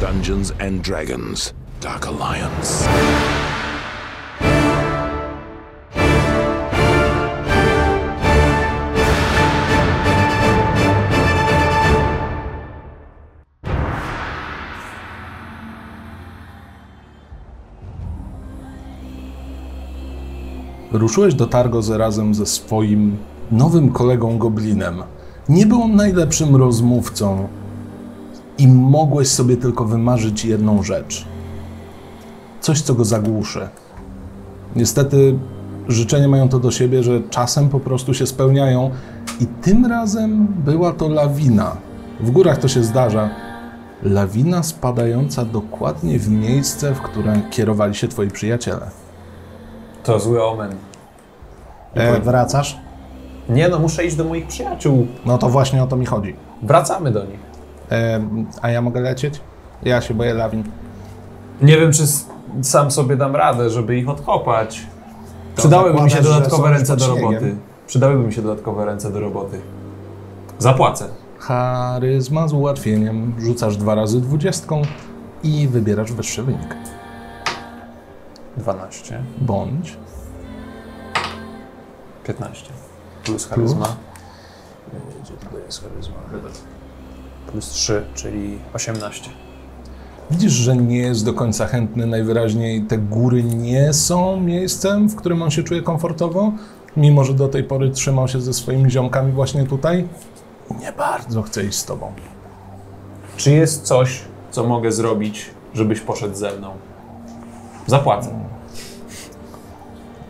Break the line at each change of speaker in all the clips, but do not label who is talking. Dungeons and Dragons Dark Alliance.
Ruszyłeś do Targozy razem ze swoim nowym kolegą Goblinem. Nie był on najlepszym rozmówcą i mogłeś sobie tylko wymarzyć jedną rzecz. Coś, co go zagłuszy. Niestety życzenia mają to do siebie, że czasem po prostu się spełniają i tym razem była to lawina. W górach to się zdarza. Lawina spadająca dokładnie w miejsce, w które kierowali się twoi przyjaciele.
To zły omen.
E,
Wracasz?
Nie no, muszę iść do moich przyjaciół.
No to właśnie o to mi chodzi.
Wracamy do nich.
Em, a ja mogę lecieć? Ja się boję lawin.
Nie wiem, czy s- sam sobie dam radę, żeby ich odkopać. Przydałyby mi się
zakładasz, że są
dodatkowe
już
ręce
pod
do
śniegiem?
roboty. Przydałyby mi się dodatkowe ręce do roboty. Zapłacę.
Charyzma z ułatwieniem. Rzucasz dwa razy dwudziestką i wybierasz wyższy wynik.
12,
Bądź
15. Plus charyzma. Y, Gdzie to jest charyzma? Plus 3, czyli 18.
Widzisz, że nie jest do końca chętny. Najwyraźniej te góry nie są miejscem, w którym on się czuje komfortowo, mimo że do tej pory trzymał się ze swoimi ziomkami właśnie tutaj. Nie bardzo chce iść z tobą.
Czy jest coś, co mogę zrobić, żebyś poszedł ze mną? Zapłacę.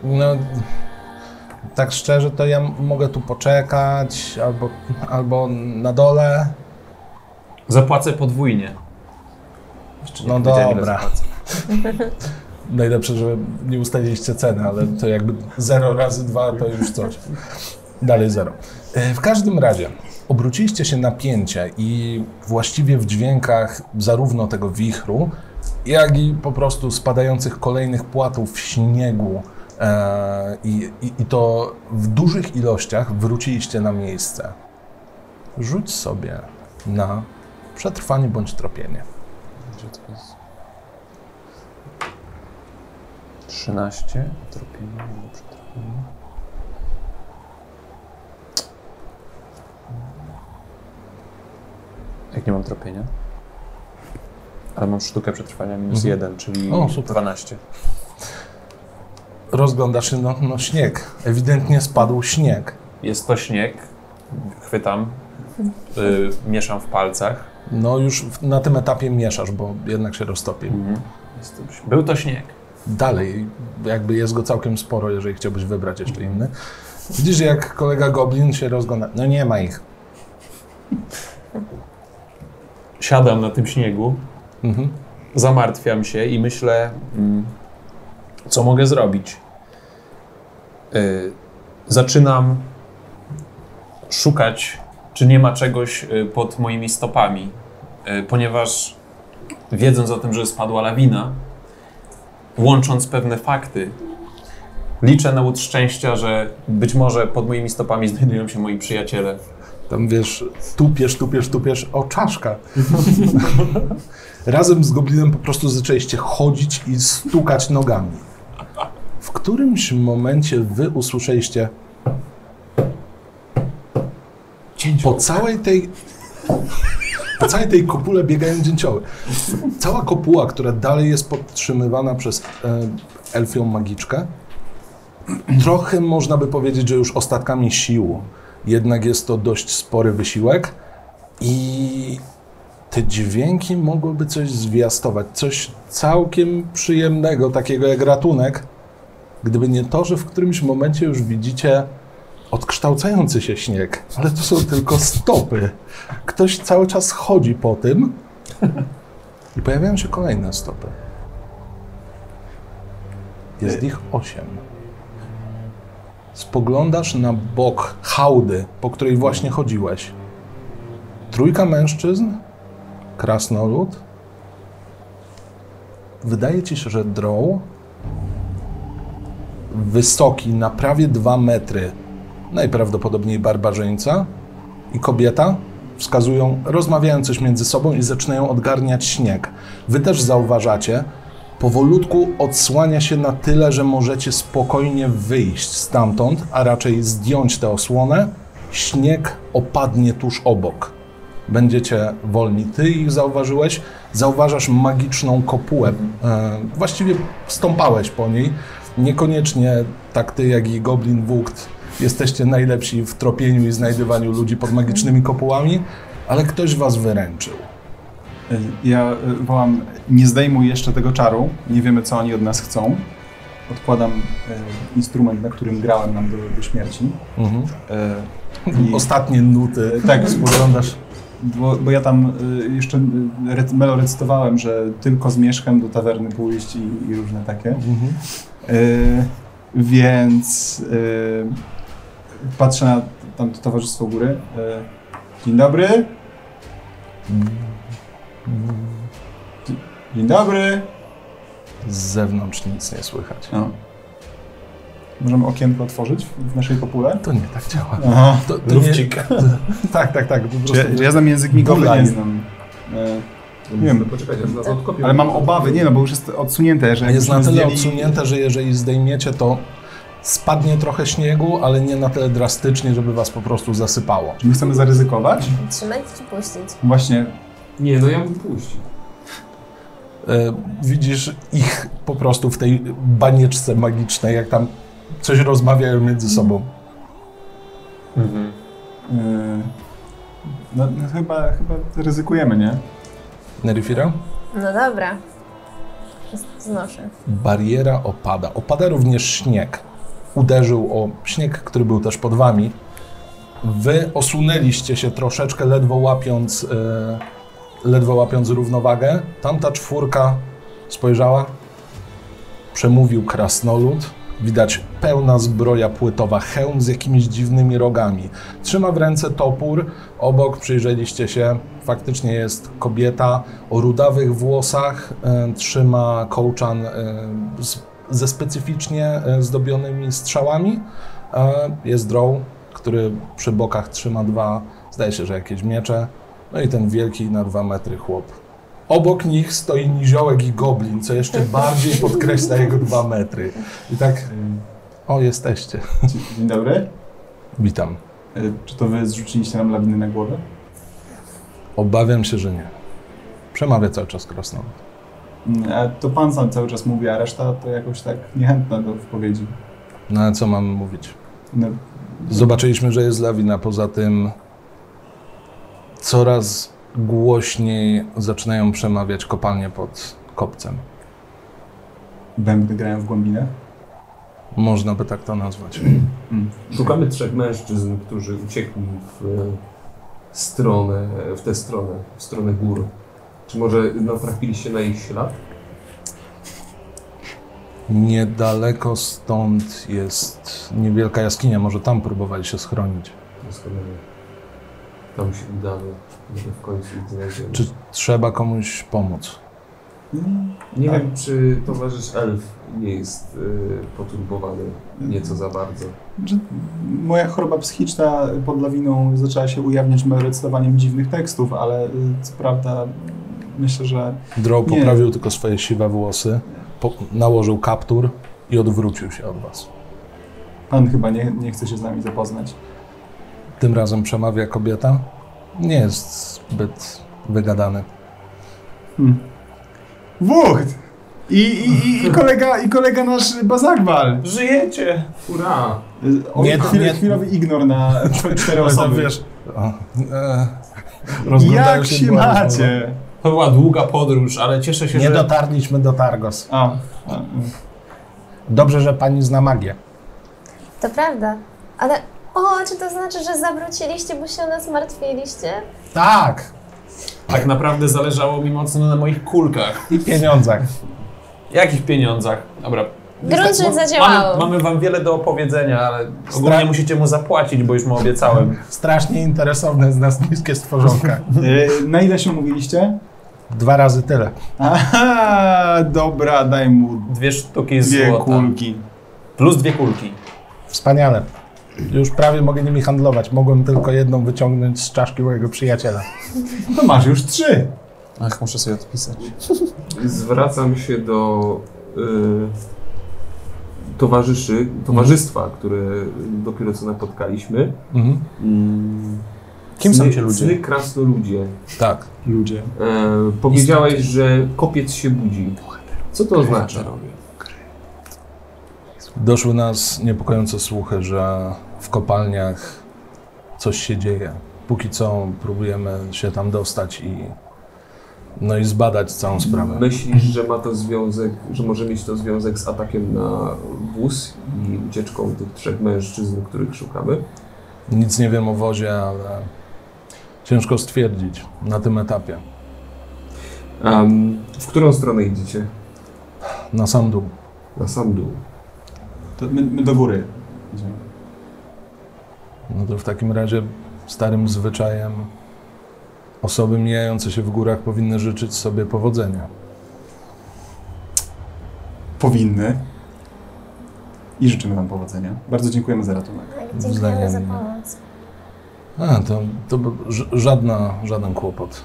No, tak szczerze, to ja m- mogę tu poczekać, albo, albo na dole.
Zapłacę podwójnie. Jeszcze
No
powiedziałem, ile
dobra.
zapłacę.
Najlepsze, że nie ustaliliście ceny, ale to jakby 0 razy 2 to już coś. Dalej 0. W każdym razie obróciliście się na pięcie i właściwie w dźwiękach zarówno tego wichru, jak i po prostu spadających kolejnych płatów śniegu e, i, i, i to w dużych ilościach wróciliście na miejsce. Rzuć sobie na przetrwanie bądź tropienie.
13. Tropienie, nie przetropienie. Jak nie mam tropienia? Ale mam sztukę przetrwania minus
Mhm.
1, czyli
O, super.
12.
Rozglądasz się, no, no śnieg. Ewidentnie spadł śnieg.
Jest to śnieg. Chwytam. Y, mieszam w palcach.
No już w- na tym etapie mieszasz, bo jednak się roztopi.
Jest to, był to śnieg.
Dalej, jakby jest go całkiem sporo, jeżeli chciałbyś wybrać jeszcze inny. Widzisz, jak kolega Goblin się rozgląda. No nie ma ich.
Siadam na tym śniegu.
Mhm.
zamartwiam się i myślę, mm, co mogę zrobić. Y, Zaczynam szukać, czy nie ma czegoś y, pod moimi stopami, Y, ponieważ wiedząc o tym, że spadła lawina, łącząc pewne fakty, liczę na łód szczęścia, że być może pod moimi stopami znajdują się moi przyjaciele.
Tam wiesz, tupiesz, tupiesz, tupiesz, o czaszka. Razem z goblinem po prostu zaczęliście chodzić i stukać nogami. W którymś momencie wy usłyszeliście po całej tej po całej tej kopule biegają dzięcioły. Cała kopuła, która dalej jest podtrzymywana przez e, elfią magiczkę, trochę można by powiedzieć, że już ostatkami sił. Jednak jest to dość spory wysiłek i te dźwięki mogłyby coś zwiastować, coś całkiem przyjemnego, takiego jak ratunek, gdyby nie to, że w którymś momencie już widzicie odkształcający się śnieg, ale to są tylko stopy. Ktoś cały czas chodzi po tym i pojawiają się kolejne stopy. Jest ich osiem spoglądasz na bok hałdy, po której właśnie chodziłeś. Trójka mężczyzn, krasnolud. Wydaje ci się, że droł, wysoki na prawie 2 metry, najprawdopodobniej barbarzyńca i kobieta wskazują, rozmawiają coś między sobą i zaczynają odgarniać śnieg. Wy też zauważacie, powolutku odsłania się na tyle, że możecie spokojnie wyjść stamtąd, a raczej zdjąć tę osłonę. Śnieg opadnie tuż obok. Będziecie wolni. Ty ich zauważyłeś, zauważasz magiczną kopułę. E, właściwie stąpałeś po niej. Niekoniecznie tak ty, jak i Goblin Wógt jesteście najlepsi w tropieniu i znajdywaniu ludzi pod magicznymi kopułami, ale ktoś was wyręczył.
Y, Ja y, wołam, nie zdejmuj jeszcze tego czaru, nie wiemy co oni od nas chcą. Odkładam y, instrument, na którym grałem nam do, do śmierci.
Mhm.
Y, i-
Ostatnie nuty.
Tak,
spoglądasz.
Bo, bo ja tam y, jeszcze y, ret, melo recytowałem, że tylko z mieszkiem do tawerny pójść i, i różne takie.
Mhm.
Y, więc y, patrzę na tam to towarzystwo góry. Y, dzień dobry. Dzień dobry.
Z zewnątrz nic nie słychać.
No. Możemy okienko otworzyć w w naszej kopule?
To nie tak działa.
Aha.
To, to nie, tak, tak, tak. Po prostu.
Czy ja, czy ja znam język migowy?
Bula
Nie
jest.
znam. Y, nie wiem,
Poczekajcie, aż nas odkopią.
ale mam obawy, nie no, bo już jest odsunięte, że
Jest na
jakbyśmy
tyle
zdjęli-
odsunięte, że jeżeli zdejmiecie, to spadnie trochę śniegu, ale nie na tyle drastycznie, żeby was po prostu zasypało.
Czy my chcemy zaryzykować?
Trzymać czy puścić?
Właśnie,
Nie, no ja bym puścił.
E, Widzisz ich po prostu w tej banieczce magicznej, jak tam coś rozmawiają między sobą.
Mhm.
yy, no, no chyba, chyba ryzykujemy, nie?
Nerifira?
No dobra. Znoszę.
Bariera opada. Opada również śnieg. Uderzył o śnieg, który był też pod wami. Wy osunęliście się troszeczkę, ledwo łapiąc, e, ledwo łapiąc równowagę. Tamta czwórka spojrzała. Przemówił krasnolud. Widać pełna zbroja płytowa, hełm z jakimiś dziwnymi rogami. Trzyma w ręce topór. Obok przyjrzeliście się, faktycznie jest kobieta o rudawych włosach. e, Trzyma kołczan e, z, ze specyficznie e, zdobionymi strzałami. E, Jest droł, który przy bokach trzyma dwa, zdaje się, że jakieś miecze. No i ten wielki na dwa metry chłop. Obok nich stoi niziołek i goblin, co jeszcze bardziej podkreśla jego dwa metry. I tak, o jesteście.
E, Dzie- Dzień dobry.
Witam.
Y, Czy to wy zrzuciliście nam lawiny na głowę?
Obawiam się, że nie. Przemawia cały czas krasnolud.
Mm, A to pan sam cały czas mówi, a reszta to jakoś tak niechętna do wypowiedzi.
No ale co mam mówić?
No,
Zobaczyliśmy, że jest lawina. Poza tym coraz głośniej zaczynają przemawiać kopalnie pod kopcem.
bębny grają w głębinach.
Można by tak to nazwać.
Mm.
Szukamy trzech mężczyzn, którzy uciekli w e, stronę, w tę stronę, w stronę gór. Czy może natrafiliście na ich ślad?
Niedaleko stąd jest niewielka jaskinia. Może tam próbowali się schronić.
Doskonale. Tam się udamy, żeby w końcu ich znajdziemy.
Czy trzeba komuś pomóc?
Mm,
Nie
tak.
wiem, czy towarzysz Elf nie jest y, poturbowany nieco za bardzo.
Że moja choroba psychiczna pod lawiną zaczęła się ujawniać recytowaniem dziwnych tekstów, ale y, co prawda y, myślę, że
Drow
Nie.
poprawił tylko swoje siwe włosy, po- nałożył kaptur i odwrócił się od was.
pan chyba nie, nie chce się z nami zapoznać.
Tym razem przemawia kobieta. Nie jest zbyt wygadany.
Hmm. Wucht! I, i, i, kolega, I kolega nasz Bazagwal.
Żyjecie!
Ura!
O,
Nie,
nie, chwil,
nie.
Chwilowy ignor na cztery osoby.
A, e, rozglądają
Jak się
dwa razy. no.
macie?
To była długa podróż, ale cieszę się,
Nie
że...
dotarliśmy do Targos.
A, a, y,
Dobrze, że pani zna magię.
To prawda. Ale o, czy to znaczy, że zawróciliście, bo się o nas martwiliście?
Tak!
Tak naprawdę zależało mi mocno na moich kulkach.
I pieniądzach.
Jakich pieniądzach? Dobra.
Grunt się
Mamy,
zadziałał.
mamy wam wiele do opowiedzenia, ale ogólnie
Stra-
musicie mu zapłacić, bo już mu obiecałem.
Strasznie interesowne z nas niskie stworzonka.
y, na ile się mówiliście?
Dwa razy tyle.
Aha, dobra, daj mu
Dwie sztuki
dwie
złota.
kulki.
Plus dwie kulki.
Wspaniale.
Już prawie mogę nimi handlować. Mogłem tylko jedną wyciągnąć z czaszki mojego przyjaciela.
To masz już trzy.
Ach, muszę sobie odpisać.
Zwracam się do y, towarzyszy, towarzystwa, które dopiero co napotkaliśmy.
Mhm.
Mm,
Kim są
cny-
ci ludzie?
Cny krasnoludzie.
Tak.
Ludzie.
E, powiedziałeś, że kopiec się budzi. Co to oznacza?
Doszły nas niepokojące słuchy, że w kopalniach coś się dzieje. Póki co próbujemy się tam dostać i no i zbadać całą sprawę.
Myślisz, że ma to związek, że może mieć to związek z atakiem na wóz i ucieczką tych trzech mężczyzn, których szukamy?
Nic nie wiem o wozie, ale ciężko stwierdzić na tym etapie.
Em, w którą stronę idziecie?
Na sam dół.
Na sam dół.
To my, my do góry. idziemy.
No to w takim razie starym zwyczajem osoby mijające się w górach powinny życzyć sobie powodzenia.
Powinny. I życzymy Wam powodzenia. Bardzo dziękujemy za ratunek.
Tak, Dziękujemy za
Wzajemnie.
pomoc.
A, to, to b- ż- żadna, żaden kłopot.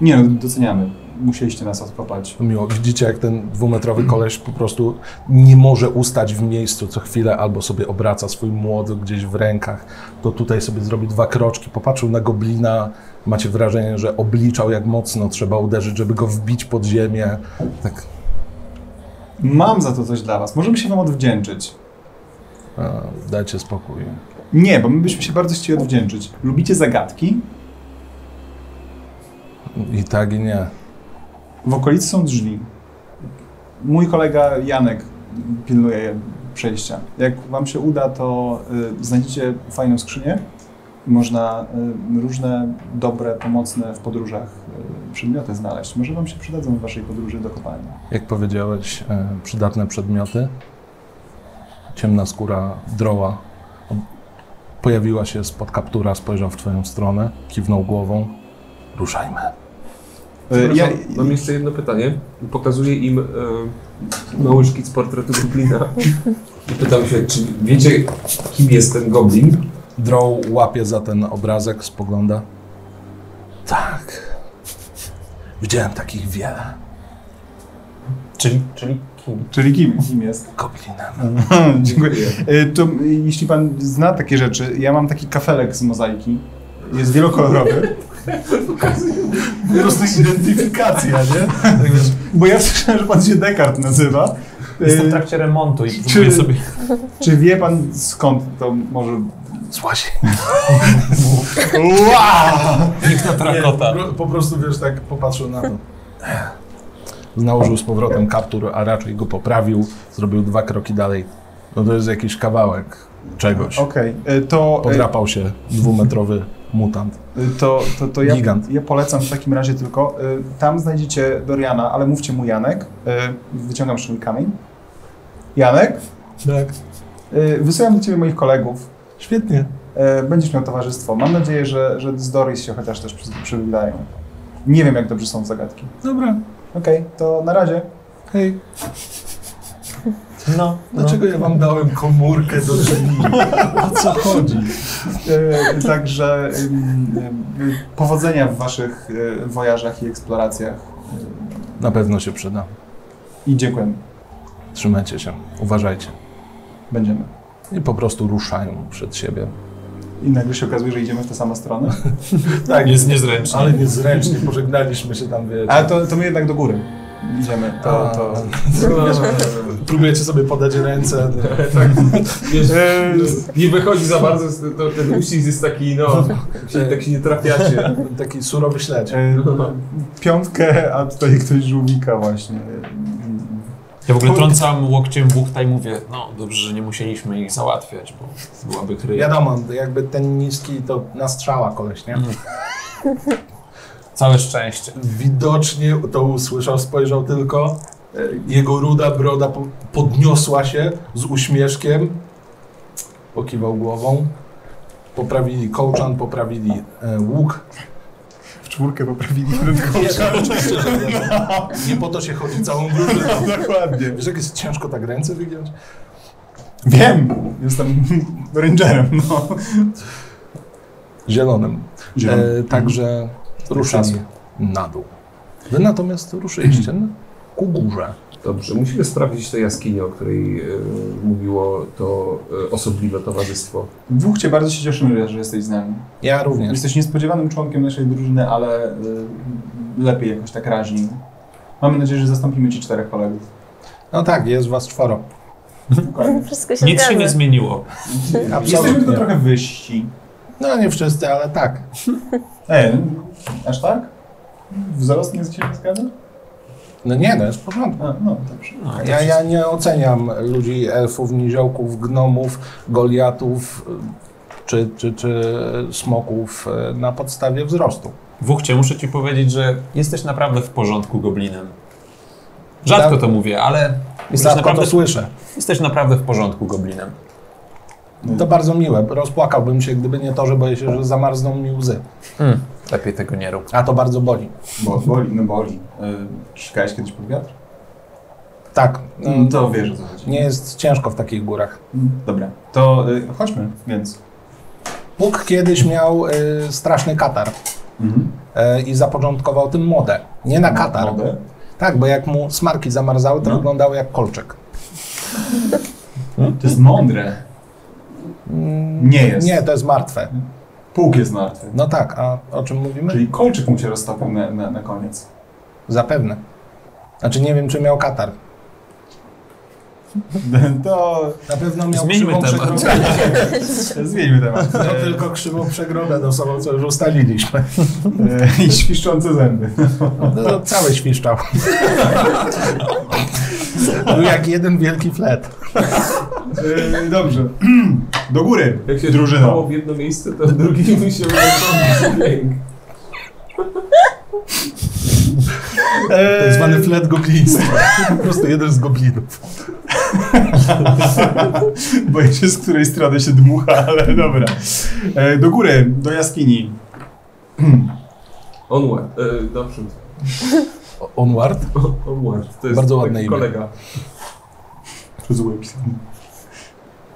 Nie, no, doceniamy. Musieliście nas odkopać.
To miło. Widzicie, jak ten dwumetrowy koleś po prostu nie może ustać w miejscu co chwilę, albo sobie obraca swój młot gdzieś w rękach, to tutaj sobie zrobi dwa kroczki, popatrzył na goblina, macie wrażenie, że obliczał, jak mocno trzeba uderzyć, żeby go wbić pod ziemię. Tak,
Mam za to coś dla Was. Możemy się Wam odwdzięczyć.
e, dajcie spokój.
Nie, bo my byśmy się bardzo chcieli odwdzięczyć. Lubicie zagadki?
I tak, i nie.
W okolicy są drzwi. Mój kolega Janek pilnuje przejścia. Jak Wam się uda, to y, znajdziecie fajną skrzynię. Można y, różne dobre, pomocne w podróżach y, przedmioty znaleźć. Może Wam się przydadzą w Waszej podróży do kopalni.
Jak powiedziałeś, e, przydatne przedmioty. Ciemna skóra droła ob- pojawiła się spod kaptura, spojrzał w twoją stronę, kiwnął głową. Ruszajmy.
Y, Ja,
Przepraszam, Mam jeszcze jedno pytanie. Pokazuję im e, mały szkic portretu Goblina. I pytam się, czy wiecie, kim jest ten Goblin?
Droł łapie za ten obrazek, spogląda. Tak. Widziałem takich wiele.
Czyli, czyli kim?
czyli kim? Kim jest?
Goblinem.
Dziękuję. Y, To y, jeśli Pan zna takie rzeczy, ja mam taki kafelek z mozaiki. Jest wielokolorowy. Po prostu identyfikacja, nie? Tak Bo ja słyszałem, że pan się Descartes nazywa.
Jestem tak. w
Y,
trakcie remontu i
Czy-
próbuję sobie...
Czy wie pan skąd to może...
Z łazienki.
Wow!
Piękna trakota.
Nie, po, po prostu wiesz, tak popatrzył na to. Nałożył z powrotem kaptur, a raczej go poprawił, zrobił dwa kroki dalej. No to jest jakiś kawałek czegoś.
Okej, y, to, y,
Podrapał się dwumetrowy mutant.
y, to, to, to ja,
Gigant.
ja polecam w takim razie tylko. y, Tam znajdziecie Doriana, ale mówcie mu Janek. Y, Wyciągam szybki kamień. Janek,
Tak.
y, wysyłam do ciebie moich kolegów.
Świetnie.
E, Będziesz miał towarzystwo. Mam nadzieję, że, że z Doris się chociaż też przy- przywidają. Nie wiem, jak dobrze są zagadki.
Dobra.
Okej, to na razie.
Hej,
No,
dlaczego ja wam dałem komórkę do drzwi? O co chodzi?
E, Także ym, ym, powodzenia w waszych e, wojażach i eksploracjach. Y,
Na pewno się przyda.
I dziękuję.
Trzymajcie się, uważajcie.
Będziemy.
I po prostu ruszają przed siebie.
I nagle się okazuje, że idziemy w te same strony.
tak, jest niezręczny.
Ale niezręcznie, pożegnaliśmy się tam, wiecie.
Ale to, to my jednak do góry idziemy. To, to...
Tak. Próbujecie sobie podać ręce.
Wiesz, nie wychodzi za bardzo, z- to, ten uścisk jest taki, no, się, tak się nie trafiacie.
Taki surowy śledź.
E, Piątkę, a tutaj ktoś żółwika właśnie.
Ja w ogóle trącam łokciem Buchta i mówię, no dobrze, że nie musieliśmy ich załatwiać, bo byłaby kryja.
Wiadomo, jakby ten niski to na strzała koleś, nie?
Całe szczęście.
Widocznie to usłyszał, spojrzał tylko. E, Jego ruda broda po- podniosła się z uśmieszkiem. Pokiwał głową. Poprawili kołczan, poprawili e, łuk.
W czwórkę poprawiliśmy.
Nie, no, oczywiście, że nie. nie po to się chodzi całą drużyną.
Dokładnie.
Wiesz, jak jest ciężko tak ręce wygiąć?
Wiem! Jestem rangerem, no.
Zielonym. E,
Mhm.
także ruszyli na dół. Wy natomiast ruszyliście
Mhm.
na- ku górze.
Dobrze, musimy sprawdzić tę jaskinię, o której e, mówiło to e, osobliwe towarzystwo.
Dwóch cię bardzo się cieszymy, że jesteś z nami.
Ja również.
Jesteś niespodziewanym członkiem naszej drużyny, ale y, lepiej jakoś tak raźniej. Mamy nadzieję, że zastąpimy ci czterech kolegów.
No tak, jest was czworo.
Dokładnie.
Wszystko się
Nic
zgadza.
się nie zmieniło.
Jesteśmy tylko
Absolutnie.
trochę wyżsi.
No nie wszyscy, ale tak.
Ej, aż tak? Wzrost nie się nie zgadza?
No nie, no jest w porządku.
A, no, dobrze.
No,
Ja, ja nie oceniam ludzi, elfów, niziołków, gnomów, goliatów y, czy, czy, czy smoków y, na podstawie wzrostu.
Wuchcie, muszę ci powiedzieć, że jesteś naprawdę w porządku goblinem. Rzadko
Za-
to mówię, ale jesteś
Rzadko to
naprawdę,
słyszę.
jesteś naprawdę w porządku goblinem.
To bardzo miłe. Rozpłakałbym się, gdyby nie to, że boję się, że zamarzną mi łzy.
Lepiej tego nie rób.
A to bardzo boli. E,
Bo, boli, no boli. Y, Szczekałeś kiedyś pod wiatr?
Tak, no,
No to wiesz o co chodzi.
nie jest ciężko w takich górach.
Mm, Dobra, to y, chodźmy więc.
Bóg kiedyś miał y, straszny katar y, i zapoczątkował tym modę. Nie na katar.
Wodę.
Tak, bo jak mu smarki zamarzały, to
No.
wyglądały jak kolczyk.
To jest mądre.
Mm,
Nie jest.
Nie, to jest martwe.
Pług jest martwy.
No tak, a o czym mówimy?
Czyli kolczyk mu się roztopił na, na, na koniec.
Zapewne. Znaczy nie wiem, czy miał katar.
To
Na pewno miał
Zmieńmy
krzywą
temat.
przegrodę.
zmieńmy temat.
No tylko krzywą przegrodę do sobą, co już ustaliliśmy.
E, I świszczące zęby.
No to cały świszczał. Był jak jeden wielki flet.
E, Dobrze. Do góry.
Jak się
Drużyno.
w jedno miejsce, to w drugim się wydarzy dźwięk.
Tak zwany flet gobliństwa. Po prostu jeden z goblinów.
Boję się, z której strony się dmucha, ale dobra. E, Do góry, do jaskini.
Onward, e, naprzód.
Onward?
O- Onward, to jest
Bardzo
taki
ładne imię.
kolega.
Przez łeb.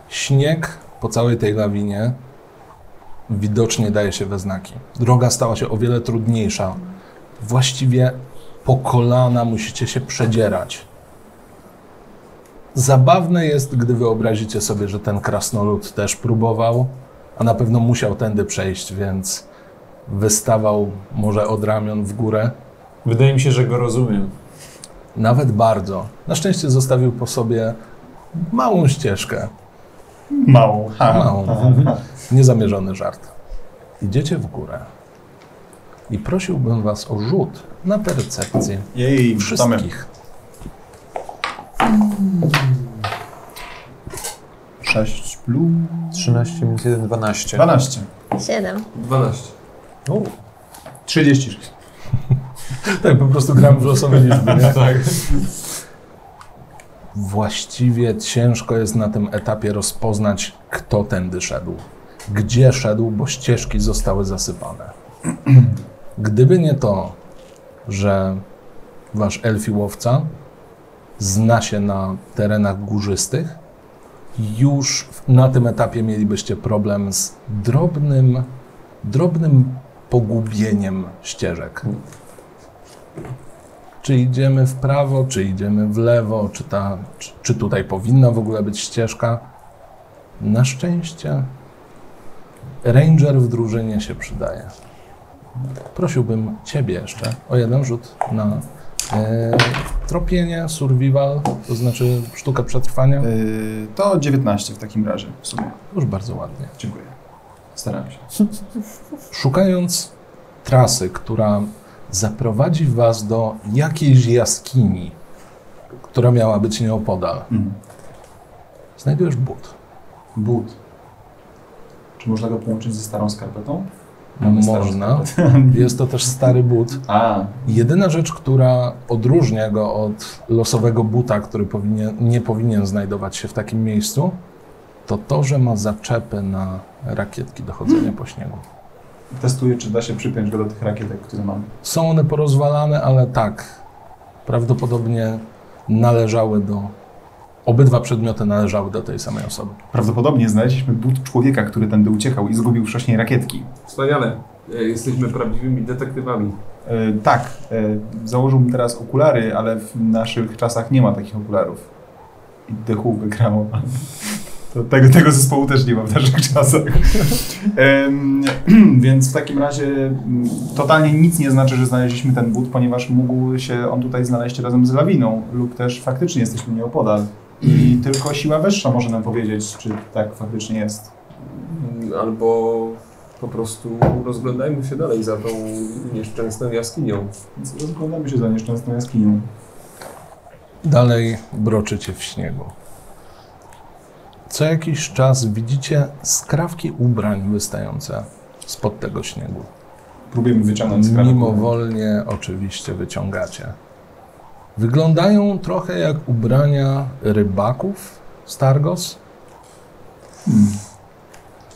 Śnieg po całej tej lawinie widocznie daje się we znaki. Droga stała się o wiele trudniejsza. Właściwie po kolana musicie się przedzierać. Zabawne jest, gdy wyobrazicie sobie, że ten krasnolud też próbował, a na pewno musiał tędy przejść, więc wystawał może od ramion w górę.
Wydaje mi się, że go rozumiem.
Nawet bardzo. Na szczęście zostawił po sobie małą ścieżkę.
Małą. Ha,
Małą.
ha, ha.
Niezamierzony żart. Idziecie w górę. I prosiłbym was o rzut na percepcję
Jej, wrzucamy.
wszystkich.
Sześć plus
13 minus 1, 12.
12.
Siedem.
12.
36.
Tak, po prostu gram w losowe liczby.
Tak.
Właściwie ciężko jest na tym etapie rozpoznać, kto tędy szedł. Gdzie szedł, bo ścieżki zostały zasypane. Gdyby nie to, że wasz elfi łowca zna się na terenach górzystych, już na tym etapie mielibyście problem z drobnym, drobnym pogubieniem ścieżek. Czy idziemy w prawo, czy idziemy w lewo, czy, ta, czy, czy tutaj powinna w ogóle być ścieżka. Na szczęście ranger w drużynie się przydaje. Prosiłbym Ciebie jeszcze o jeden rzut na e, tropienie, survival, to znaczy sztukę przetrwania.
Y, To 19 w takim razie w sumie.
Już bardzo ładnie.
Dziękuję. Staram się.
Szukając trasy, która zaprowadzi Was do jakiejś jaskini, która miała być nieopodal,
Mhm.
znajdujesz but.
But. Czy można go połączyć ze starą skarpetą? Mamy starą
Można. Jest to też stary but.
A,
Jedyna rzecz, która odróżnia go od losowego buta, który powinien, nie powinien znajdować się w takim miejscu, to to, że ma zaczepy na rakietki do chodzenia po śniegu.
testuję, czy da się przypiąć go do tych rakietek, które mam.
Są one porozwalane, ale tak, prawdopodobnie należały do Obydwa przedmioty należały do tej samej osoby.
Prawdopodobnie znaleźliśmy but człowieka, który tędy uciekał i zgubił wcześniej rakietki.
Wspaniale. E, Jesteśmy prawdziwymi detektywami.
E, tak, e, założyłbym teraz okulary, ale w naszych czasach nie ma takich okularów. I dychów wygrało. To tego, tego zespołu też nie ma w naszych czasach. Em, Więc w takim razie mm, totalnie nic nie znaczy, że znaleźliśmy ten but, ponieważ mógł się on tutaj znaleźć razem z lawiną, lub też faktycznie jesteśmy nieopodal. I tylko siła wyższa może nam powiedzieć, czy tak faktycznie jest.
Mm, Albo po prostu rozglądajmy się dalej za tą nieszczęsną jaskinią.
Więc rozglądamy się za nieszczęsną jaskinią.
Dalej broczycie w śniegu. Co jakiś czas widzicie skrawki ubrań wystające spod tego śniegu.
Próbujemy wyciągnąć z kranu.
Mimowolnie oczywiście wyciągacie. Wyglądają trochę jak ubrania rybaków z Targos.
Hmm.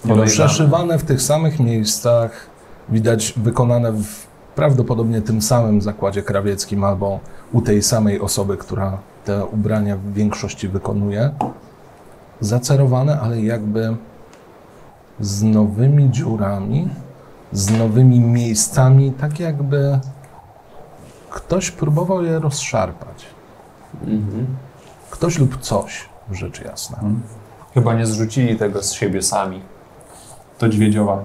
Podejrzane.
Przeszywane w tych samych miejscach, widać wykonane w prawdopodobnie tym samym zakładzie krawieckim albo u tej samej osoby, która te ubrania w większości wykonuje. Zacerowane, ale jakby z nowymi dziurami, z nowymi miejscami, tak jakby ktoś próbował je rozszarpać. Mhm. Ktoś lub coś, rzecz jasna.
Chyba nie zrzucili tego z siebie sami.
To dźwiedziowa.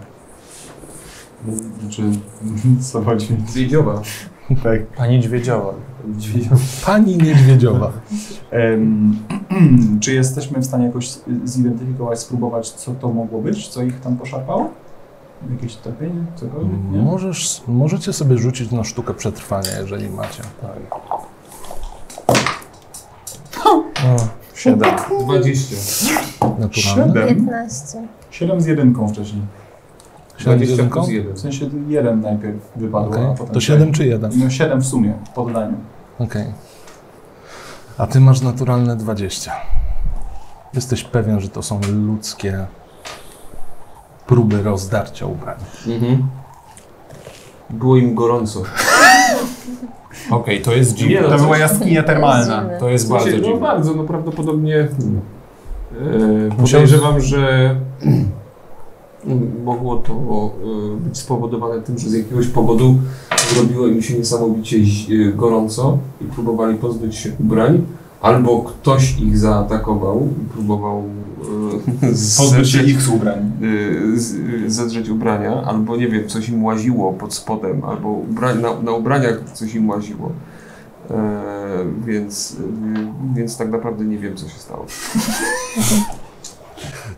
Znaczy,
Co chodzi?
Zwiedziowa.
Tak.
Pani Dźwiedziowa.
Zwiedziowa.
Pani Niedźwiedziowa.
Em, czy jesteśmy w stanie jakoś zidentyfikować, spróbować, co to mogło być? Co ich tam poszarpało? Jakieś topienie? Cokolwiek?
Mhm.
Nie?
Możesz, możecie sobie rzucić na sztukę przetrwania, jeżeli macie. Tak.
Siedem.
20.
Naturalne.
15.
7 z jedynką wcześniej.
20
jedynką?
plus 1.
W sensie jeden najpierw wypadł,
Okej.
a potem...
To 7 czy 1?
No 7 w sumie, w poddaniu.
Okej. A ty masz naturalne 20. Jesteś pewien, że to są ludzkie próby rozdarcia ubrań.
Mhm. Było im gorąco.
Okej, to jest dziwne.
Nie,
To
coś-
była jaskinia termalna.
Zimne.
To jest bardzo
no
dziwne.
bardzo, no prawdopodobnie hmm, e, podejrzewam, że mm, mogło to e, być spowodowane tym, że z jakiegoś powodu zrobiło im się niesamowicie zi- e, gorąco i próbowali pozbyć się ubrań, albo ktoś ich zaatakował i próbował e,
Pozbyć się
zedrzeć-
ich z ubrań.
y, z- y, zedrzeć ubrania, albo nie wiem, coś im łaziło pod spodem, albo ubra na, na ubraniach coś im łaziło. E, więc, y, więc tak naprawdę nie wiem, co się stało.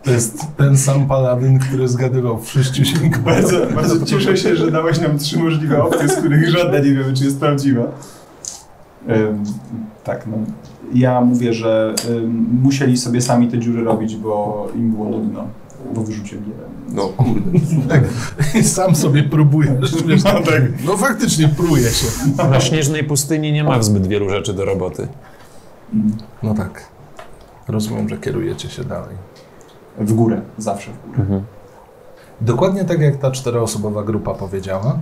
To jest ten sam paladyn, który zgadywał w sześciusięgu.
Bardzo, bardzo cieszę się, że dałeś nam trzy możliwe opcje, z których żadna nie wiemy, czy jest prawdziwa. Ym, tak, no. Ja mówię, że ym, musieli sobie sami te dziury robić, bo im było nudno. Bo wyrzucili jeden.
No kurde.
I sam sobie próbujesz. Wiesz, tam, tak. No faktycznie próbuje się.
no,
Na śnieżnej pustyni nie ma zbyt wielu rzeczy do roboty.
Mm.
No tak. Rozumiem, że kierujecie się dalej.
W górę, zawsze w górę.
Mhm. Dokładnie tak jak ta czteroosobowa grupa powiedziała.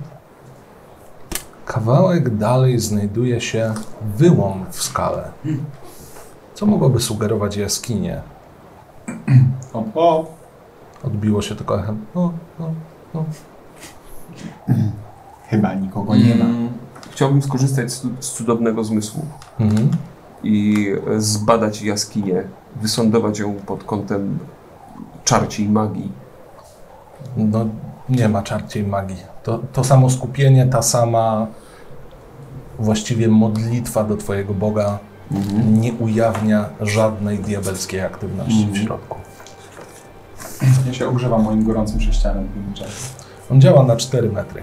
Kawałek dalej znajduje się wyłom w skale. Co mogłoby sugerować jaskinię?
O, o,
Odbiło się tylko echem. No, no.
chyba nikogo nie ma.
Mm, Chciałbym skorzystać z, z cudownego zmysłu
Mhm.
i e, zbadać jaskinię, wysądować ją pod kątem czarci i magii.
No, nie ma czarciej magii. To, to samo skupienie, ta sama właściwie modlitwa do Twojego Boga nie ujawnia żadnej diabelskiej aktywności w środku.
Ja się ogrzewam moim gorącym prześcianem w tym czasie.
On działa na 4 metry.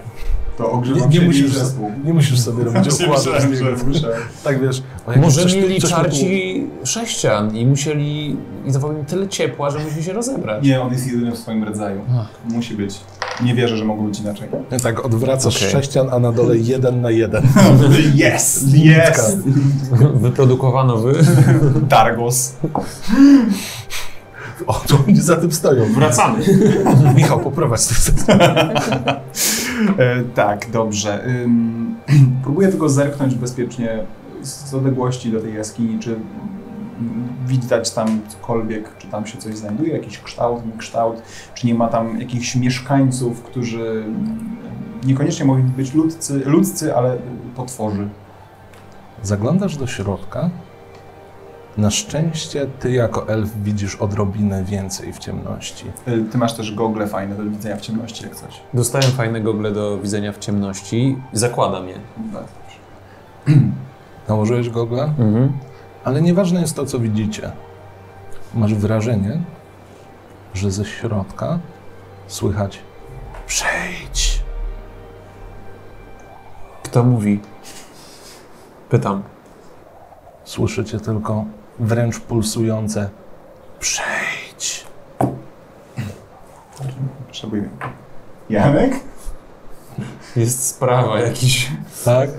To
Nie,
ogrzewam
nie,
się
musisz,
i zespół.
nie musisz sobie robić
Właśnie
okładu z
myślałem, że
niego.
muszę.
Tak wiesz. o, jak
Może
coś tu-
mieli
coś tu było.
czarci sześcian i musieli... i dawało im tyle ciepła, że musieli się rozebrać.
Nie, on jest jedyny w swoim rodzaju. Musi być. Nie wierzę, że mogło być inaczej.
Nie, Tak, odwracasz
Okej.
sześcian, a na dole jeden na jeden.
Yes! Yes!
Mhm.
Wyprodukowano wy.
Targos.
O, to oni za tym stoją.
Wracamy.
Michał, poprowadź to.
E, tak, dobrze. Ym, próbuję tylko zerknąć bezpiecznie z odległości do tej jaskini, czy mm, widać tam cokolwiek, czy tam się coś znajduje, jakiś kształt, nie kształt, czy nie ma tam jakichś mieszkańców, którzy mm, niekoniecznie mogli być ludcy, ludzcy, ale y, potworzy.
Zaglądasz do środka. Na szczęście ty jako elf widzisz odrobinę więcej w ciemności.
Y, Ty masz też gogle fajne do widzenia w ciemności, jak coś.
Dostałem fajne gogle do widzenia w ciemności. Zakładam je.
Nałożyłeś gogle,
Mhm.
ale nieważne jest to, co widzicie. Masz wrażenie, że ze środka słychać przejdź.
Kto mówi? Pytam.
Słyszycie tylko wręcz pulsujące przejdź.
Potrzebujemy. Janek?
Jest sprawa jakiś.
Tak?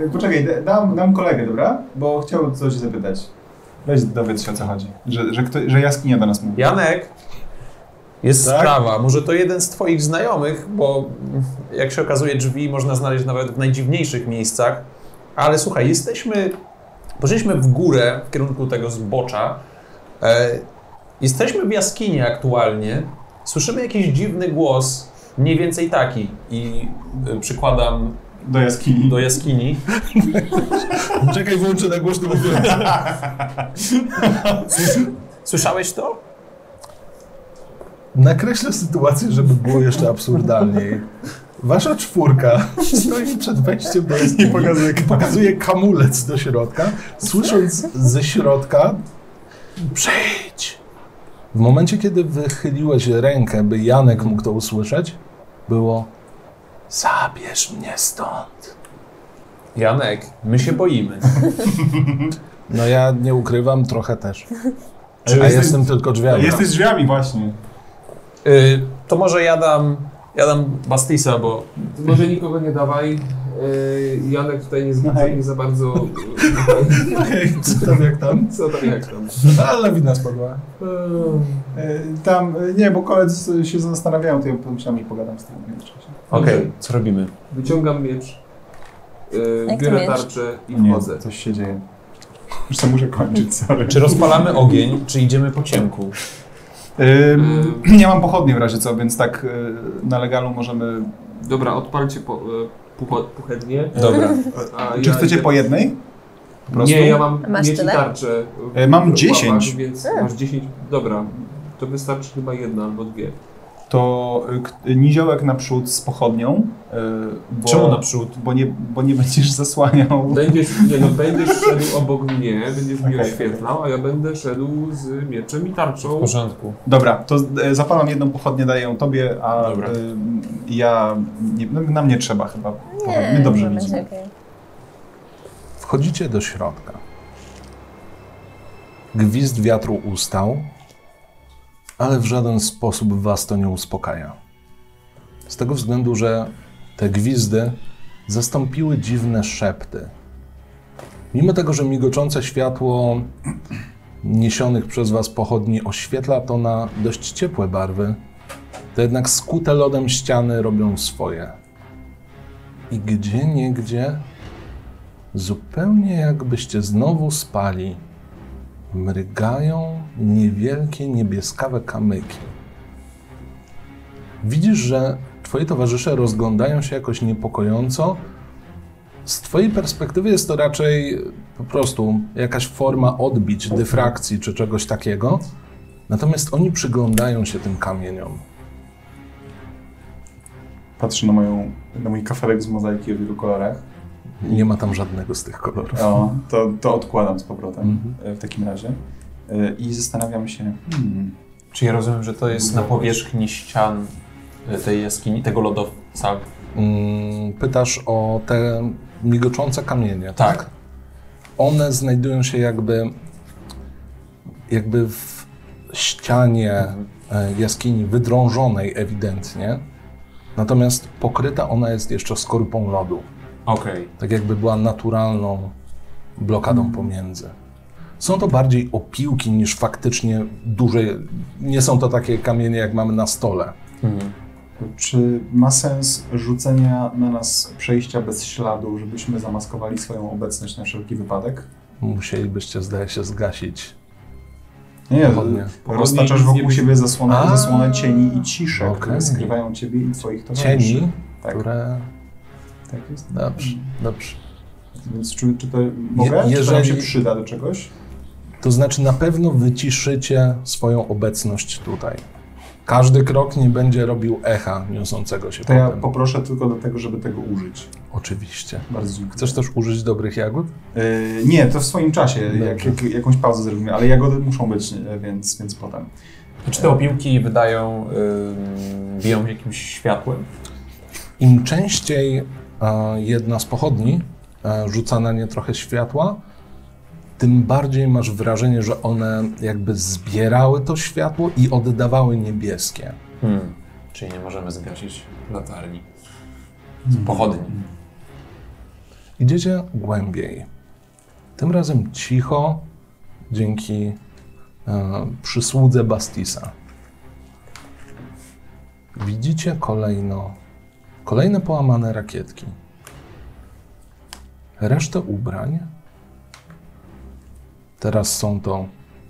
Yy, poczekaj, da- dam, dam kolegę, dobra? Bo chciałbym coś zapytać. Weź dowiedz się o co chodzi. Że, że, kto, że jaskinia do nas mówi.
Janek! Jest
Tak?
sprawa. Może to jeden z twoich znajomych, bo mm, jak się okazuje, drzwi można znaleźć nawet w najdziwniejszych miejscach. Ale słuchaj, jesteśmy... Poszliśmy w górę w kierunku tego zbocza. E, jesteśmy w jaskini aktualnie. Słyszymy jakiś dziwny głos, mniej więcej taki. I y, przykładam
Do jaskini.
do jaskini.
Czekaj, włączę na głośno. mówię.
Słyszałeś to?
Nakreślę sytuację, żeby było jeszcze absurdalniej. Wasza czwórka stoi przed wejściem do jaskini, pokazuje, pokazuje kamulec do środka, słysząc ze środka przejdź. W momencie, kiedy wychyliłeś rękę, by Janek mógł to usłyszeć, było zabierz mnie stąd.
Janek, my się boimy.
No ja nie ukrywam, trochę też.
Czy
A
jesteś-
jestem tylko drzwiami.
Jesteś z drzwiami właśnie.
Y, to może ja dam, ja dam Bastisa, bo
To może nikogo nie dawaj. Yy, Janek tutaj nie,
No
no
hej.
nie za bardzo... e,
Okej, co tam jak tam?
Co tam jak tam?
Ale wina spadła.
Eee,
Y, Tam, y, nie, bo koledzy się zastanawiają, to ja przynajmniej pogadam z tym. nie wiem, czy się-
okej, co robimy?
Wyciągam miecz, yy,
Jak to
biorę
miecz?
tarczę i
Nie,
wchodzę.
coś się dzieje. Już to muszę kończyć, sorry.
Czy rozpalamy ogień, czy idziemy po ciemku?
Ym, Yy, nie mam pochodni w razie co, więc tak y, na legalu możemy...
Dobra, odpalcie po, e, pucho- puchednie.
Dobra.
A
Czy
ja
chcecie
idę-
po jednej? Po prostu?
Nie, ja mam
Masz
miecz i
tyle? Hmm.
tarczę. w-
E, mam
w
10.
łapach, Więc masz 10. Dobra, to wystarczy chyba jedna albo dwie.
To y, k- niziołek naprzód z pochodnią. y, Bo,
Czemu naprzód?
Bo nie, bo nie będziesz zasłaniał.
Będziesz, nie, no, będziesz szedł obok mnie, będziesz mnie
Okej.
oświetlał, a ja będę szedł z mieczem i tarczą.
W porządku.
Dobra, to e, zapalam jedną pochodnię, daję ją tobie, a
Dobra.
e, ja. Nie, no, na mnie trzeba chyba. pochodnie.
Nie,
No, My dobrze
będzie
widzimy.
okej.
Wchodzicie do środka. Gwizd wiatru ustał, ale w żaden sposób was to nie uspokaja. Z tego względu, że te gwizdy zastąpiły dziwne szepty. Mimo tego, że migoczące światło niesionych przez was pochodni oświetla to na dość ciepłe barwy, to jednak skute lodem ściany robią swoje. I gdzie niegdzie zupełnie jakbyście znowu spali, mrygają niewielkie niebieskawe kamyki. Widzisz, że twoi towarzysze rozglądają się jakoś niepokojąco. Z twojej perspektywy jest to raczej po prostu jakaś forma odbić, dyfrakcji czy czegoś takiego. Natomiast oni przyglądają się tym kamieniom.
Patrzę na, moją, na mój kafelek z mozaiki w wielu kolorach.
Nie ma tam żadnego z tych kolorów.
O, to, to odkładam z powrotem
Mhm.
e, w takim razie. E, I zastanawiam się. Hmm,
Czy ja rozumiem, że to jest na powierzchni ścian y, tej jaskini, tego lodowca?
Mm, Pytasz o te migoczące kamienie.
Tak.
One znajdują się jakby, jakby w ścianie e, jaskini, wydrążonej ewidentnie. Natomiast pokryta ona jest jeszcze skorupą lodu.
Okej.
Tak jakby była naturalną blokadą pomiędzy. Są to bardziej opiłki niż faktycznie duże. Nie są to takie kamienie, jak mamy na stole.
Czy ma sens rzucenia na nas przejścia bez śladu, żebyśmy zamaskowali swoją obecność na wszelki wypadek?
Musielibyście, zdaje się, zgasić
Nie,
Pochodnie.
roztaczasz
nic nie
wokół siebie zasłonę,
A.
zasłonę cieni i ciszy, które
Okej.
skrywają ciebie i twoich towarzyszy.
Cieni,
Tak,
które...
tak jest.
Dobrze, dobrze.
Więc czy, czy to mogę? Czy to nam
jeżeli-
się przyda do czegoś?
To znaczy na pewno wyciszycie swoją obecność tutaj. Każdy krok nie będzie robił echa niosącego się
To ja
potem.
poproszę tylko do tego, żeby tego użyć.
Oczywiście.
Bardzo dziękuję.
Chcesz też użyć dobrych jagód?
Yy, nie, to w swoim czasie, jak,
Dobrze.
jak, jakąś pauzę zrobimy, ale jagody muszą być, yy, więc, więc potem.
Czy te opiłki wydają, ym, biją jakimś światłem?
Im częściej e, jedna z pochodni e, rzuca na nie trochę światła, tym bardziej masz wrażenie, że one jakby zbierały to światło i oddawały niebieskie.
Hmm. Czyli nie możemy zgasić latarni. Z pochodni.
Idziecie głębiej. Tym razem cicho, dzięki e, przysłudze Bastisa. Widzicie kolejno, kolejne połamane rakietki. Resztę ubrań. Teraz są to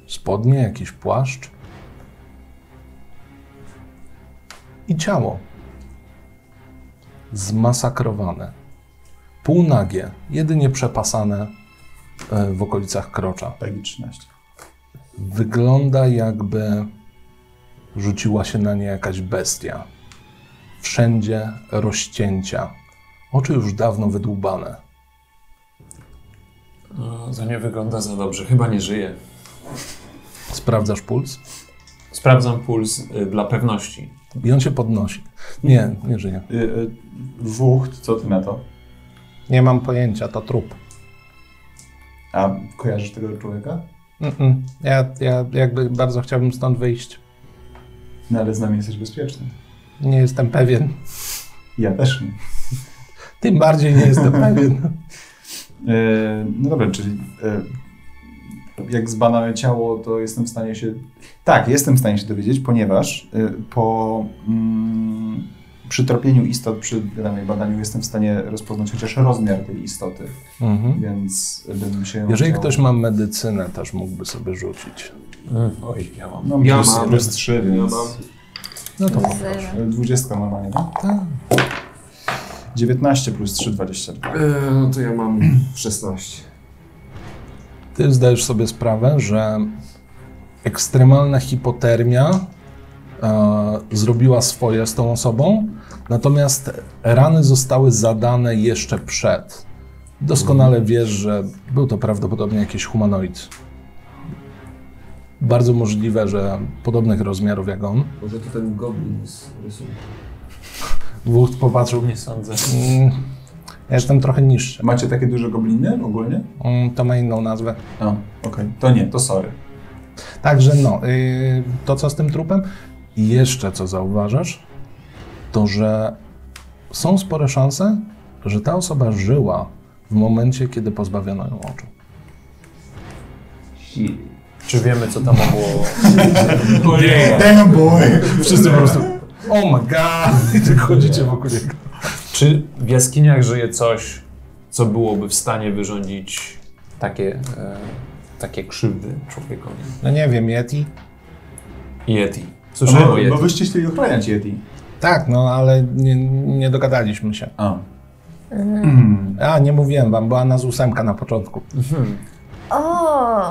spodnie, jakiś płaszcz. I ciało. Zmasakrowane półnagie, jedynie przepasane e, w okolicach krocza.
Pegi 13.
Wygląda jakby rzuciła się na nie jakaś bestia. Wszędzie rozcięcia. Oczy już dawno wydłubane.
No, to nie wygląda za dobrze. Chyba nie żyje.
Sprawdzasz puls
Sprawdzam puls y, dla pewności.
i on się podnosi. Nie, nie żyje.
Yy, yy, Wucht, co ty na to?
Nie mam pojęcia, to trup.
A kojarzysz tego człowieka?
Mm-mm. Ja, ja jakby bardzo chciałbym stąd wyjść.
No ale z nami jesteś bezpieczny.
Nie jestem pewien.
Ja też nie.
Tym bardziej nie jestem pewien.
Yy, no dobra, czyli yy, jak zbadamy ciało, to jestem w stanie się. Tak, jestem w stanie się dowiedzieć, ponieważ yy, po mm, przytropieniu istot przy danej badaniu jestem w stanie rozpoznać chociaż rozmiar tej istoty,
Mhm.
więc bym się.
Jeżeli
chciał-
ktoś ma medycynę, też mógłby sobie rzucić.
Oj, ja mam.
No,
Ja
plus,
mam.
plus 3,
Ja
więc.
mam.
No to
Zero.
20 normalnie, no?
tak.
19 plus 3, 20.
E, no to ja mam 16.
Ty zdajesz sobie sprawę, że ekstremalna hipotermia e, zrobiła swoje z tą osobą, natomiast rany zostały zadane jeszcze przed. Doskonale wiesz, że był to prawdopodobnie jakiś humanoid. Bardzo możliwe, że podobnych rozmiarów jak on.
Może to ten goblin z rysunku.
Wód popatrzył.
Nie sądzę.
Mm, Ja jestem trochę niższy.
Macie takie duże gobliny ogólnie?
Mm, To ma inną nazwę.
A, okej. To nie, to sorry.
Także no, yy,
To co z tym trupem? I jeszcze co zauważasz, to że są spore szanse, że ta osoba żyła w momencie, kiedy pozbawiono ją oczu.
Czy wiemy, co tam
No
było?
Damn boy!
Wszyscy po prostu. Oh my god! I tak chodzicie wokół niego.
Czy w jaskiniach żyje coś, co byłoby w stanie wyrządzić takie, e, takie krzywdy człowiekowi?
no nie wiem, Yeti?
Yeti. Słyszałem
bo,
o Yeti.
bo wyście chcieli ochroniać Yeti.
Tak, no ale nie, nie dogadaliśmy się.
A.
A, nie mówiłem wam, była nas ósemka na początku.
O!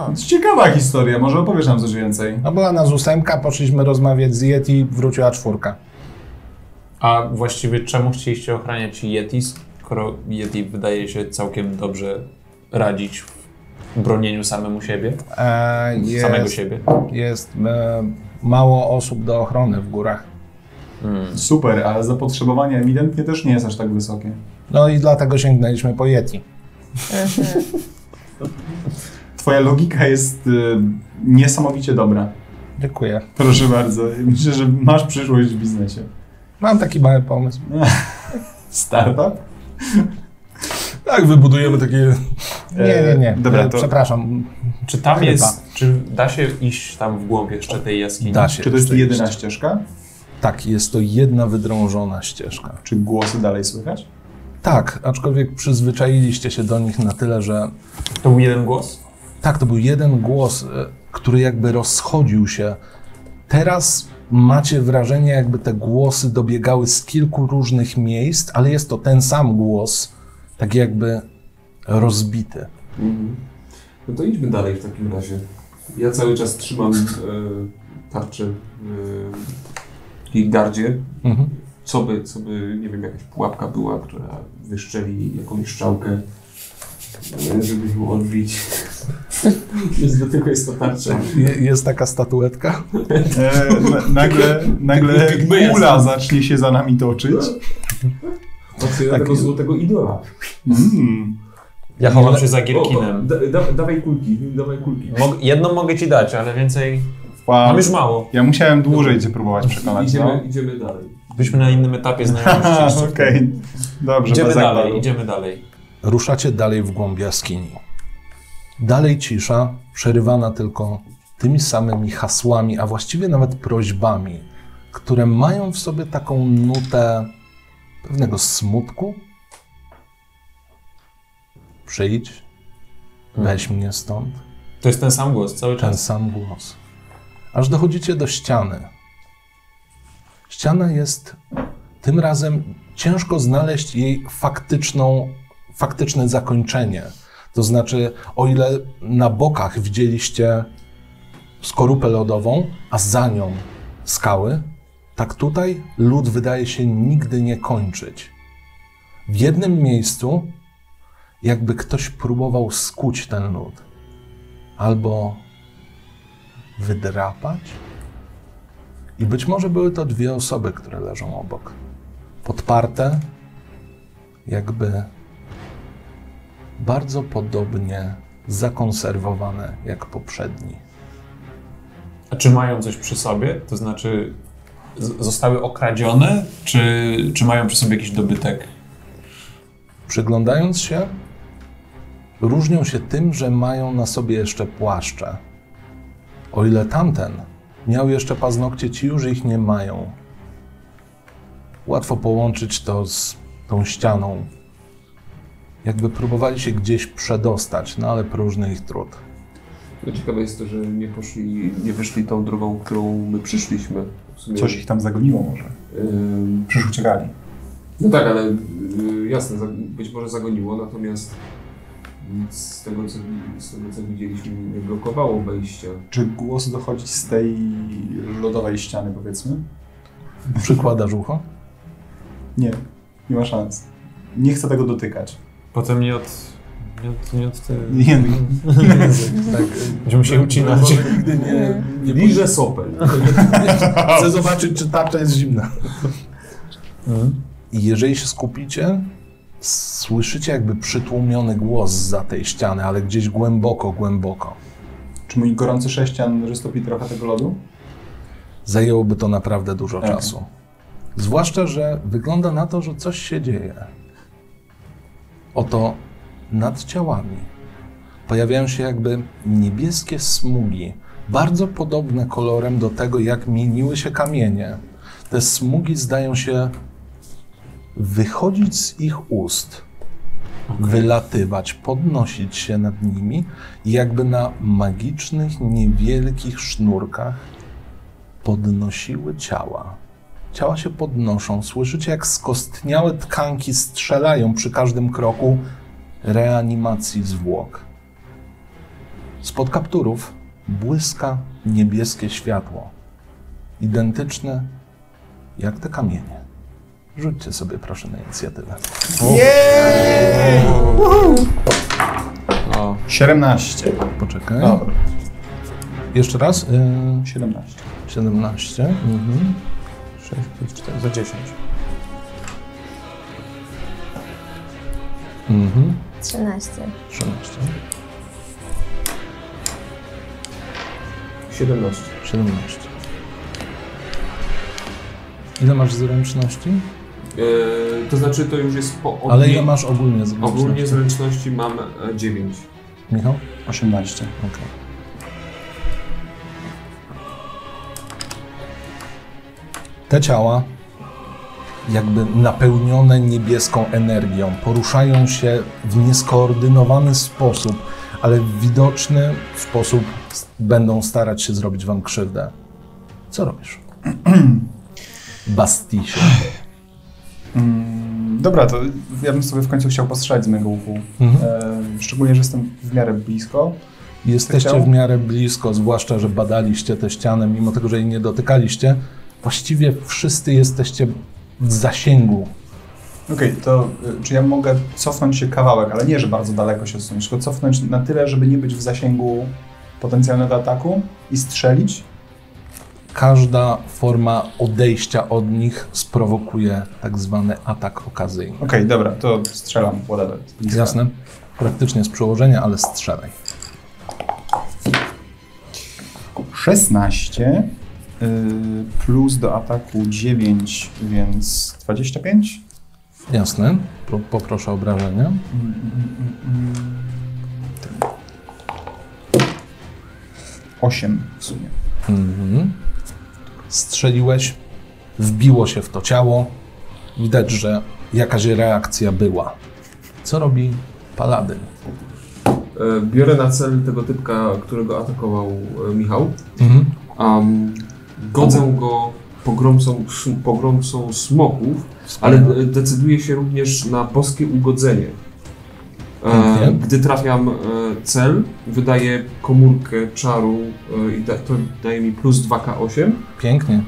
To ciekawa historia, może opowiesz nam coś więcej.
No była nas ósemka, poszliśmy rozmawiać z Yeti, wróciła czwórka.
A właściwie czemu chcieliście ochraniać Yeti, skoro Yeti wydaje się całkiem dobrze radzić w bronieniu samemu siebie,
E,
samego
jest
siebie?
jest e, mało osób do ochrony w górach.
Super, ale zapotrzebowanie ewidentnie też nie jest aż tak wysokie.
No i dlatego sięgnęliśmy po Yeti.
Twoja logika jest y, niesamowicie dobra.
Dziękuję.
Proszę bardzo, myślę, że masz przyszłość w biznesie.
Mam taki mały pomysł.
Startup?
Tak, wybudujemy takie.
Nie, nie, nie.
E, dobra,
E,
to-
Przepraszam.
Czy tam
Chyba.
jest, czy da się iść tam w głąb jeszcze tej jaskini?
Da się.
Czy to jest
przejść.
jedyna ścieżka?
Tak, jest to jedna wydrążona ścieżka.
Czy głosy dalej słychać?
Tak, aczkolwiek przyzwyczailiście się do nich na tyle, że
To był jeden głos?
tak, to był jeden głos, e, który jakby rozchodził się. Teraz macie wrażenie, jakby te głosy dobiegały z kilku różnych miejsc, ale jest to ten sam głos, tak jakby rozbity.
Mhm. No to idźmy dalej w takim razie. Ja cały czas trzymam e, tarczę e, w jej gardzie.
Mhm.
Co by, co by, nie wiem, jakaś pułapka była, która wyszczeli jakąś szczałkę, e, żeby ją odbić. Więc do tego jest ta tarcza.
Je- Jest taka statuetka.
E, na- nagle nagle
Tylko my
kula zacznie się za nami toczyć.
Patrzę na
Tak
tego
jest.
złotego idola.
Mm.
Ja chowam się za
O,
gierkinem.
da, da, dawaj kulki, dawaj kulki.
Mog- jedną mogę ci dać, ale więcej...
Wow.
Mam już mało.
Ja musiałem dłużej cię próbować przekonać.
Idziemy,
No.
idziemy dalej.
Byliśmy na innym etapie znajomości.
Haha,
jeszcze
Okej,
w tym.
dobrze,
Idziemy
bez
dalej,
zakładu.
idziemy dalej.
Ruszacie dalej w głąb jaskini. Dalej cisza, przerywana tylko tymi samymi hasłami, a właściwie nawet prośbami, które mają w sobie taką nutę pewnego smutku. Przyjdź, weź mnie stąd.
To jest ten sam głos cały czas.
Ten sam głos. Aż dochodzicie do ściany. Ściana jest tym razem ciężko znaleźć jej faktyczną, faktyczne zakończenie. To znaczy, o ile na bokach widzieliście skorupę lodową, a za nią skały, tak tutaj lód wydaje się nigdy nie kończyć. W jednym miejscu, jakby ktoś próbował skuć ten lód, albo wydrapać. I być może były to dwie osoby, które leżą obok. Podparte, jakby bardzo podobnie zakonserwowane jak poprzedni.
A czy mają coś przy sobie? To znaczy z- zostały okradzione? Czy, czy mają przy sobie jakiś dobytek?
Przyglądając się, różnią się tym, że mają na sobie jeszcze płaszcze. O ile tamten miał jeszcze paznokcie, ci już ich nie mają. Łatwo połączyć to z tą ścianą. Jakby próbowali się gdzieś przedostać, no ale próżny ich trud.
No ciekawe jest to, że nie poszli, nie wyszli tą drogą, którą my przyszliśmy. W sumie,
Coś ich tam zagoniło może.
Ym,
Przecież uciekali.
No tak, ale y, jasne, za- być może zagoniło, natomiast nic z tego, co, z tego, co widzieliśmy, nie blokowało wejścia.
Czy głos dochodzi z tej lodowej ściany, powiedzmy?
Przykładasz ucho?
Nie, nie ma szans. Nie chcę tego dotykać.
Potem nie od... Nie od... Nie od te...
Nie,
Tak.
Będziemy się ucinać.
Nigdy nie.
Liże sopel.
Chcę zobaczyć, czy tarcza jest zimna. I jeżeli się skupicie, słyszycie jakby przytłumiony głos za tej ściany, ale gdzieś głęboko, głęboko.
czy mój gorący sześcian roztopi trochę tego lodu?
Zajęłoby to naprawdę dużo
Okej.
czasu. Zwłaszcza, że wygląda na to, że coś się dzieje. Oto nad ciałami pojawiają się jakby niebieskie smugi, bardzo podobne kolorem do tego, jak mieniły się kamienie. Te smugi zdają się wychodzić z ich ust, wylatywać, podnosić się nad nimi, i jakby na magicznych, niewielkich sznurkach podnosiły ciała. Ciała się podnoszą. Słyszycie, jak skostniałe tkanki strzelają przy każdym kroku reanimacji zwłok. Spod kapturów błyska niebieskie światło. Identyczne jak te kamienie. Rzućcie sobie proszę na inicjatywę.
17.
Poczekaj.
Dobra,
Jeszcze raz. y,
17.
17. Mhm.
6, 5, 4, za 10.
Mhm.
13.
13.
17.
17. Ile masz zręczności?
E,
Y, to znaczy, to już jest po od
Ale
niej-
ile masz ogólnie zręczności?
Ogólnie zręczności mam e, 9.
Michał?
18.
Okej. Te ciała, jakby napełnione niebieską energią, poruszają się w nieskoordynowany sposób, ale widoczny w sposób będą starać się zrobić wam krzywdę. Co robisz? Bastisie.
Mm, dobra, to ja bym sobie w końcu chciał postrzelać z mego łuku. E, szczególnie, że jestem w miarę blisko.
Jesteście
Chciał?
w miarę blisko, zwłaszcza, że badaliście tę ścianę, mimo tego, że jej nie dotykaliście. Właściwie wszyscy jesteście w zasięgu.
Okej, to y, czy ja mogę cofnąć się kawałek, ale nie, że bardzo daleko się odsunąć, tylko cofnąć na tyle, żeby nie być w zasięgu potencjalnego ataku i strzelić?
Każda forma odejścia od nich sprowokuje tak zwany atak okazyjny.
Okej, dobra, to strzelam, whatever. z bliska.
Jasne? Praktycznie z przełożenia, ale strzelaj.
16 y, plus do ataku 9, więc 25.
Jasne? Pro, poproszę o obrażenia.
Mm, 8 w sumie.
Mhm. Strzeliłeś, wbiło się w to ciało. Widać, że jakaś reakcja była. Co robi paladyn?
E, Biorę na cel tego typka, którego atakował e, Michał.
Mhm.
Um, godzę go pogromcą, pogromcą smoków, ale
Mhm.
de- decyduję się również na boskie ugodzenie. E,
Pięknie.
gdy trafiam e, cel, wydaję komórkę czaru e, i da, to daje mi plus 2k8.
Pięknie.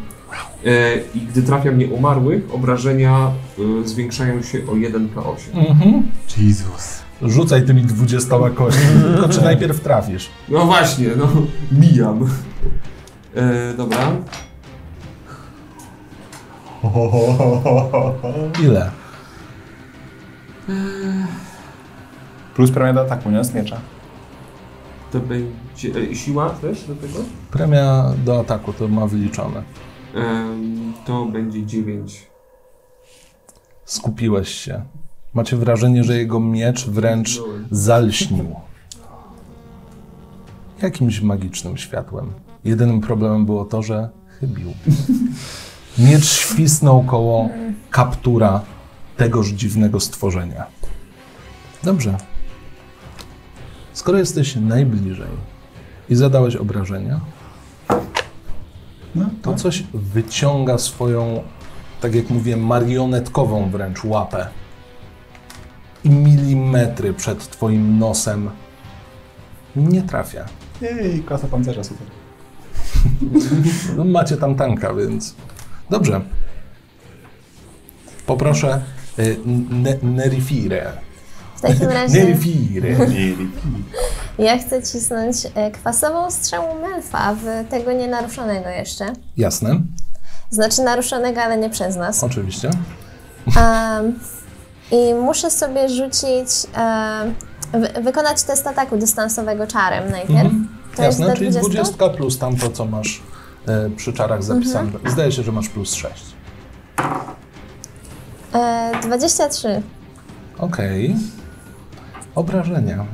E, I gdy trafiam nieumarłych, obrażenia e, zwiększają się o 1k8.
Mhm.
Jezus.
Rzucaj tymi dwudziestoma kośćmi, tylko czy najpierw trafisz?
No właśnie, no, mijam. E, dobra,
Ile?
Plus premia do ataku, nie? Z miecza.
to będzie e, siła też do tego?
Premia do ataku to ma wyliczone.
Em, E, to będzie 9.
Skupiłeś się. Macie wrażenie, że jego miecz wręcz zalśnił. Jakimś magicznym światłem. Jedynym problemem było to, że chybił. Miecz świsnął koło kaptura tegoż dziwnego stworzenia. Dobrze. Skoro jesteś najbliżej i zadałeś obrażenia,
No,
to coś wyciąga swoją, tak jak mówię, marionetkową wręcz łapę. I milimetry przed twoim nosem nie trafia.
Jej, klasa pancerza, super.
No, macie tam tanka, więc. Dobrze. Poproszę y, ne, Nerifire.
W takim razie
Nerifire.
ja chcę cisnąć e, kwasową strzałą Melfa w tego nienaruszonego jeszcze.
Jasne,
Znaczy naruszonego, ale nie przez nas.
oczywiście.
Em, I muszę sobie rzucić, em, wy- wykonać test ataku dystansowego czarem najpierw. To jest
Mhm. Jasne,
do
czyli
20?
20 plus tamto, co masz y, przy czarach
Mhm.
zapisane. Zdaje się, że masz plus 6.
E, 23.
Okej. Obrażenia.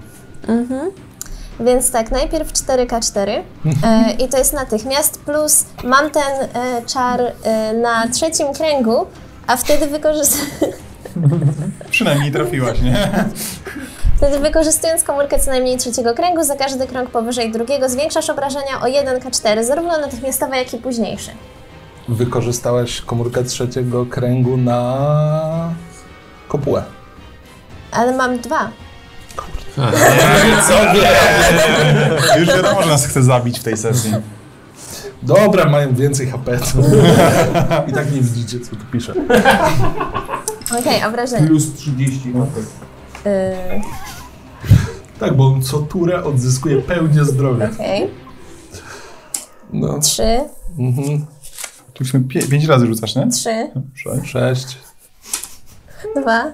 Więc tak, najpierw 4K4 e,
Mhm.
i to jest natychmiast, plus mam ten e, czar e, na trzecim kręgu, a wtedy, wykorzysty-
Przynajmniej trafiłaś, nie?
wtedy wykorzystując komórkę co najmniej trzeciego kręgu, za każdy krąg powyżej drugiego zwiększasz obrażenia o 1K4, zarówno natychmiastowe, jak i późniejsze.
Wykorzystałaś komórkę trzeciego kręgu na kopułę.
Ale mam dwa.
Już wiadomo, że nas chce zabić w tej sesji.
Dobra, mają więcej HP. To... I tak nie widzicie, co tu pisze.
Okej, obrażenia.
Plus 30 na pewno.
Y,
Tak, bo on co turę odzyskuje pełnię zdrowia.
Okej,
No.
trzy,
Mhm.
Tu już pię- pięć razy rzucasz, nie?
trzy,
Sześć,
Sześć,
dwa,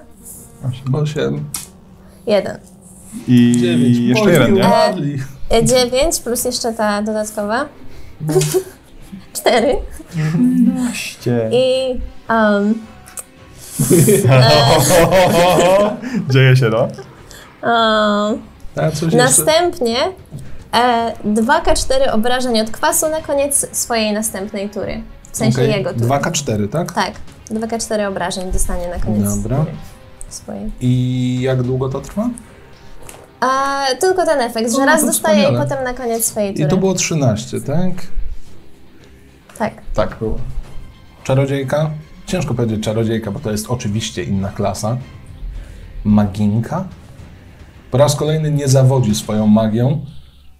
osiem.
osiem,
jeden.
I
dziewięć.
jeszcze
Polski
jeden, nie?
upadli.
E, Dziewięć plus jeszcze ta dodatkowa.
No.
Cztery.
Ście.
I um,
Dzieje się, no.
um,
A coś jeszcze?
następnie e, 2K4 obrażeń od kwasu na koniec swojej następnej tury. W sensie
Okej.
jego tury.
2K4, tak?
Tak, 2K4 obrażeń dostanie na koniec
Dobra.
swojej.
I jak długo to trwa?
A, tylko ten efekt, że
No,
raz
to
dostaję i
wspaniale.
potem na koniec swojej tury.
I to było 13, tak?
Tak.
Tak było. Czarodziejka? Ciężko powiedzieć czarodziejka, bo to jest oczywiście inna klasa. Maginka? Po raz kolejny nie zawodzi swoją magią.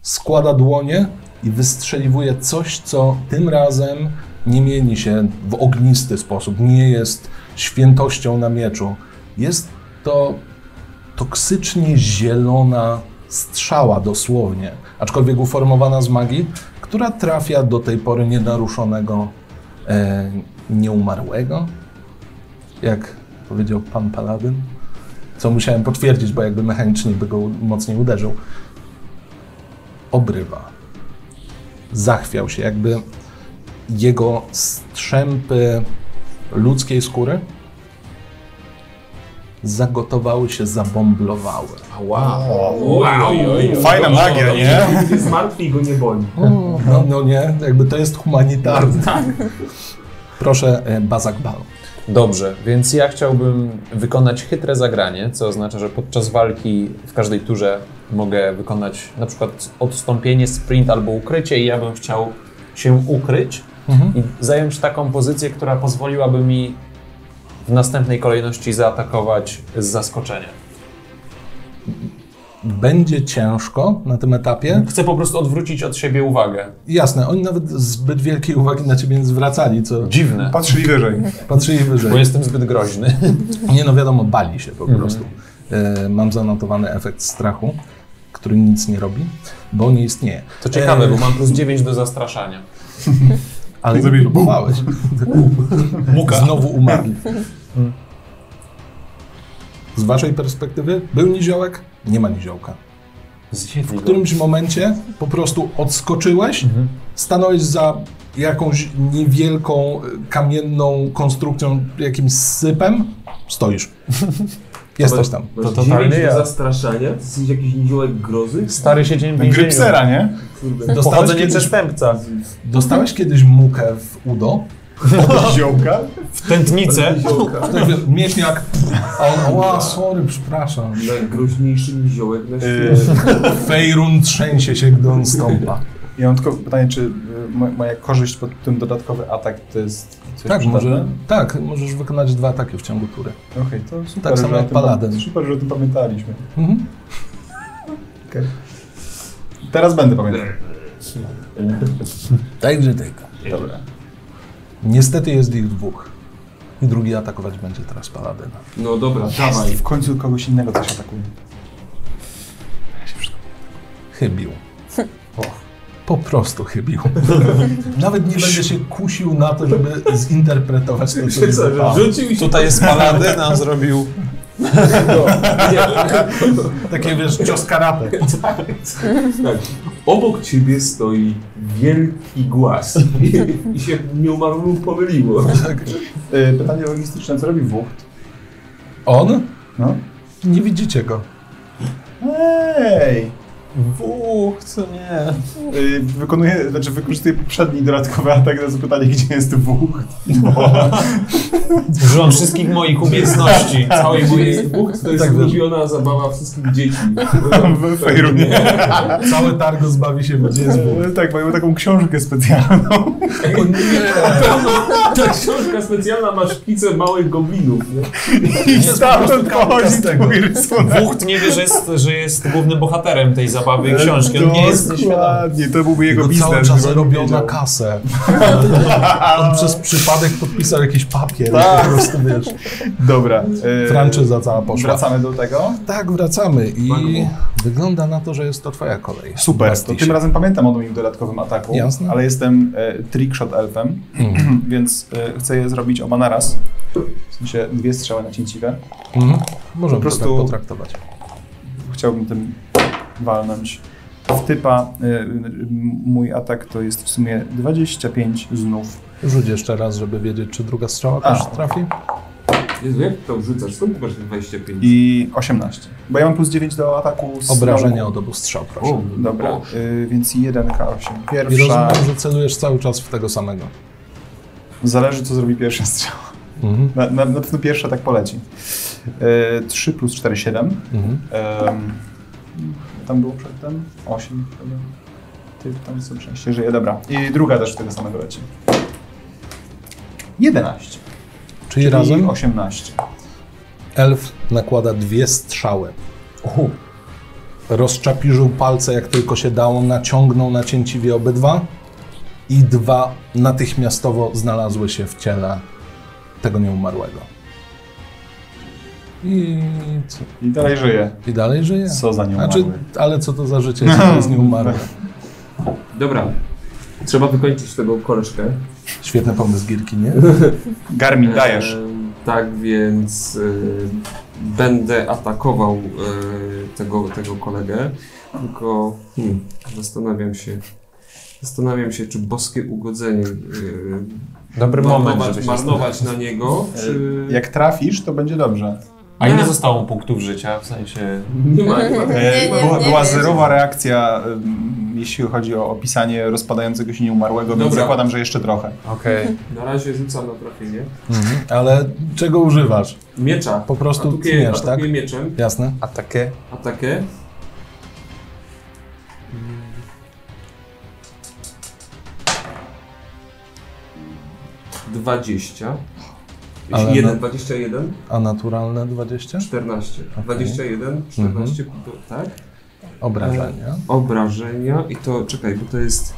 Składa dłonie i wystrzeliwuje coś, co tym razem nie mieni się w ognisty sposób. Nie jest świętością na mieczu. Jest to toksycznie zielona strzała dosłownie, aczkolwiek uformowana z magii, która trafia do tej pory nienaruszonego, e, nieumarłego, jak powiedział pan Paladyn, co musiałem potwierdzić, bo jakby mechanicznie by go u- mocniej uderzył. Obrywa. Zachwiał się, jakby jego strzępy ludzkiej skóry zagotowały się, zabomblowały.
Wow!
Fajna magia, nie?
Zmartwi go nie boli.
No, no nie, jakby to jest
No,
humanitarne.
tak.
Proszę, e, Bazak Bal.
Dobrze, więc ja chciałbym wykonać chytre zagranie, co oznacza, że podczas walki w każdej turze mogę wykonać na przykład odstąpienie, sprint albo ukrycie i ja bym chciał się ukryć i zająć taką pozycję, która pozwoliłaby mi w następnej kolejności zaatakować z zaskoczenia.
Będzie ciężko na tym etapie.
Chcę po prostu odwrócić od siebie uwagę.
Jasne, oni nawet zbyt wielkiej uwagi na ciebie nie zwracali, co
Dziwne,
Patrzyli wyżej.
patrzyli wyżej.
bo Mhm. jestem zbyt groźny.
Nie no wiadomo, bali się po prostu. E, Mam zanotowany efekt strachu, który nic nie robi, bo nie istnieje.
To ciekawe,
E,
bo mam plus 9 do zastraszania.
Ale nie
Zrobię
próbowałeś. Znowu umarli. Z waszej perspektywy był niziołek, nie ma niziołka.
Zjedli
W którymś momencie po prostu odskoczyłeś, stanąłeś za jakąś niewielką, y, kamienną konstrukcją, jakimś sypem, stoisz. Jesteś tam.
To
totalnie
totalnie
ja.
ja. zastraszania? To jest jakiś niziołek grozy?
Stary siedzimy w więzieniu.
Grypsera, nie?
Kurde.
Dostałeś
Pochodzenie
kiedyś-
przestępca.
Dostałeś kiedyś mukę w udo,
Ziołka?
W tętnicę.
Niziołka.
ktoś wie, Tak, mięśniak, a on, ła, sorry, przepraszam.
Najgroźniejszy niziołek na świecie.
Yy.
Y,
Fejrun trzęsie się, gdy on stąpa.
Ja mam tylko pytanie, czy y, mo- moja korzyść pod tym dodatkowy atak to jest coś
Tak, może,
przydatne?
tak, możesz wykonać dwa ataki w ciągu tury.
Okej, to super,
Tak samo
że o
jak
tym-
Paladyn.
Super, że o tym pamiętaliśmy.
Mhm.
Teraz będę pamiętał.
Także tak.
Dobra.
Niestety jest ich dwóch. I drugi atakować będzie teraz Paladyna.
No dobra, dawaj.
Dawaj. W końcu kogoś innego coś atakuje.
Chybił. O, po prostu chybił. Nawet nie będzie się kusił na to, żeby zinterpretować to, co widzę.
Co, że Rzucił się
Tutaj jest paladyn, a on zrobił...
Takie wiesz, cios karate.
Tak. Obok ciebie stoi wielki głaz. I się nieumarłym pomyliło.
Y, Pytanie logistyczne, co robi Wucht?
On?
No.
Nie widzicie go.
Ej!
Wuch, co nie.
Y, Wykonuje, znaczy wykorzystuje poprzedni dodatkowy atak na zapytanie, gdzie jest Wucht.
Rząd wszystkich moich umiejętności.
Całej mojej Bóg to jest
Tak, wiesz.
ulubiona zabawa wszystkich dzieci.
W Fejrunie.
Całe targo zbawi się, gdzie jest Bóg.
Tak, mają taką książkę specjalną.
O nie!
Ta książka specjalna ma szkice małych goblinów. Nie?
I stamtąd pochodzi
z tego.
twój rysunek.
Wucht nie wie, że jest, że jest głównym bohaterem tej zabawy i książki. On nie jest nieświadomy.
Dokładnie, to byłby jego
Jego
biznes.
no, cały czas
gdyby on
robią na
wiedział.
kasę. On przez przypadek podpisał jakiś papier.
Tak.
Po prostu wiesz.
Dobra. y,
Franczyza cała poszła.
Wracamy do tego.
Tak, wracamy i wygląda na to, że jest to twoja kolej.
Super, to
Bastisie.
tym razem pamiętam o moim dodatkowym ataku,
Jasne. Mhm.
ale jestem e, trickshot elfem, więc e, chcę je zrobić oba naraz. W sensie dwie strzały nacięciwe.
Mhm. Możemy
Po prostu-
to tak potraktować.
Chciałbym tym walnąć w typa. E, m- mój atak to jest w sumie 25 znów.
Rzuć jeszcze raz, żeby wiedzieć, czy druga strzała
A.
też trafi.
Jezu, jak to wrzucasz? Skąd ty masz te 25?
I 18. Bo ja mam plus 9 do ataku z
Obrażenia
nauku.
od obu strzał, proszę.
O,
Dobra,
Boże.
y, więc 1K8.
I
Pierwsza.
rozumiem, że celujesz cały czas w tego samego.
Zależy, co zrobi pierwsza strzała.
Mhm.
Na, na, na E, pewno pierwsza tak poleci. Y, 3 plus 4, 7.
Mhm.
Em, Tam było przedtem? 8 chyba. Ty tam są szczęście żyje, dobra. I druga też tego samego leci. 11.
Czyli razem
18.
elf nakłada dwie strzały. Rozczapiżył palce jak tylko się dało, naciągnął na cięciwie obydwa i dwa natychmiastowo znalazły się w ciele tego nieumarłego. I, co?
I dalej żyje.
I dalej żyje.
Co za nią
Znaczy, ale co to za życie, jeśli to jest nieumarły?
Dobra. Trzeba wykończyć tego koleżkę.
Świetny pomysł Gierki, nie?
Garmin, dajesz.
Em, tak więc em, będę atakował e, tego, tego kolegę, tylko hmm, zastanawiam się. Zastanawiam się, czy boskie ugodzenie
Dobry
e,
moment,
marnować,
żeby się...
marnować na niego, czy...
Jak trafisz, to będzie dobrze.
A ile zostało mu punktów życia? W sensie...
Nie ma, nie ma.
E,
nie,
była
nie,
była
nie.
zerowa reakcja, ym, jeśli chodzi o opisanie rozpadającego się nieumarłego, więc
Dobra.
zakładam, że jeszcze trochę.
Okej.
Na razie rzucam na trafienie.
Ale czego używasz?
Miecza.
Po prostu
atakuję,
tniesz, tak?
atakuję mieczem.
Jasne?
A takie?
Atakę. Mm. Dwadzieścia.
Ale
Jeden,
na-
dwadzieścia jeden,
A naturalne 20?
no- czternaście.
Okej.
Dwadzieścia jeden, czternaście, do- Mhm. tak?
Obrażenia.
E. Obrażenia i to, czekaj, bo to jest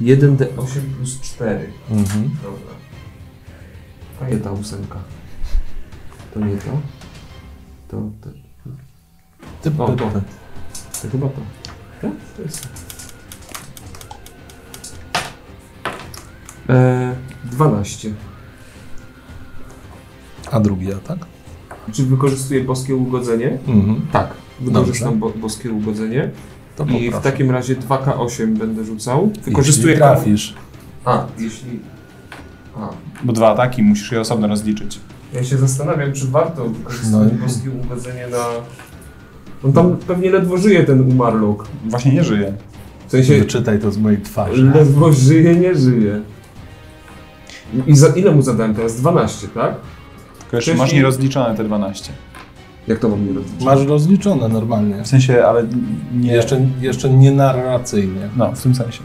1d8 plus 4.
Mhm.
Dobra. A nie ta ósemka. To nie to. To, to,
Ty,
O,
py,
to.
py.
to chyba to. Tak? To jest. E, 12.
A drugi tak? atak?
Czy wykorzystuję boskie ugodzenie?
Mhm.
Tak. Wykorzystam bo, boskie ugodzenie.
To
I w
poproszę.
takim razie 2K8 będę rzucał. Wykorzystuję.
Jeśli trafisz.
A, jeśli. A.
Bo dwa ataki musisz je osobno rozliczyć.
Ja się zastanawiam, czy warto wykorzystać
No.
boskie ugodzenie na. On tam pewnie ledwo żyje ten umarluk.
Właśnie nie żyje.
W sensie
Wyczytaj to z mojej twarzy.
Ledwo żyje, nie żyje. I za, ile mu zadałem teraz? 12, tak?
Tylko jeszcze
Wcześniej-
masz nierozliczone te 12.
Jak to mam nie robić?
Masz rozliczone normalnie.
W sensie, ale nie...
Jeszcze, jeszcze nie narracyjnie.
No, w tym sensie.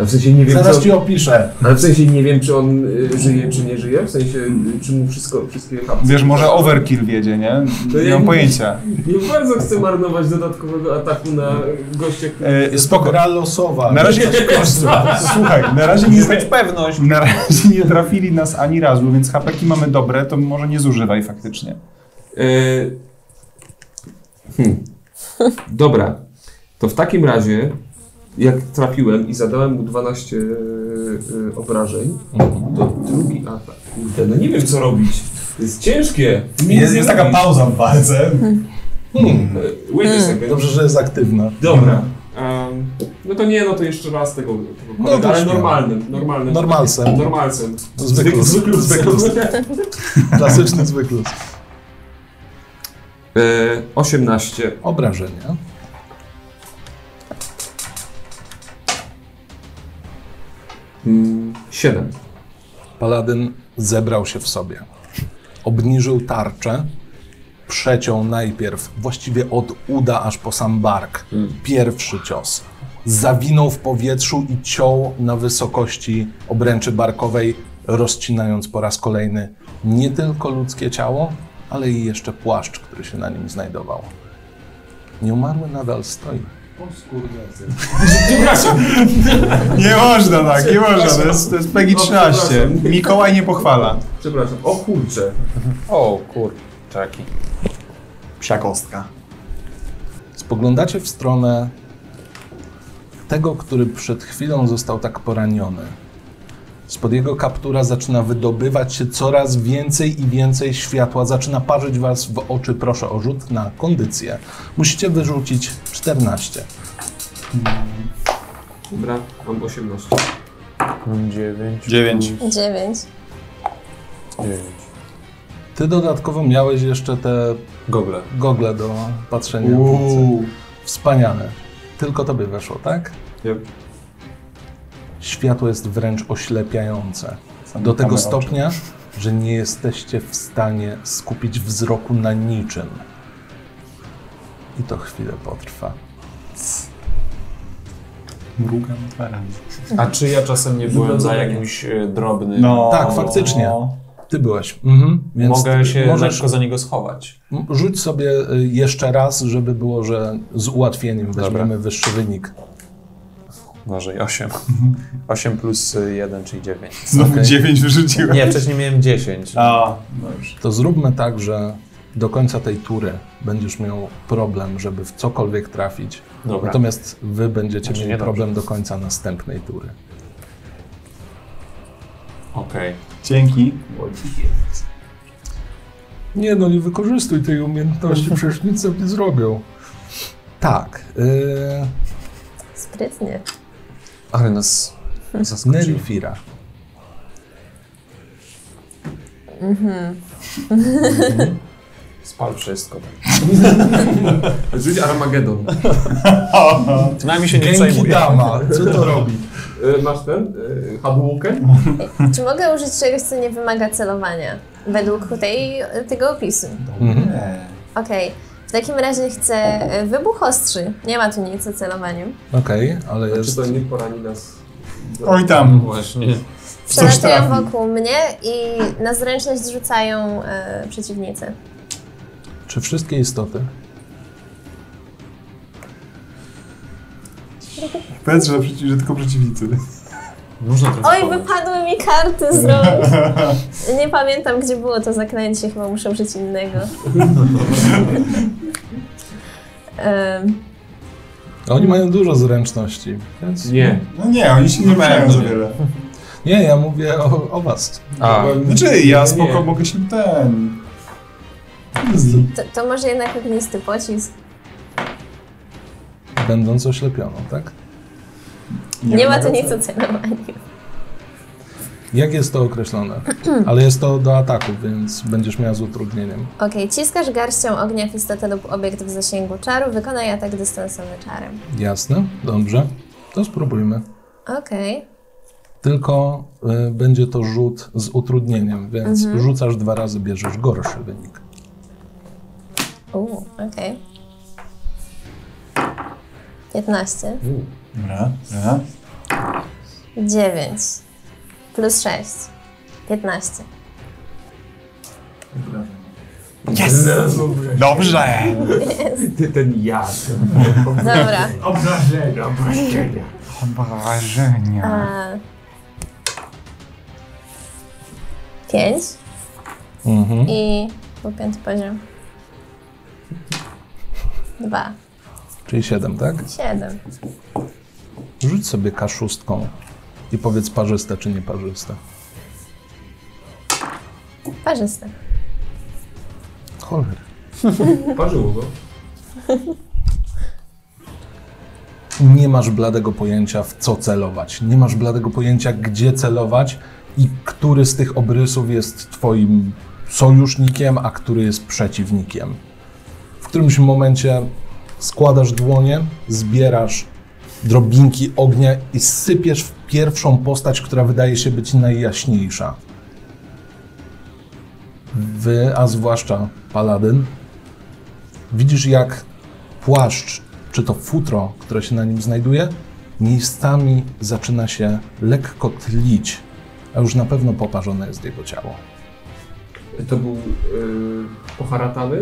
A w sensie nie wiem,
Zaraz
czy
ci opiszę.
on, ale w sensie nie wiem, czy on y, żyje, czy nie żyje. W sensie, y, czy mu wszystko, wszystkie hapsy.
Wiesz, może overkill wiedzie, nie?
To
Nie
ja-
mam pojęcia.
Nie bardzo chcę marnować dodatkowego ataku na gościa, który...
E, spoko.
Gra losowa.
Na razie... Słuchaj, na razie nie...
pewność!
Na razie nie trafili nas ani razu, więc hapeki mamy dobre, to może nie zużywaj faktycznie.
Y, Hmm. Dobra. To w takim razie, jak trafiłem i zadałem mu 12 y, y, obrażeń,
Mhm.
to drugi atak. Kurde, no nie wiem co robić. To jest ciężkie.
Jest- jest taka
pauza w walce.
Y, Wait a second.
Dobrze, że jest aktywna.
Dobra. Em, no to nie, no to jeszcze raz tego, tego kolegę,
to
ale
śmiało.
normalnym, normalnym.
Normalsem.
Normalcem.
Zwykle.
Zwykle.
Klasyczny zwykły.
E, 18.
Obrażenia.
Mm, 7.
Paladyn zebrał się w sobie. Obniżył tarczę, przeciął najpierw, właściwie od uda aż po sam bark, pierwszy cios. Zawinął w powietrzu i ciął na wysokości obręczy barkowej, rozcinając po raz kolejny nie tylko ludzkie ciało, ale i jeszcze płaszcz, który się na nim znajdował. Nieumarły nadal stoi.
Nie można tak, nie można. To jest, to jest PEGI 13. Mikołaj nie pochwala.
Przepraszam. O kurczę.
O kur... Czaki.
Psia kostka.
Spoglądacie w stronę tego, który przed chwilą został tak poraniony. Spod jego kaptura zaczyna wydobywać się coraz więcej i więcej światła. Zaczyna parzyć was w oczy. Proszę o rzut na kondycję. Musicie wyrzucić 14.
Dobra, mam 18.
9.
9.
Dziewięć.
Ty dodatkowo miałeś jeszcze te
Gogle.
gogle do patrzenia. w nocy. Wspaniale. Tylko tobie weszło, tak?
Yep.
Światło jest wręcz oślepiające. Do tego stopnia, że nie jesteście w stanie skupić wzroku na niczym. I to chwilę potrwa.
Mrugam dwa razy.
A czy ja czasem nie byłem za jakimś e, drobnym?
No.
Tak, faktycznie. Ty byłeś. Mhm. Więc
Mogę się
możesz,
lekko za niego schować.
M- Rzuć sobie y, jeszcze raz, żeby było, że z ułatwieniem
Dobra.
weźmiemy wyższy wynik.
Uważaj, 8. 8 plus 1, czyli 9.
Znowu
Okej.
dziewięć wyrzuciłem.
Nie, wcześniej miałem 10.
A, no już.
To zróbmy tak, że do końca tej tury będziesz miał problem, żeby w cokolwiek trafić.
Dobra.
Natomiast wy będziecie
Znaczy,
mieli
niedobrze.
problem do końca następnej tury.
Okej.
Dzięki.
Nie no, nie wykorzystuj tej umiejętności, przecież nic sobie nie zrobią. Tak. Yy,
Sprytnie.
Ale nas zaskoczył.
Nerifira.
Spal wszystko.
Czyli Armagedon.
Przynajmniej się nie
Genki
przejmuję.
Dama, co to robi?
E, Masz ten? e, Hadłukę?
Czy mogę użyć czegoś, co nie wymaga celowania? Według tej, tego opisu.
Mhm.
Okej. W takim razie chcę e, wybuch ostrzy. Nie ma tu nic o celowaniu.
Okej, ale
Czy
jest...
to nie porani nas?
Oj tam.
Właśnie.
Przelatują
trafi.
wokół mnie i na zręczność rzucają e, przeciwnicy.
Czy wszystkie istoty?
Powiedz, że, przeci- że tylko przeciwnicy.
Można trochę
Oj,
pomóc.
wypadły mi karty z rąk. Nie pamiętam, gdzie było to zaklęcie, chyba muszę użyć innego. Em,
No Oni mają dużo zręczności, więc...
Nie.
No nie, oni się nie mają za wiele.
Nie, ja mówię o, o was.
A,
Znaczy, ja
Nie.
spoko mogę się ten...
to, to może jednak ognisty pocisk.
Będąc oślepioną, tak?
Nie, ma
wymaga
tu nic
celu.
o celowaniu.
Jak jest to określone? Ale jest to do ataku, więc będziesz miała z utrudnieniem.
Okej, ciskasz garścią ognia w istotę lub obiekt w zasięgu czaru, wykonaj atak dystansowy czarem.
Jasne? Dobrze. To spróbujmy.
Okej.
Tylko y, będzie to rzut z utrudnieniem, więc rzucasz dwa razy, bierzesz gorszy wynik.
Uuu, okej. 15.
Dobra, dobra.
9. Plus 6. 15.
Yes!
Dobrze!
Ty ten jad.
Dobra.
Obrażenia, obrażenia.
Wrażenia.
A... 5
Mhm.
i był piąty poziom. 2,
Czyli siedem, tak?
7.
Rzuć sobie K6 i powiedz parzyste czy nieparzyste.
Parzyste.
Cholera.
Parzyło go.
nie masz bladego pojęcia, w co celować. Nie masz bladego pojęcia, gdzie celować i który z tych obrysów jest twoim sojusznikiem, a który jest przeciwnikiem. W którymś momencie składasz dłonie, zbierasz drobinki ognia i sypiesz w pierwszą postać, która wydaje się być najjaśniejsza. Wy, a zwłaszcza Paladyn, widzisz jak płaszcz, czy to futro, które się na nim znajduje, miejscami zaczyna się lekko tlić, a już na pewno poparzone jest jego ciało.
To był y, poharatany?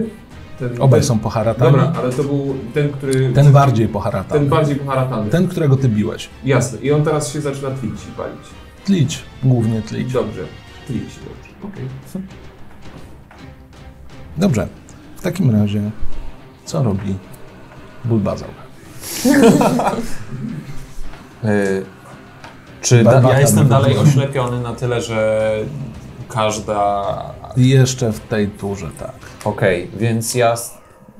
Ten,
Obaj
ten-
są poharatani.
Dobra, ale to był ten, który...
Ten bardziej poharatany.
ten
Ten,
bardziej poharatany.
którego ty biłeś.
Jasne. I on teraz się zaczyna tlić i palić.
Tlić, głównie tlić.
Dobrze. Tlić, dobrze. Okej.
Dobrze. W takim razie, co robi Bulbazaur?
Y, czy da,
Barbata
ja jestem
by
dalej
wyszła.
oślepiony na tyle, że każda...
Jeszcze w tej turze, tak.
Okej, więc ja s-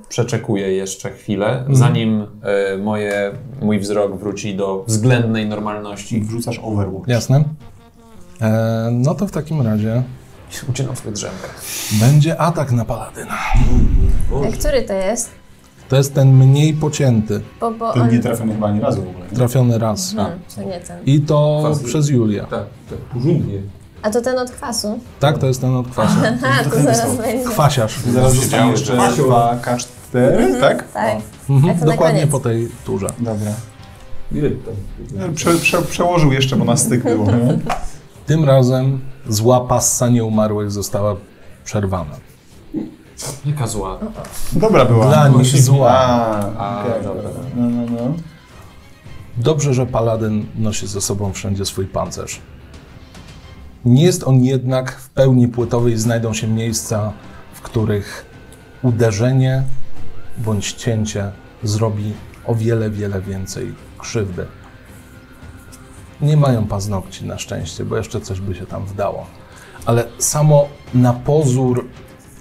przeczekuję jeszcze chwilę, zanim y, moje, mój wzrok wróci do względnej normalności.
Wrzucasz Overwatch.
Jasne? E, no to w takim razie
Ucinam sobie drzemkę.
będzie atak na Paladyna.
A Który to jest?
To jest ten mniej pocięty,
Bo, bo
Ten
on...
nie trafiony chyba ani razu w ogóle. nie?
trafiony raz.
Hmm, to nie ten.
I to
Fazl.
przez Julię.
Tak, tak. Porządnie.
A to ten od kwasu.
Tak, to jest ten od kwasu.
Aha, to zaraz
No,
będzie.
Kwasiarz.
Zaraz zostaną jeszcze
Asiu.
dwa K4, tak?
Tak.
Mhm,
A to na
Dokładnie
koniec.
po tej turze.
Dobra.
Ile tam?
Prze, prze, przełożył jeszcze, bo na styk było.
Tym razem zła passa nieumarłych została przerwana.
Jaka zła.
Dobra była.
Dla nich zła.
A,
A,
okej.
dobra.
No, no, no.
Dobrze, że paladyn nosi ze sobą wszędzie swój pancerz. Nie jest on jednak w pełni płytowy i znajdą się miejsca, w których uderzenie bądź cięcie zrobi o wiele, wiele więcej krzywdy. Nie mają paznokci na szczęście, bo jeszcze coś by się tam wdało. Ale samo na pozór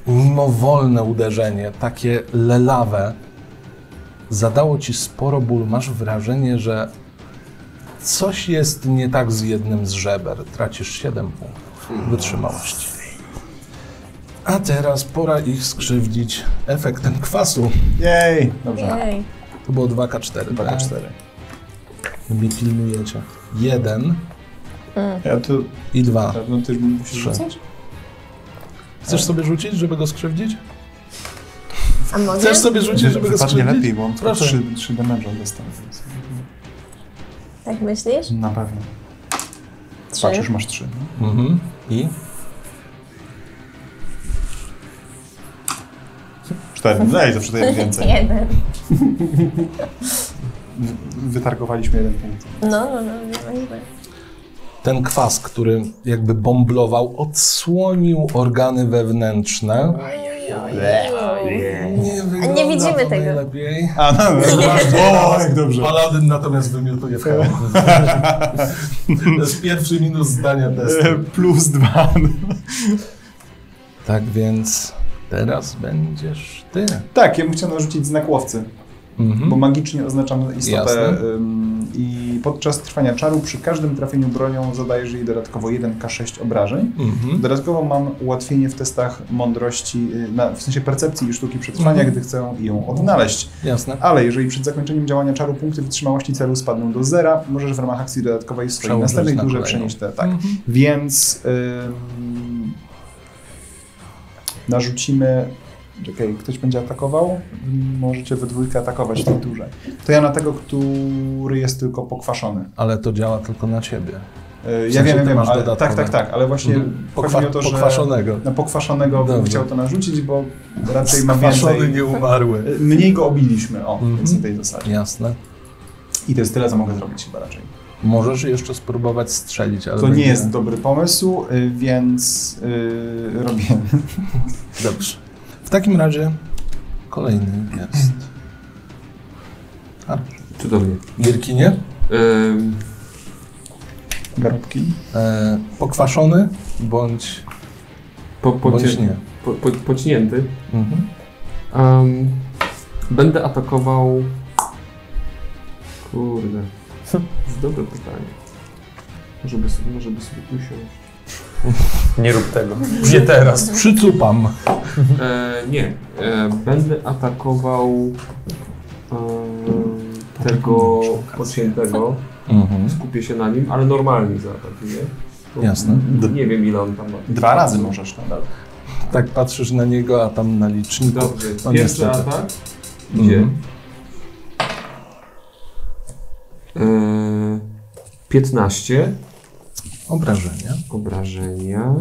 mimowolne uderzenie, takie lelawe, zadało ci sporo bólu. Masz wrażenie, że coś jest nie tak z jednym z żeber. Tracisz 7 punktów wytrzymałości. A teraz pora ich skrzywdzić efektem kwasu.
Jej! Dobrze.
Jej.
To było 2K4.
2K4.
Mnie pilnujecie. 1
Ja tu...
i 2.
No ty musisz
Trzy.
rzucać?
Chcesz sobie rzucić, żeby go skrzywdzić?
A mogę?
Chcesz sobie rzucić, żeby go
Wypadnie
skrzywdzić?
lepiej, bo on
Proszę.
3, 3 damage'a dostał.
Tak myślisz?
Na pewno.
Trzy.
Patrzysz, masz no. 3.
Mhm. I?
4. Daj, zawsze to jest więcej.
Jeden.
Wytargowaliśmy jeden punkt.
No, no, no, nie ma źle.
Ten kwas, który jakby bomblował, odsłonił organy wewnętrzne. Nie, wygląda
nie widzimy
to
tego.
Najlepiej.
A, no, no, o, jak dobrze.
Paladyn natomiast wymiotuje w chaos. To jest pierwszy minus zdania testu.
E, Plus 2.
Tak więc teraz będziesz ty. Mhm.
Tak, ja bym chciał narzucić znak łowcy. bo magicznie oznaczam istotę.
Jasne.
Ym, I podczas trwania czaru przy każdym trafieniu bronią zadajesz jej dodatkowo 1k6 obrażeń.
Mhm.
Dodatkowo mam ułatwienie w testach mądrości, y, na, w sensie percepcji i sztuki przetrwania, gdy chcę ją odnaleźć.
Jasne.
Ale jeżeli przed zakończeniem działania czaru punkty wytrzymałości celu spadną do zera, możesz w ramach akcji dodatkowej w swojej
Przełożyć
następnej
na
turze
kolejną.
przenieść te. Tak. Więc ym, narzucimy. Czekaj, ktoś będzie atakował? Możecie we dwójkę atakować w tej turze. To ja na tego, który jest tylko pokwaszony.
Ale to działa tylko na ciebie.
Yy,
W
Ja
sensie
wiem, ja
ty
wiem,
masz
ale,
dodatkowe. Mhm.
tak, tak, tak, ale właśnie
Pokwa
chodzi mi o to, że
Pokwaszonego.
na pokwaszonego bym
Dobrze.
chciał to narzucić, bo raczej ma więcej.
nieumarły.
Yy, Mniej go obiliśmy, o,
Mhm.
więc na tej zasadzie.
Jasne.
I to jest tyle, co mogę zrobić chyba raczej.
Możesz jeszcze spróbować strzelić, ale
To nie
będzie-
jest dobry pomysł, yy, więc yy, robię
Dobrze. W takim razie kolejny jest.
Cudownie.
Gierkinie.
Ehm,
garobki.
E, pokwaszony bądź,
po, po,
bądź nie.
Po, po, pocinięty.
Mhm.
Em, będę atakował. Kurde. To jest dobre pytanie. Może by sobie, może by sobie usiąść.
Nie rób tego. Nie teraz.
Przycupam. Mhm.
E, nie. E, będę atakował. E, tego pociętego.
Mhm.
Skupię się na nim, ale normalnie zaatakuję. Bo
Jasne.
Nie wiem ile on tam ma.
Dwa razy możesz nadal.
Tak patrzysz na niego, a tam na liczniku.
Dobrze.
O,
Pierwszy
niestety.
atak. Idzie.
Mhm.
E, 15.
Obrażenia.
obrażenia.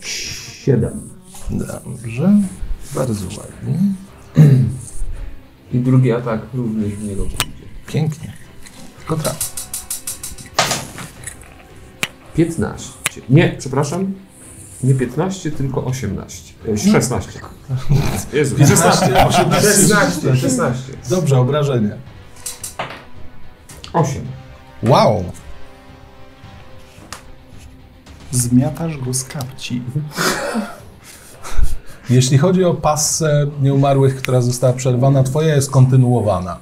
Siedem.
Dobrze. Bardzo ładnie.
I drugi atak również w niego pójdzie.
Pięknie. Tylko tak. traf.
15. Nie, przepraszam. Nie 15, tylko 18. E, 16. Jezu, 16. 16. 16.
Dobrze, obrażenia.
8.
Wow.
Zmiatasz go z kapci.
Jeśli chodzi o pasę nieumarłych, która została przerwana, twoja jest kontynuowana.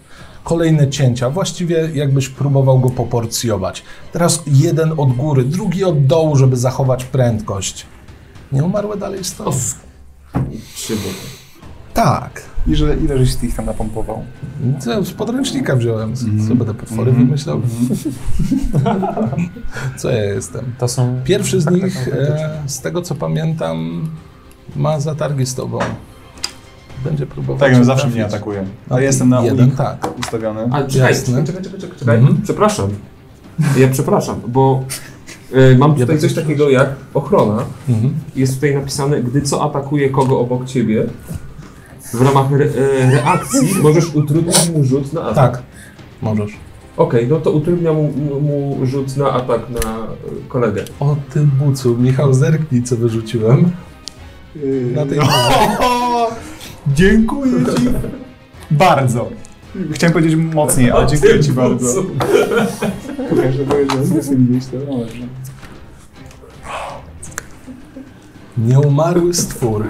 Kolejne cięcia, właściwie jakbyś próbował go poporcjować. Teraz jeden od góry, drugi od dołu, żeby zachować prędkość. Nieumarłe dalej stoi.
Krzywo.
Tak.
I że ile żeś ty ich tam napompował?
Co, Z podręcznika wziąłem, co, co będę potwory wymyślał. co ja jestem?
To są
Pierwszy z nich, e, z tego co pamiętam, ma zatargi z tobą. Będzie próbował.
Tak,
cię
on zawsze mnie
trafić.
atakuje.
A
Ale jestem na
jeden,
unik
tak.
ustawiony.
Ale czekaj,
Jasne.
czekaj, czekaj, czekaj, czekaj, czekaj.
Mhm.
przepraszam. Ja przepraszam, bo y, mam tutaj
tak
coś
też
takiego jak ochrona.
Mhm.
Jest tutaj napisane, gdy co atakuje kogo obok ciebie, w ramach re, e, reakcji możesz utrudnić mu rzut na atak.
Tak, możesz.
Okej, no to utrudnia mu, mu rzut na atak na y, kolegę.
O ty bucu, Michał, zerknij co wyrzuciłem. No. Na tej
Dziękuję ci bardzo. Chciałem powiedzieć mocniej, ale dziękuję ci bardzo. Pokażę, że chcę widzieć to. No dobrze.
Nieumarły stwór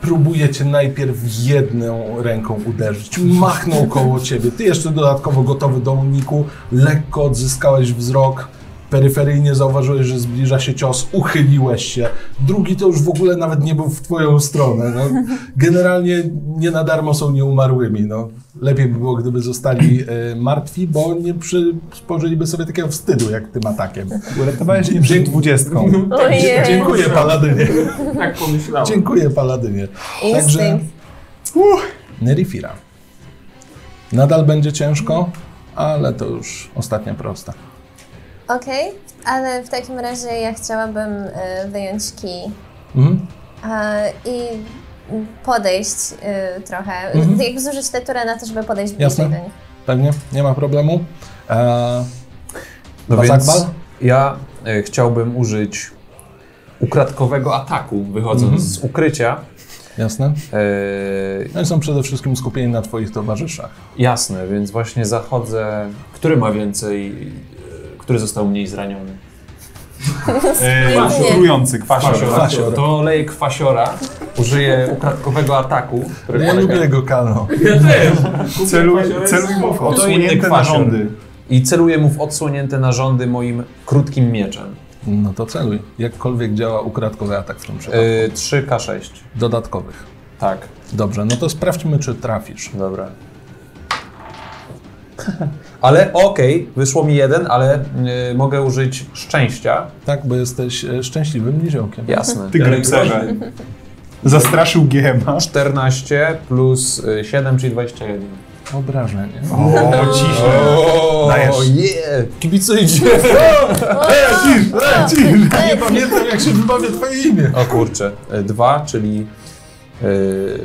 próbuje cię najpierw jedną ręką uderzyć, machnął koło ciebie, ty jeszcze dodatkowo gotowy do uniku, lekko odzyskałeś wzrok, peryferyjnie zauważyłeś, że zbliża się cios, uchyliłeś się, drugi to już w ogóle nawet nie był w twoją stronę. No. Generalnie nie na darmo są nieumarłymi, no. Lepiej by było, gdyby zostali e, martwi, bo nie przysporzyliby sobie takiego wstydu jak tym atakiem.
Uratowałeś mnie przed dwudziestką.
Ojej,
Dziękuję paladynie,
Tak pomyślałem.
dziękuję paladynie. Także
instynkt.
Nerifira. Nadal będzie ciężko, ale to już ostatnia prosta.
Okej, ale w takim razie ja chciałabym e, wyjąć kij
Mhm.
e, i podejść e, trochę.
Mhm.
Jakby zużyć tę turę na to, żeby podejść
Jasne.
bliżej do nich.
Pewnie, nie ma problemu. Eee,
No
Bazakbal?
więc ja e, chciałbym użyć ukradkowego ataku, wychodząc
Mhm.
z ukrycia.
jasne.
E,
No i są przede wszystkim skupieni na twoich towarzyszach.
jasne, więc właśnie zachodzę. Który ma więcej, e, który został mniej zraniony?
E,
Nie.
Trujący kwasior.
Kwasior.
To leję kwasiora, użyję ukradkowego ataku, który
Ja
polega-
lubię go kano.
Ja też.
Celuj,
Kwasior jest
celuj mu w
To inny
odsłonięte
kwasior.
narządy.
i celuję mu w odsłonięte narządy moim krótkim mieczem.
No to celuj. Jakkolwiek działa ukradkowy atak w tym przypadku.
E, 3K6.
Dodatkowych.
Tak,
Dobrze, no to sprawdźmy, czy trafisz.
dobra. Ale okej, wyszło mi jeden, ale e, mogę użyć szczęścia.
Tak, bo jesteś e, szczęśliwym niziołkiem.
Jasne.
Ty grypserze. Zastraszył Giema.
14 plus y, 7, czyli 21.
Obrażenie.
O, ciszę. Dajesz.
yeah. Kibicujcie.
Cisz, cisz.
Nie pamiętam, jak się wybawia twoje imię.
O kurczę. 2, czyli y,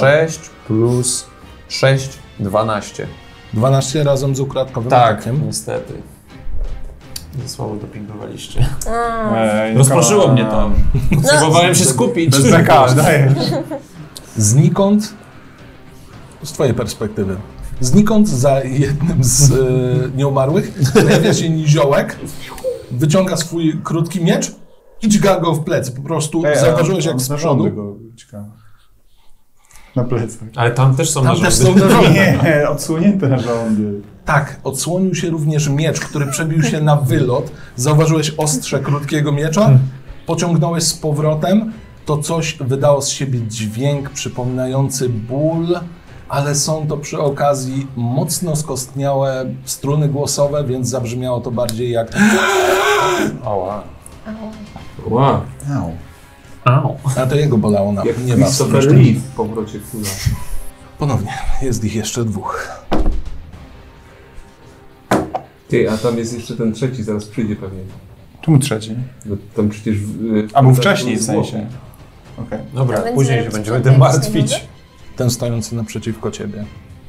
6 plus 6, 12.
12 razem z ukradkowym
Tak.
atakiem.
Tak, niestety. Za słabo dopingowaliście.
Ej,
Rozproszyło
kochana.
mnie to.
No.
Potrzebowałem się skupić.
Bez BK, dajesz.
znikąd, z twojej perspektywy, znikąd za jednym z e, nieumarłych pojawia się niziołek, wyciąga swój krótki miecz i dźga go w plecy. Po prostu
Ej, a
zauważyłeś
on-
jak
on
z
narządy
przodu.
go ucieka. Na plecach.
Ale tam też są
Tam też
narządy.
są narządy.
Nie, odsłonięte narządy.
Tak, odsłonił się również miecz, który przebił się na wylot. Zauważyłeś ostrze krótkiego miecza, pociągnąłeś z powrotem. To coś wydało z siebie dźwięk przypominający ból, ale są to przy okazji mocno skostniałe struny głosowe, więc zabrzmiało to bardziej jak
Oła.
Wow.
Au.
A to jego bolało na
Jak
nie was.
Christopher Lee w powrocie kula.
Ponownie, jest ich jeszcze dwóch.
Ty, a tam jest jeszcze ten trzeci, zaraz przyjdzie pewnie.
Czemu trzeci?
Bo tam przecież... y,
A był wcześniej w
zło.
sensie. Okej.
Dobra,
To będzie
później się
robić
będziemy
kontekst,
tym martwić.
nie
Ten stojący naprzeciwko ciebie,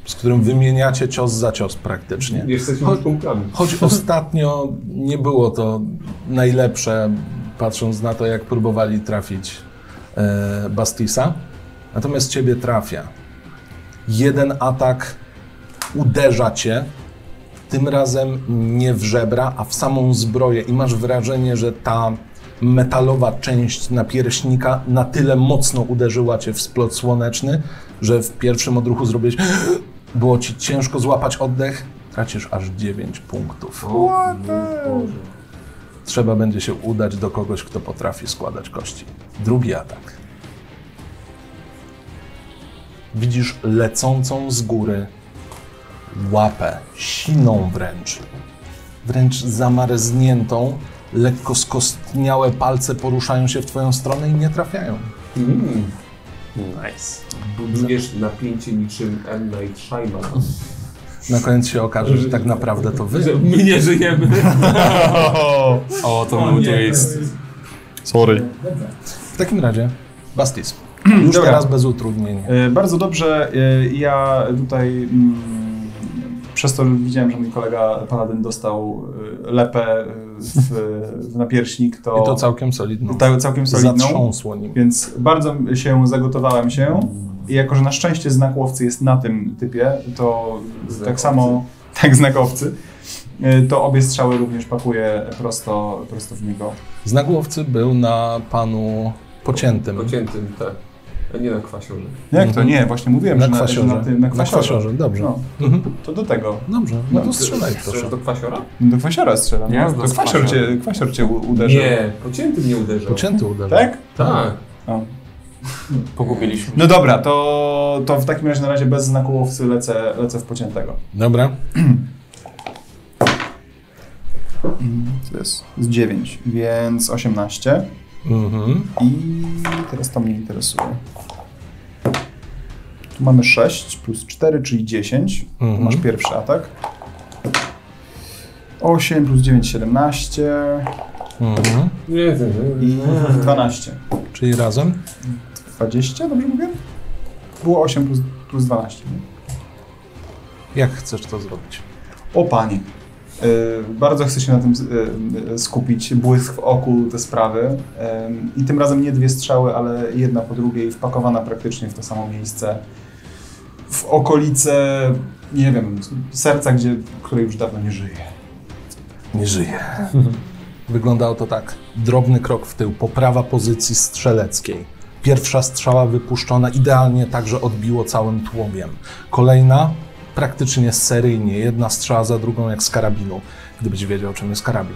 z którym wymieniacie cios za cios praktycznie.
Jesteśmy już kumplami.
Choć ostatnio nie było to najlepsze, patrząc na to, jak próbowali trafić e, Bastisa. Natomiast ciebie trafia. Jeden atak uderza cię, tym razem nie w żebra, a w samą zbroję i masz wrażenie, że ta metalowa część napierśnika na tyle mocno uderzyła cię w splot słoneczny, że w pierwszym odruchu zrobiłeś było ci ciężko złapać oddech, tracisz aż 9 punktów. Trzeba będzie się udać do kogoś, kto potrafi składać kości. Drugi atak. widzisz lecącą z góry łapę, siną wręcz, wręcz zamarzniętą, lekko skostniałe palce poruszają się w twoją stronę i nie trafiają.
Mm, Nice.
Budujesz napięcie niczym M. Night Shyamalan.
Na koniec się okaże, że tak naprawdę to wy.
Że my nie żyjemy.
O, to był twist.
Sorry.
W takim razie, Bastis, już
Dobra.
teraz bez utrudnienia.
E, Bardzo dobrze. e, Ja tutaj mm, przez to, że widziałem, że mój kolega Paladin dostał e, lepę e, w, w napierśnik, to,
I to całkiem solidną.
ta- całkiem Tak, solidną.
Zatrząsło nim.
Więc bardzo się zagotowałem się. I jako, że na szczęście znak łowcy jest na tym typie, to tak
Znakowcy.
samo, tak znakowcy, e, to obie strzały również pakuję prosto, prosto w niego.
Znak łowcy był na panu pociętym.
Pociętym, tak. A nie na kwasiorze.
No Jak to?
Mhm.
Nie, właśnie mówiłem,
Na
że
kwasiorze.
Na, że na, tym- na kwasiorze.
dobrze.
No,
Mhm.
to do tego.
Dobrze, no to
No,
strzelaj
Strzelasz
proszę.
do kwasiora?
Do kwasiora strzelam.
Jazda
to
z
kwasior cię, kwasior cię u- uderzył.
Nie, pociętym nie uderzał.
Pocięty uderzył.
Tak?
Tak.
O.
Pogubiliśmy.
No dobra, to, to w takim razie na razie bez znaku łowcy lecę, lecę w pociętego.
Dobra.
To jest z 9, więc 18.
Mhm.
I teraz to mnie interesuje. Tu mamy 6 plus 4, czyli 10.
Mhm.
Tu masz pierwszy atak. 8 plus 9, 17
Mhm.
Nie, nie, nie.
i 12.
Czyli razem?
20, dobrze mówię? Było 8 plus, plus 12. Nie?
Jak chcesz to zrobić?
O Panie. Y, Bardzo chcę się na tym y, y, skupić, błysk w oku te sprawy. Ym, I tym razem nie dwie strzały, ale jedna po drugiej, wpakowana praktycznie w to samo miejsce. W okolice, nie wiem, serca, gdzie, które już dawno nie żyje.
Nie żyje. Wyglądało to tak. Drobny krok w tył, poprawa pozycji strzeleckiej. Pierwsza strzała wypuszczona idealnie tak, że odbiło całym tłumiem. Kolejna praktycznie seryjnie, jedna strzała za drugą jak z karabinu, gdybyś wiedział czym jest karabin.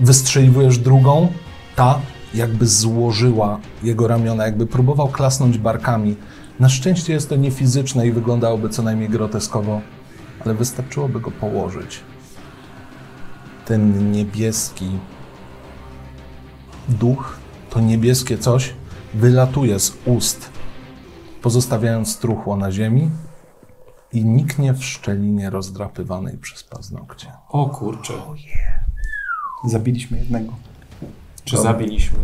Wystrzeliwujesz drugą, ta jakby złożyła jego ramiona, jakby próbował klasnąć barkami. Na szczęście jest to niefizyczne i wyglądałoby co najmniej groteskowo, ale wystarczyłoby go położyć ten niebieski duch, to niebieskie coś wylatuje z ust, pozostawiając truchło na ziemi i niknie w szczelinie rozdrapywanej przez paznokcie.
O kurczę.
Zabiliśmy jednego.
Czy zabiliśmy?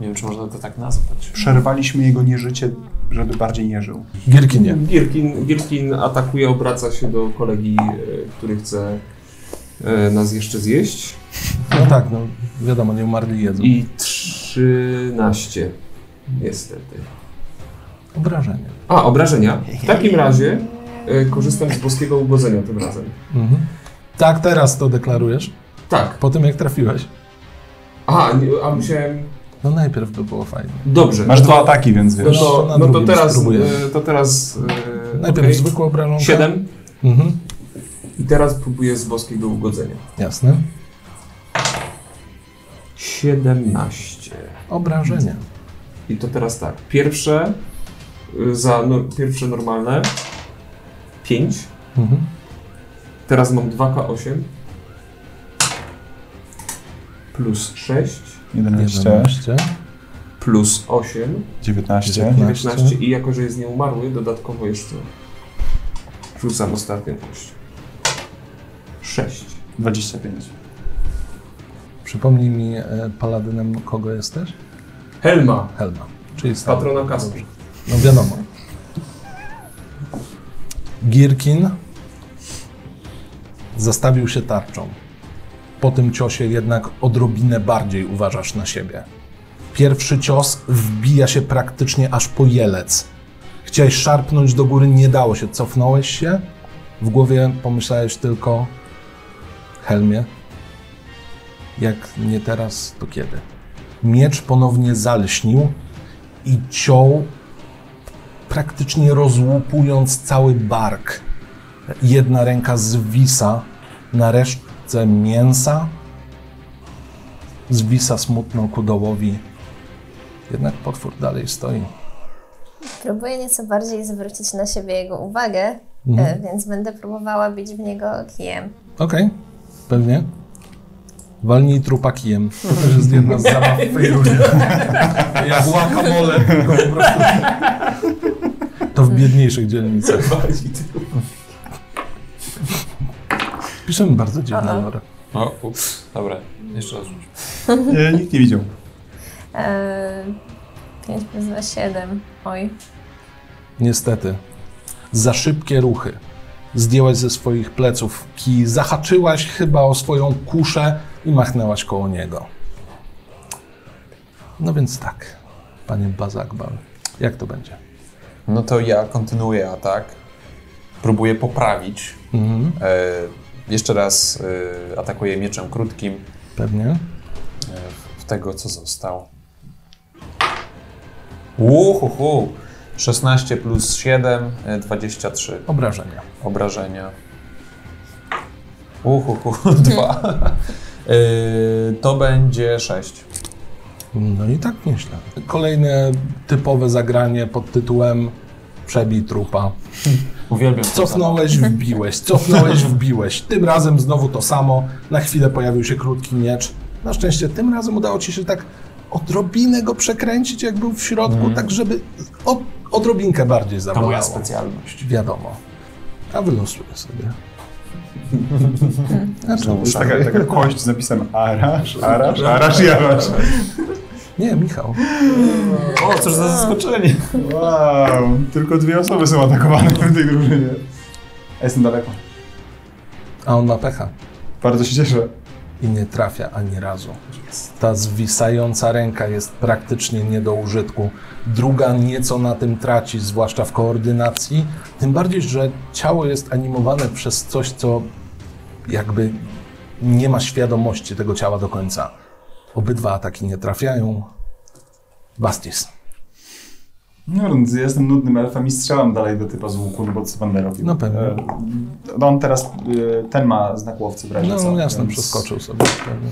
Nie wiem, czy można to tak nazwać.
Przerwaliśmy jego nieżycie, żeby bardziej nie żył.
Gierkinie.
Gierkin, Gierkin atakuje, obraca się do kolegi, e, który chce e, nas jeszcze zjeść.
No tak, no wiadomo, nie umarli jedzą.
I 13. Niestety.
Obrażenie.
A, obrażenia. W takim razie e, korzystam z boskiego ugodzenia tym razem.
Mhm. Tak, teraz to deklarujesz.
Tak.
Po tym jak trafiłeś.
A, nie, a musiałem.
No najpierw by było fajnie.
Dobrze.
Masz dwa ataki, więc
No
wiesz.
Jeszcze
to,
na
no to
drugim
teraz.
spróbuję.
e, To teraz. e,
Najpierw
okej.
zwykłe obrażonka.
Siedem.
Mhm.
I teraz próbuję z boskiego ugodzenia.
Jasne.
17.
Obrażenie.
I to teraz tak. Pierwsze y, za no, pierwsze normalne 5.
Mhm.
Teraz mam 2K8 plus 6
11,
11.
plus 8,
19.
19 i jako, że jest nieumarły, dodatkowo jeszcze rzucam ostatnią kość. 6.
25.
Przypomnij mi e, paladynem, kogo jesteś?
Helma,
Helma. Czyli stary.
patrona kasy.
No wiadomo. Girkin zastawił się tarczą. Po tym ciosie jednak odrobinę bardziej uważasz na siebie. Pierwszy cios wbija się praktycznie aż po jelec. Chciałeś szarpnąć do góry, nie dało się. Cofnąłeś się. W głowie pomyślałeś tylko Helmie. Jak nie teraz, to kiedy? Miecz ponownie zalśnił i ciął praktycznie rozłupując cały bark. Jedna ręka zwisa na resztce mięsa, zwisa smutno ku dołowi. Jednak potwór dalej stoi.
Próbuję nieco bardziej zwrócić na siebie jego uwagę, e, więc będę próbowała bić w niego kijem.
Okej, pewnie. Walnij trupa kijem. To jest jedna z zabaw w tej rundzie. Jak guacamole. tylko po prostu. To w biedniejszych dzielnicach. Piszemy bardzo dziwne lore.
O, ups, dobra, jeszcze raz rzuć.
E, Nikt nie widział.
E, 5 plus 2, 7. Oj.
Niestety. Za szybkie ruchy. Zdjęłaś ze swoich pleców kij, zahaczyłaś chyba o swoją kuszę i machnęłaś koło niego. No więc tak, panie Bazakbal, jak to będzie?
No to ja kontynuuję atak. Próbuję poprawić.
Mhm,
E, jeszcze raz e, atakuję mieczem krótkim
pewnie.
e, w tego, co został. Uhuhu. 16 plus 7, e, 23
Obrażenia.
obrażenia. Uhuhu, 2. E, to będzie 6.
No i tak nieźle. Kolejne typowe zagranie pod tytułem Przebij trupa.
Uwielbiam to
Cofnąłeś, wbiłeś, cofnąłeś, wbiłeś. Tym razem znowu to samo. Na chwilę pojawił się krótki miecz. Na szczęście tym razem udało ci się tak odrobinę go przekręcić, jak był w środku, tak żeby od, odrobinkę bardziej
Mhm. To moja
zabolało.
specjalność.
Wiadomo. A wylosuję sobie.
Tak,
To jest taka, taka kość z napisem Arasz, Arasz, Arasz i Arasz.
Nie, Michał.
O, cóż za zaskoczenie.
Wow, tylko dwie osoby są atakowane w tej drużynie.
Ja jestem daleko.
A on ma pecha.
Bardzo się cieszę.
i nie trafia ani razu. Ta zwisająca ręka jest praktycznie nie do użytku. Druga nieco na tym traci, zwłaszcza w koordynacji. Tym bardziej, że ciało jest animowane przez coś, co jakby nie ma świadomości tego ciała do końca. Obydwa ataki nie trafiają. Bastis.
No, więc ja jestem nudnym elfem i strzelam dalej do typa z łuku, no bo co będę robił?
No pewnie.
E, No on teraz, e, ten ma znak łowcy w razie co.
No jasne,
więc,
przeskoczył sobie. pewnie.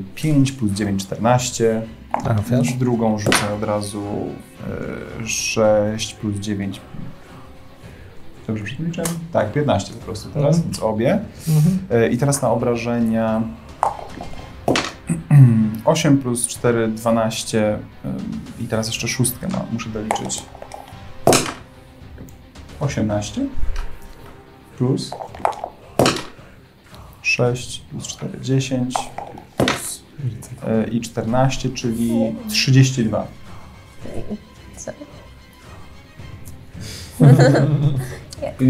e, 5 plus 9, 14.
Trafiasz?
Drugą rzucę od razu e, 6 plus 9. Dobrze przeliczam? Tak, 15 po prostu teraz,
Mhm.
więc obie. E, I teraz na obrażenia 8 plus 4, 12 ym, i teraz jeszcze szóstkę ma, muszę doliczyć. 18 plus 6 plus 4, 10 plus, y, i 14, czyli 32.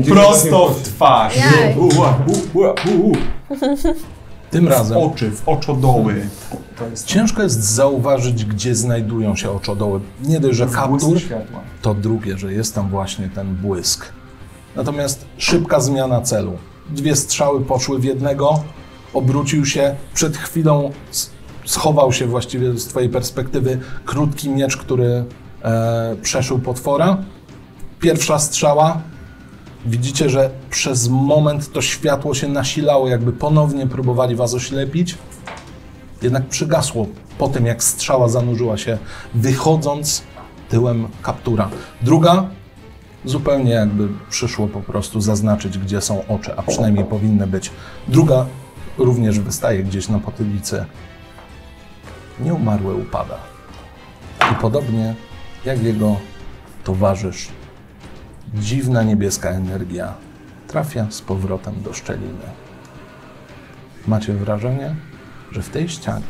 Prosto w twarz!
Jaj.
Ua, ua, ua,
Tym
ua. W
razem
oczy, w oczodoły. To jest
ciężko jest zauważyć, gdzie znajdują się oczodoły. Nie dość, że kaptur,
błysk światła.
to drugie, że jest tam właśnie ten błysk. Natomiast szybka zmiana celu. Dwie strzały poszły w jednego, obrócił się, przed chwilą s- schował się właściwie z twojej perspektywy krótki miecz, który e, przeszył potwora. Pierwsza strzała. Widzicie, że przez moment to światło się nasilało, jakby ponownie próbowali was oślepić. Jednak przygasło po tym, jak strzała zanurzyła się, wychodząc tyłem kaptura. Druga zupełnie jakby przyszło po prostu zaznaczyć, gdzie są oczy, a przynajmniej powinny być. Druga również wystaje gdzieś na potylicy. Nieumarły upada. I podobnie jak jego towarzysz, dziwna niebieska energia trafia z powrotem do szczeliny. Macie wrażenie, że w tej ścianie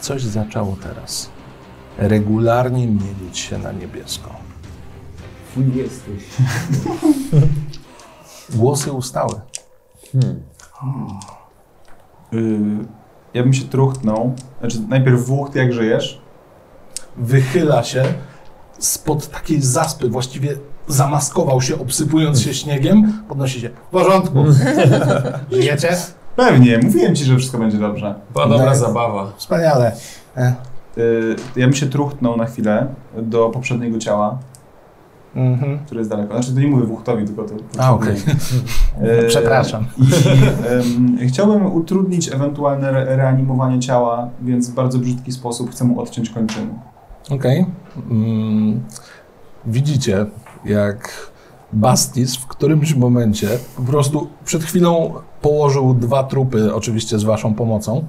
coś zaczęło teraz regularnie mielić się na niebiesko.
Twój jesteś.
Głosy ustały.
Y, ja bym się truchnął. Znaczy, najpierw włóch, jak żyjesz.
Wychyla się spod takiej zaspy, właściwie zamaskował się, obsypując się śniegiem, podnosi się.
W porządku. Żyjecie?
Pewnie, mówiłem ci, że wszystko będzie dobrze.
Była dobra
No.
zabawa.
Wspaniale.
Y, ja bym się truchnął na chwilę do poprzedniego ciała,
Mhm.
które jest daleko. Znaczy, to nie mówię wuchtowi, tylko to.
A, okej. E,
Y,
Przepraszam.
I ym, chciałbym utrudnić ewentualne re- reanimowanie ciała, więc w bardzo brzydki sposób chcę mu odciąć kończyny.
Okej. Mm, widzicie, jak Bastis w którymś momencie po prostu przed chwilą położył dwa trupy, oczywiście z waszą pomocą.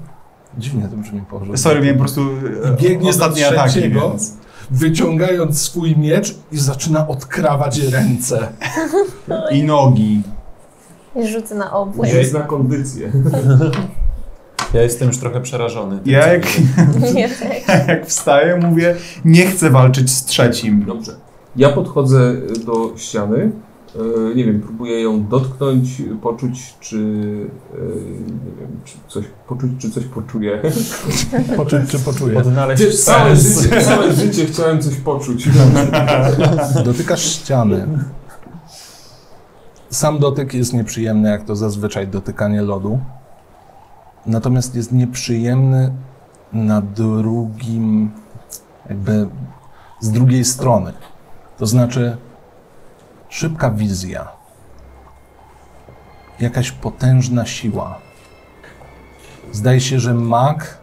Dziwnie to brzmi położył.
Sorry, miałem po prostu e,
Biegnie do
ostatnie ataki,
trzeciego.
więc...
Wyciągając swój miecz i zaczyna odkrawać ręce.
I nogi.
I rzucę na obłęd.
Jest na kondycję.
Ja jestem już trochę przerażony. tym,
Ja
co
jak,
widzę.
Nie, tak.
jak wstaję, mówię, nie chcę walczyć z trzecim.
Dobrze. Ja podchodzę do ściany. e, Nie wiem, próbuję ją dotknąć, poczuć, czy. e, Nie wiem, czy coś poczuć, czy coś poczuję.
Poczuć czy poczuje.
Odnaleźć
Wiesz, całe
sens.
życie, całe życie chciałem coś poczuć.
Dotykasz ściany. Sam dotyk jest nieprzyjemny, jak to zazwyczaj dotykanie lodu. Natomiast jest nieprzyjemny na drugim, jakby z drugiej strony. To znaczy szybka wizja. Jakaś potężna siła. Zdaje się, że mag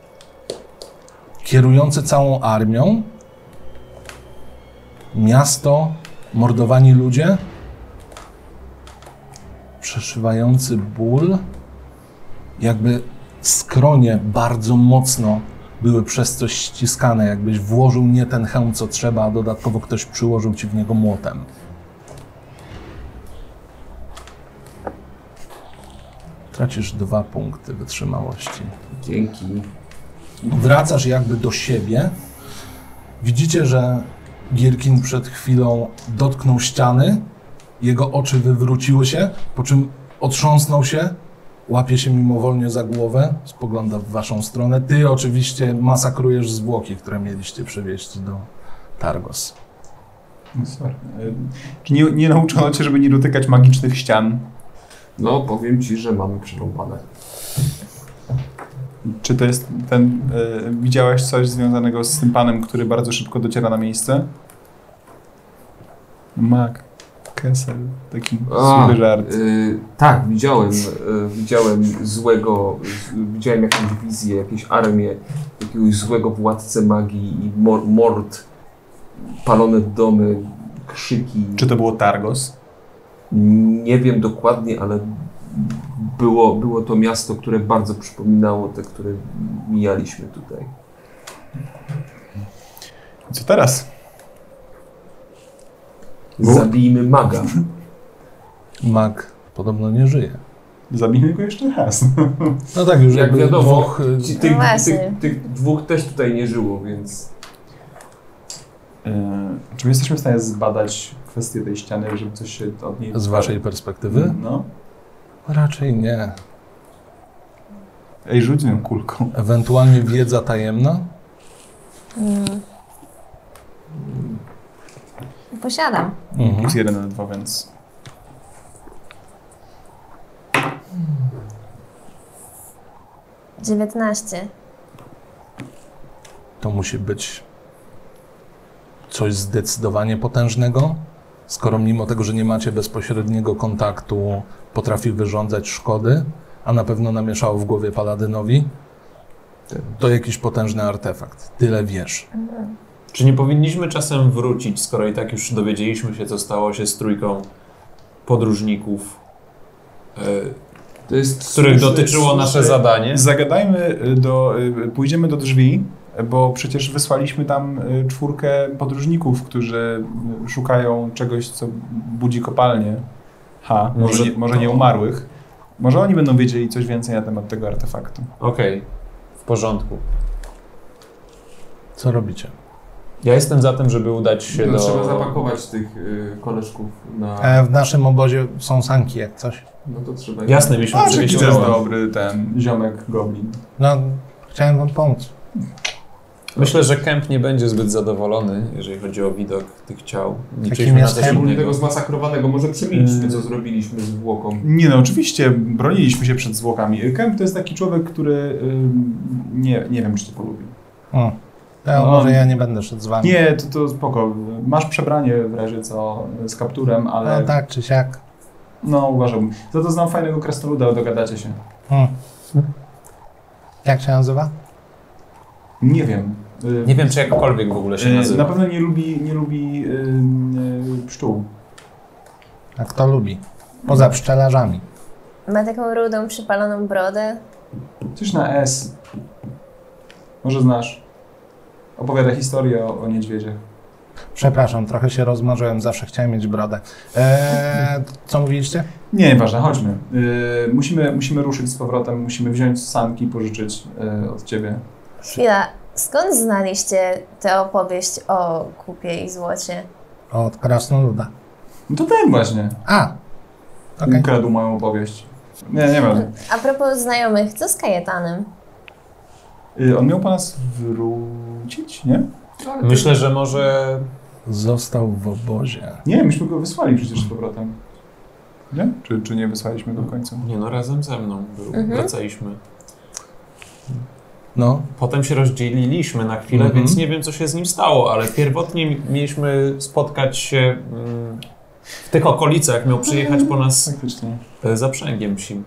kierujący całą armią miasto, mordowani ludzie, przeszywający ból, jakby skronie bardzo mocno były przez coś ściskane, jakbyś włożył nie ten hełm, co trzeba, a dodatkowo ktoś przyłożył ci w niego młotem. Tracisz dwa punkty wytrzymałości.
Dzięki.
Wracasz jakby do siebie. Widzicie, że Gierkin przed chwilą dotknął ściany, jego oczy wywróciły się, po czym otrząsnął się, łapie się mimowolnie za głowę, spogląda w waszą stronę. Ty oczywiście masakrujesz zwłoki, które mieliście przewieźć do Targos.
No Sorry. E, Czy nie, nie nauczono cię, żeby nie dotykać magicznych ścian?
No, powiem ci, że mamy przerąbane.
Czy to jest ten... E, widziałeś coś związanego z tym panem, który bardzo szybko dociera na miejsce? Mak. Kessel. Taki
A,
zły żart.
y, tak, widziałem, y, widziałem złego, z- widziałem jakąś wizję, jakieś armię, jakiegoś złego władcę magii i mor, mord, palone domy, krzyki.
Czy to było Targos?
Nie wiem dokładnie, ale było, było to miasto, które bardzo przypominało te, które mijaliśmy tutaj.
Co teraz?
Bo-
Zabijmy maga.
Mag podobno nie żyje.
Zabijmy go jeszcze raz.
No tak, już
Jak
jakby
wiadomo,
dwóch, y,
Ci- Tych,
właśnie.
tych, tych dwóch też tutaj nie żyło, więc...
E, czy my jesteśmy w stanie zbadać kwestię tej ściany, żeby coś się od niej...
z waszej perspektywy?
No.
Raczej nie.
Ej, rzuć nią kulką.
Ewentualnie wiedza tajemna?
Mm. Posiadam.
Mhm.
Plus jeden na dwa, więc...
dziewiętnaście
To musi być coś zdecydowanie potężnego. Skoro mimo tego, że nie macie bezpośredniego kontaktu, potrafi wyrządzać szkody, a na pewno namieszało w głowie Paladynowi, to jakiś potężny artefakt. Tyle wiesz.
Czy nie powinniśmy czasem wrócić, skoro i tak już dowiedzieliśmy się, co stało się z trójką podróżników, e,
To jest
których
słuszny-
dotyczyło nasze
słuszny-
zadanie?
Zagadajmy y, do... y, Pójdziemy do drzwi, y, bo przecież wysłaliśmy tam y, czwórkę podróżników, którzy y, szukają czegoś, co budzi kopalnię. Ha,
Może-
może no. nie, może nie umarłych. Może oni będą wiedzieli coś więcej na temat tego artefaktu.
Okej, w porządku.
Co robicie?
Ja jestem za tym, żeby udać się
No,
do...
Trzeba zapakować tych y, koleżków na...
E, w naszym obozie są sanki, jak coś.
No to trzeba...
Jasne, mieliśmy
A, jaki
przywieźć
to jest
ułom.
dobry ten ziomek goblin.
No, chciałem wam pomóc.
Myślę, że Kemp nie będzie zbyt zadowolony, jeżeli chodzi o widok tych ciał.
Jakim
Liczyliśmy na
jest
coś
Kemp?
Szczególnie
innego.
tego zmasakrowanego, może przemilczmy,
Yy.
co zrobiliśmy z włoką.
Nie no, oczywiście broniliśmy się przed zwłokami. Kemp to jest taki człowiek, który ym, nie, nie wiem, czy to polubi.
O, ja,
No.
może ja nie będę szedł z wami.
Nie, to, to spoko. Masz przebranie w razie co z kapturem, ale
No
no,
tak czy siak.
uważałbym. Za to znam fajnego krasnoluda, dogadacie się.
Hmm. Jak się nazywa?
Nie wiem. Y,
Nie wiem, czy jakkolwiek w ogóle się
Yy,
y,
nazywa.
Na pewno nie lubi, nie lubi y, y, pszczół.
A kto Tak, lubi? Poza pszczelarzami.
Ma taką rudą, przypaloną brodę.
Coś na S. Może znasz. Opowiada historię o, o niedźwiedziach.
Przepraszam, trochę się rozmarzyłem, zawsze chciałem mieć brodę. Eee, co mówiliście?
Nie, nieważne, chodźmy. Y, musimy, musimy ruszyć z powrotem, musimy wziąć sanki i pożyczyć y, od ciebie.
Chwila, skąd znaliście tę opowieść o kupie i złocie?
Od krasnoluda.
No to ten właśnie
A! Okej.
ukradł moją opowieść. Nie, nie wiem.
A propos znajomych, co z Kajetanem?
Y, on miał po nas wrócić, nie?
Myślę, że może
Został w obozie.
Nie, myśmy go wysłali przecież z powrotem. Nie?
Czy, czy nie wysłaliśmy go w końcu?
Nie no, razem ze mną był.
Mhm.
Wracaliśmy.
No,
Potem się rozdzieliliśmy na chwilę,
Mhm.
więc nie wiem, co się z nim stało, ale pierwotnie mi- mieliśmy spotkać się mm, w tych okolicach. Miał przyjechać po nas
Faktycznie.
e, zaprzęgiem psim.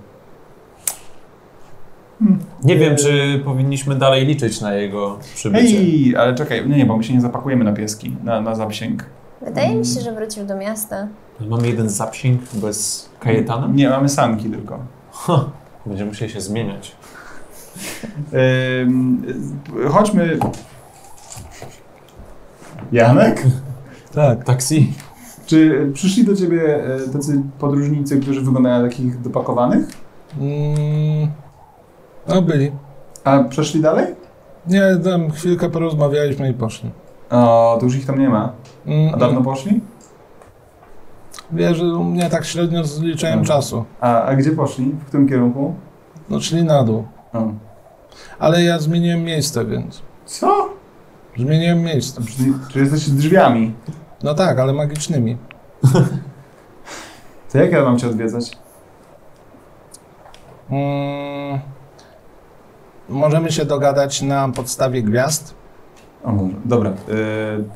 Hmm.
Nie wiem, czy powinniśmy dalej liczyć na jego przybycie.
Ej, ale czekaj, nie, nie, bo my się nie zapakujemy na pieski, na, na zapsięg.
Wydaje mi się, że wrócił do miasta.
Mamy jeden zapsięg bez kajetana?
Nie, mamy sanki tylko.
Będziemy musieli się zmieniać.
Ym, y, chodźmy. Janek?
tak.
Taksi?
Czy przyszli do ciebie y, tacy podróżnicy, którzy wyglądają na takich dopakowanych?
Mm, no byli.
A przeszli dalej?
Nie, tam chwilkę porozmawialiśmy i poszli.
O, to już ich tam nie ma.
Mm,
A dawno poszli?
Wiesz, że u mnie tak średnio zliczałem
Mm.
czasu.
A, a gdzie poszli? W którym kierunku?
No, czyli na dół.
O.
Ale ja zmieniłem miejsce, więc.
Co?
Zmieniłem miejsce.
Czy, czy jesteście drzwiami?
No tak, ale magicznymi.
To jak ja mam cię odwiedzać?
Mm, możemy się dogadać na podstawie gwiazd?
O Boże. Dobra, y,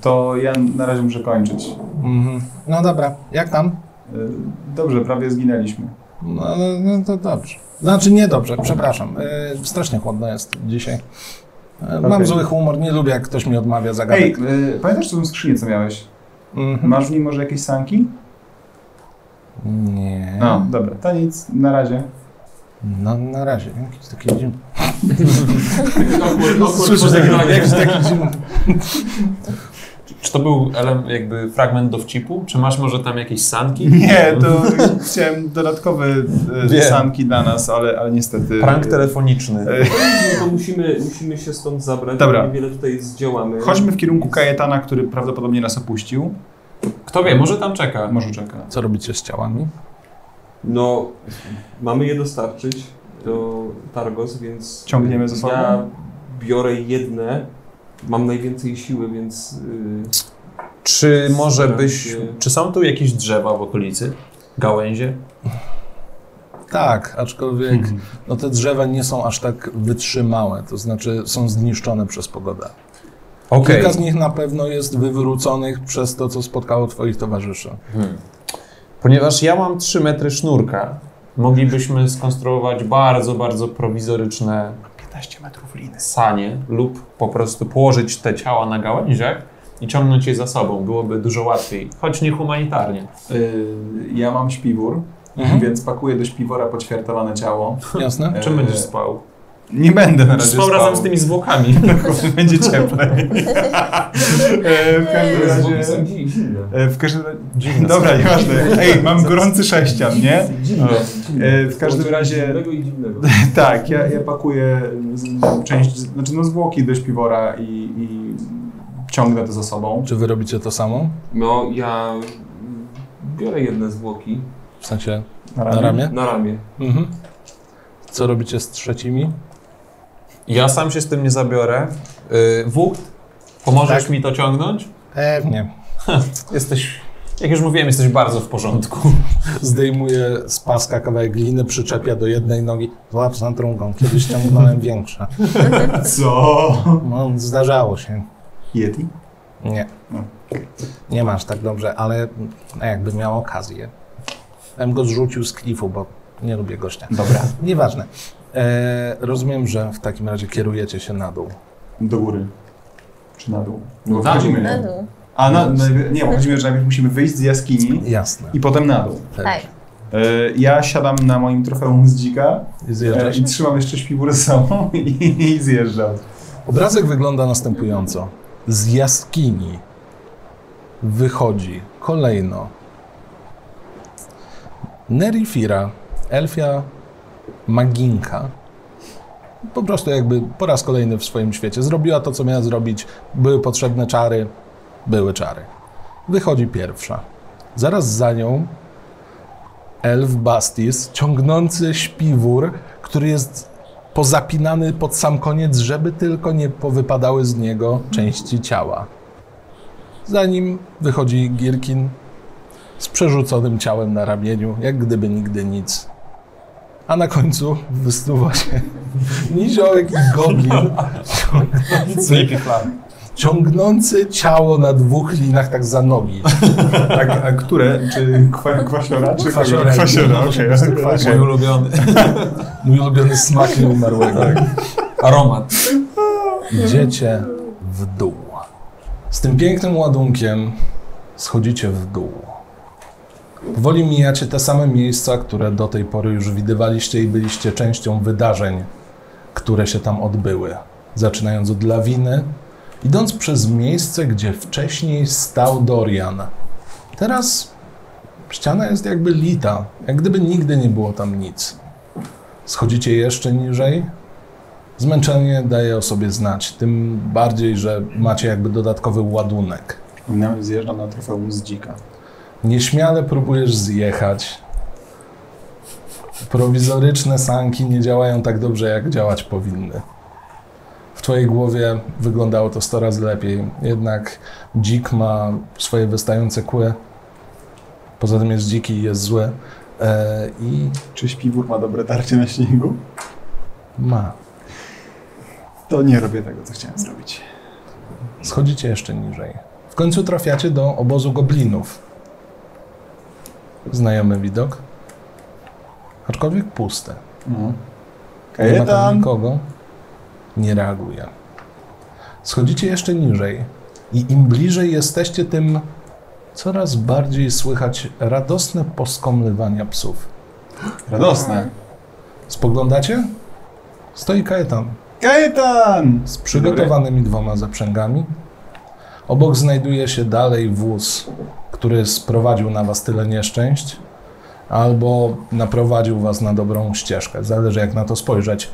to ja na razie muszę kończyć.
Mhm. No dobra, jak tam?
Y, dobrze, prawie zginęliśmy.
No, ale- no to dobrze. Znaczy nie dobrze, przepraszam.
Y,
Eee, strasznie chłodno jest dzisiaj. Eee, Mam
Okej.
zły humor, nie lubię jak ktoś mi odmawia zagadek.
Ej, y, pamiętasz tą skrzynię, co miałeś?
Mhm.
Masz w niej może jakieś sanki?
Nie.
No, dobra, to nic, na razie.
No na razie, jakiś taki dziwny.
Słyszę
jakiś taki dziwny.
Czy to był elem, jakby fragment dowcipu? Czy masz może tam jakieś sanki?
Nie, to chciałem dodatkowe y,
Wiem.
sanki dla nas, ale, ale niestety...
Prank telefoniczny.
Y,
No to musimy, musimy się stąd zabrać,
Dobra.
bo niewiele tutaj zdziałamy.
Chodźmy w kierunku Kajetana, który prawdopodobnie nas opuścił.
Kto wie, może tam czeka.
Może czeka.
Co robicie z ciałami?
No, mamy je dostarczyć do Targos, więc...
Ciągniemy ze sobą?
Ja biorę jedne, mam najwięcej siły, więc... Yy,
Czy może byś...
Sprawdźcie.
Czy są tu jakieś drzewa w okolicy? Gałęzie?
Tak, aczkolwiek no, te drzewa nie są aż tak wytrzymałe, to znaczy są zniszczone przez pogodę.
Okej.
Kilka z nich na pewno jest wywróconych przez to, co spotkało twoich towarzyszy.
Hmm. Ponieważ ja mam 3 metry sznurka, moglibyśmy skonstruować bardzo, bardzo prowizoryczne
15 metrów liny.
sanie lub po prostu położyć te ciała na gałęziach i ciągnąć je za sobą. Byłoby dużo łatwiej, choć nie humanitarnie.
Y, ja mam śpiwór, więc pakuję do śpiwora poćwiartowane ciało.
Jasne?
Y,
Czym będziesz spał?
Nie będę na razie
Eee, Spał, razem z tymi zwłokami.
Będzie cieplej. E, w każdym razie...
zimne.
e, W każdym razie... Dobra, nieważne. Ej, mam gorący sześcian, nie? E, W każdym razie...
Zimnego i dziwnego.
Tak, ja, ja pakuję z- część, znaczy no zwłoki do śpiwora i, i ciągnę to za sobą.
Czy wy robicie to samo?
No, ja biorę jedne zwłoki
W sensie
Na
na ramię?
na ramię.
Mhm. Co robicie z trzecimi?
Ja sam się z tym nie zabiorę. Yy, Wucht, pomożesz mi to ciągnąć?
Pewnie.
Tak. Jesteś, jak już mówiłem, jesteś bardzo w porządku.
Zdejmuje z paska kawałek gliny, przyczepia do jednej nogi, złap za drugą. Kiedyś ciągnąłem większe.
Co?
No, zdarzało się.
Yeti?
Nie.
No.
Nie masz tak dobrze, ale no, jakby miał okazję. Ja bym go zrzucił z klifu, bo nie lubię gościa.
Dobra.
Nieważne.
E, rozumiem, że w takim razie kierujecie się na dół.
Do góry. Czy na dół?
No,
Na dół.
Na
wchodzimy.
dół.
A, na, najpierw- nie, bo chodzi mi, że najpierw musimy wyjść z jaskini
Jasne.
i potem na dół.
Tak.
E, Ja siadam na moim trofeum z dzika
I
e,
zjeżdżasz.
i trzymam jeszcze śpiwórę z sobą i, i zjeżdżam.
Obrazek wygląda następująco. Z jaskini wychodzi kolejno Nerifira, elfia maginka. Po prostu jakby po raz kolejny w swoim świecie zrobiła to, co miała zrobić. Były potrzebne czary, były czary. Wychodzi pierwsza. Zaraz za nią elf Bastis, ciągnący śpiwór, który jest pozapinany pod sam koniec, żeby tylko nie powypadały z niego części ciała. Za nim wychodzi Gierkin z przerzuconym ciałem na ramieniu, jak gdyby nigdy nic. A na końcu wystuwa się niziołek i goblin ciągnący, ciągnący ciało na dwóch linach tak za nogi. Tak,
A, a które? Czy kwa, kwasiora? Czy
Kwasiora. no,
Kwasiora, okej.
Mój
Okay.
ulubiony Tak.
Mój ulubiony smak nieumarłego.
aromat.
Idziecie w dół. Z tym pięknym ładunkiem schodzicie w dół. Powoli mijacie te same miejsca, które do tej pory już widywaliście i byliście częścią wydarzeń, które się tam odbyły. Zaczynając od lawiny, idąc przez miejsce, gdzie wcześniej stał Dorian. Teraz ściana jest jakby lita, jak gdyby nigdy nie było tam nic. Schodzicie jeszcze niżej, Zmęczenie daje o sobie znać, tym bardziej, że macie jakby dodatkowy ładunek.
Przypominam, zjeżdżam na trofeum z dzika.
Nieśmiale próbujesz zjechać. Prowizoryczne sanki nie działają tak dobrze, jak działać powinny. W twojej głowie wyglądało to 100 razy lepiej, jednak dzik ma swoje wystające kły. Poza tym jest dziki i jest zły. E, I
Czy śpiwór ma dobre tarcie na śniegu?
ma.
To nie robię tego, co chciałem zrobić.
Schodzicie jeszcze niżej. W końcu trafiacie do obozu goblinów. Znajomy widok. Aczkolwiek pusty.
Mhm.
Nie ma tam
Kajetan!
nikogo. Nie reaguje. Schodzicie jeszcze niżej. I im bliżej jesteście, tym coraz bardziej słychać radosne poskomlywania psów.
Radosne.
Spoglądacie? Stoi Kajetan.
Kajetan!
z przygotowanymi dwoma zaprzęgami. Obok znajduje się dalej wóz, który sprowadził na was tyle nieszczęść, albo naprowadził was na dobrą ścieżkę. Zależy jak na to spojrzeć.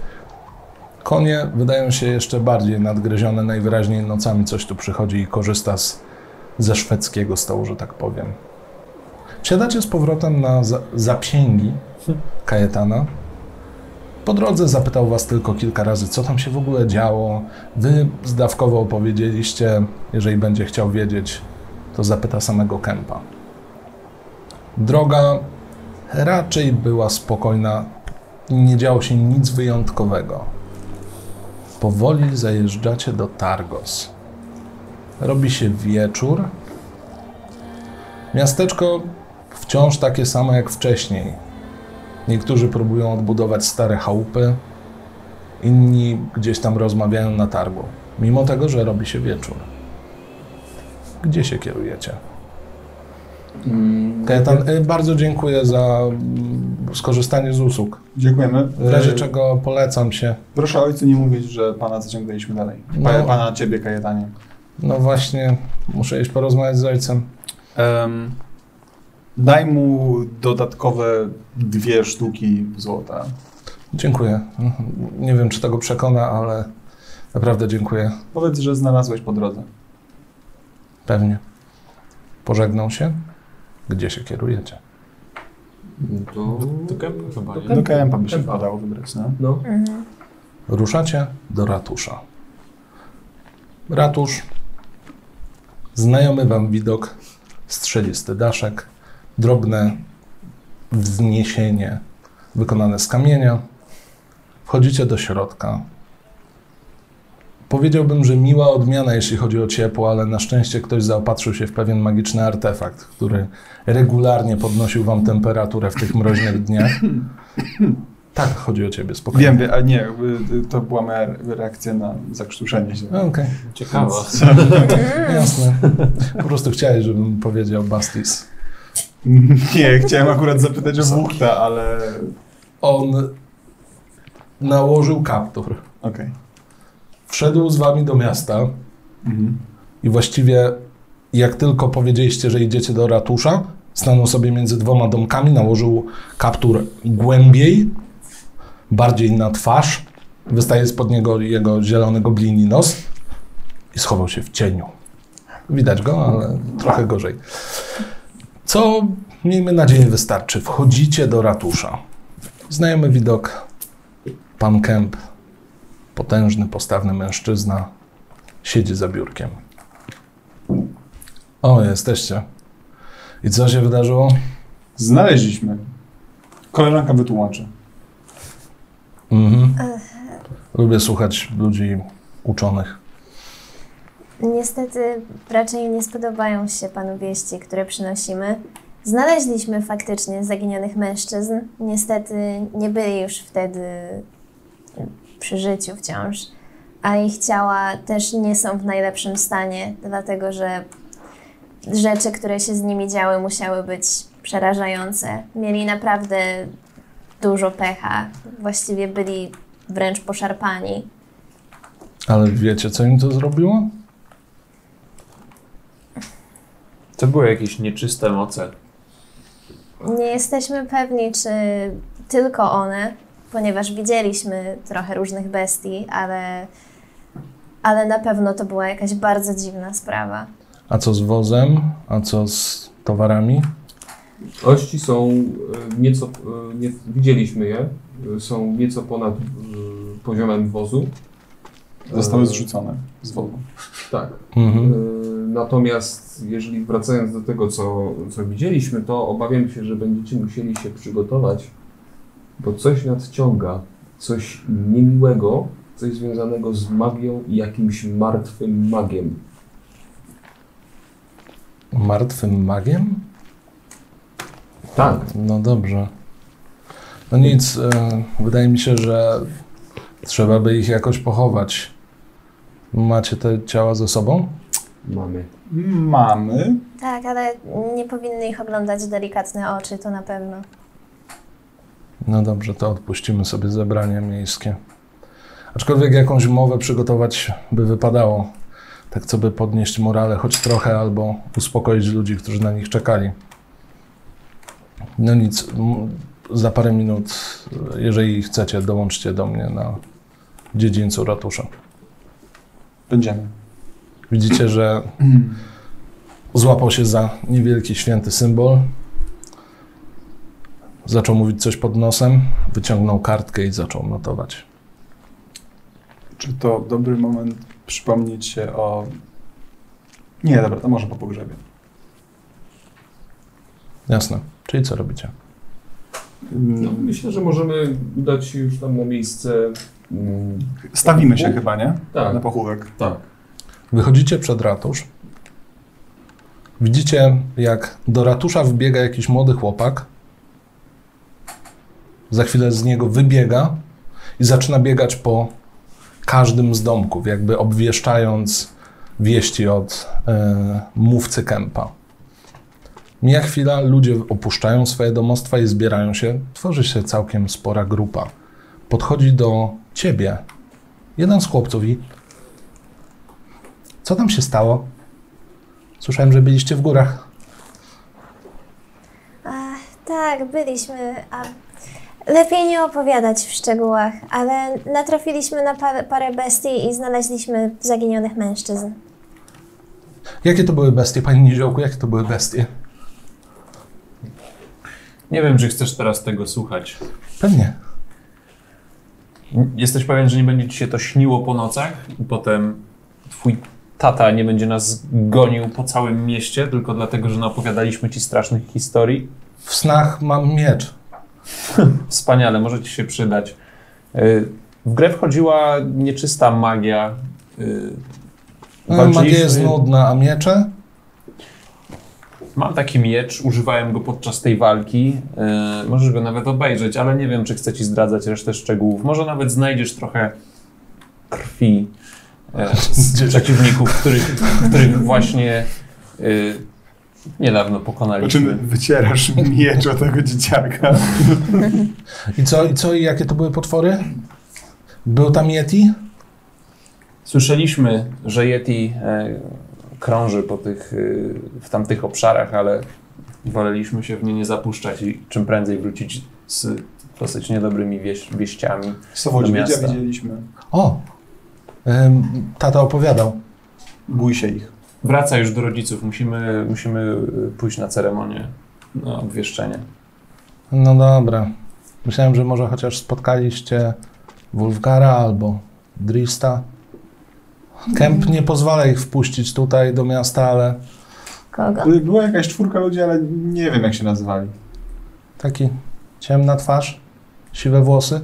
Konie wydają się jeszcze bardziej nadgryzione, najwyraźniej nocami coś tu przychodzi i korzysta z, ze szwedzkiego stołu, że tak powiem. Siadacie z powrotem na za, zapięgi Kajetana. Po drodze zapytał was tylko kilka razy, co tam się w ogóle działo. Wy zdawkowo opowiedzieliście, jeżeli będzie chciał wiedzieć, to zapyta samego Kempa. Droga raczej była spokojna, nie działo się nic wyjątkowego. Powoli zajeżdżacie do Targos. Robi się wieczór. Miasteczko wciąż takie samo jak wcześniej. Niektórzy próbują odbudować stare chałupy, inni gdzieś tam rozmawiają na targu. Mimo tego, że robi się wieczór. Gdzie się kierujecie?
Mm,
Kajetan, y, bardzo dziękuję za mm, skorzystanie z usług. Y,
Dziękujemy.
W razie
E,
czego polecam się.
Proszę ojcu nie mówić, że pana zaciągnęliśmy dalej. Pa,
No.
Pana ciebie, Kajetanie.
No właśnie, muszę iść porozmawiać z ojcem.
Em, daj mu dodatkowe dwie sztuki złota.
Dziękuję. Mhm. Nie wiem, czy tego przekona, ale naprawdę dziękuję.
Powiedz, że znalazłeś po drodze.
Pewnie. Pożegnał się. Gdzie się kierujecie?
To...
To kępa chyba, nie?
Do KMP by się
Kępa.
padało wybrać, no.
No.
Mhm.
Ruszacie do ratusza. Ratusz. Znajomy wam widok. Strzelisty daszek. Drobne wzniesienie wykonane z kamienia. Wchodzicie do środka. Powiedziałbym, że miła odmiana, jeśli chodzi o ciepło, ale na szczęście ktoś zaopatrzył się w pewien magiczny artefakt, który regularnie podnosił wam temperaturę w tych mroźnych dniach. Tak, chodzi o ciebie, spokojnie.
Wiem, wie- ale nie, jakby to była moja reakcja na zakrztuszenie się.
No, Okej,
Ciekawe.
Mm. No
jasne. Po prostu chciałeś, żebym powiedział Bastis.
Nie, chciałem akurat zapytać o Wuchta, ale...
On nałożył kaptur,
Okej.
wszedł z wami do miasta
Mhm.
i właściwie jak tylko powiedzieliście, że idziecie do ratusza, stanął sobie między dwoma domkami, nałożył kaptur głębiej, bardziej na twarz, wystaje spod niego jego zielony goblini nos i schował się w cieniu. Widać go, ale trochę gorzej. Co, miejmy nadzieję, wystarczy. Wchodzicie do ratusza. Znajomy widok. Pan Kemp, potężny, postawny mężczyzna, siedzi za biurkiem. O, jesteście. I co się wydarzyło?
Znaleźliśmy. Koleżanka wytłumaczy.
Mhm. Lubię słuchać ludzi uczonych.
Niestety raczej nie spodobają się panu wieści, które przynosimy. Znaleźliśmy faktycznie zaginionych mężczyzn. Niestety nie byli już wtedy przy życiu wciąż, a ich ciała też nie są w najlepszym stanie, dlatego że rzeczy, które się z nimi działy, musiały być przerażające. Mieli naprawdę dużo pecha. Właściwie byli wręcz poszarpani.
Ale wiecie, co im to zrobiło?
To były jakieś nieczyste moce.
Nie jesteśmy pewni, czy tylko one, ponieważ widzieliśmy trochę różnych bestii, ale, ale na pewno to była jakaś bardzo dziwna sprawa.
A co z wozem? A co z towarami?
Ości są e, nieco, e, nie, widzieliśmy je, e, są nieco ponad e, poziomem wozu.
Zostały
E,
zrzucone z wodą.
Tak. E,
Mhm.
Natomiast jeżeli wracając do tego, co, co widzieliśmy, to obawiam się, że będziecie musieli się przygotować, bo coś nadciąga, coś niemiłego, coś związanego z magią i jakimś martwym magiem.
Martwym magiem?
Tak.
No dobrze. No nic, e, wydaje mi się, że trzeba by ich jakoś pochować. Macie te ciała ze sobą?
Mamy.
Mamy.
Tak, ale nie powinny ich oglądać delikatne oczy, to na pewno.
No dobrze, to odpuścimy sobie zebranie miejskie. Aczkolwiek jakąś mowę przygotować by wypadało. Tak, co by podnieść morale choć trochę, albo uspokoić ludzi, którzy na nich czekali. No nic, m- za parę minut, e, jeżeli chcecie, dołączcie do mnie na dziedzińcu ratusza.
Będziemy.
Widzicie, że złapał się za niewielki święty symbol. Zaczął mówić coś pod nosem, wyciągnął kartkę i zaczął notować.
Czy to dobry moment przypomnieć się o... Nie, dobra, to może po pogrzebie.
Jasne. Czyli co robicie?
Mm,
No, myślę, że możemy udać się już tam na miejsce. mm,
Stawimy się chyba, nie?
Tak,
Na pochówek.
tak.
Wychodzicie przed ratusz. Widzicie, jak do ratusza wbiega jakiś młody chłopak. Za chwilę z niego wybiega i zaczyna biegać po każdym z domków, jakby obwieszczając wieści od e, mówcy Kępa. Mija chwila, ludzie opuszczają swoje domostwa i zbierają się. Tworzy się całkiem spora grupa. Podchodzi do ciebie jeden z chłopców i co tam się stało? Słyszałem, że byliście w górach.
Ach, tak, byliśmy. A lepiej nie opowiadać w szczegółach, ale natrafiliśmy na parę, parę bestii i znaleźliśmy zaginionych mężczyzn.
Jakie to były bestie, panie Niziołku? Jakie to były bestie?
Nie wiem, czy chcesz teraz tego słuchać.
Pewnie.
Jesteś pewien, że nie będzie ci się to śniło po nocach i potem twój tata nie będzie nas gonił po całym mieście tylko dlatego, że naopowiadaliśmy ci strasznych historii?
W snach mam miecz.
Wspaniale, może ci się przydać. Y, W grę wchodziła nieczysta magia. y,
E, No, Mm,
walczyliśmy-
Magia jest nudna, a miecze?
Mam taki miecz, używałem go podczas tej walki. E, możesz go nawet obejrzeć, ale nie wiem, czy chcę ci zdradzać resztę szczegółów. Może nawet znajdziesz trochę krwi e, z przeciwników, których, których właśnie e, niedawno
Po czym
Znaczy,
pokonaliśmy.
wycierasz miecz o tego dzieciaka.
I co, i co, i jakie to były potwory? Był tam Yeti?
Słyszeliśmy, że Yeti e, krąży po tych, e, w tamtych obszarach, ale woleliśmy się w nie nie zapuszczać i czym prędzej wrócić z dosyć niedobrymi wieś, wieściami. Do
Sowodźwiedzia
miasta.
widzieliśmy.
O! Ym, tata opowiadał.
Bój się ich.
Wraca już do rodziców, musimy, musimy pójść na ceremonię, na obwieszczenie.
No dobra. Myślałem, że może chociaż spotkaliście Wulfgara albo Drista. Kemp nie pozwala ich wpuścić tutaj do miasta, ale
Kogo?
Była jakaś czwórka ludzi, ale nie wiem jak się nazywali.
taki ciemna twarz, siwe włosy.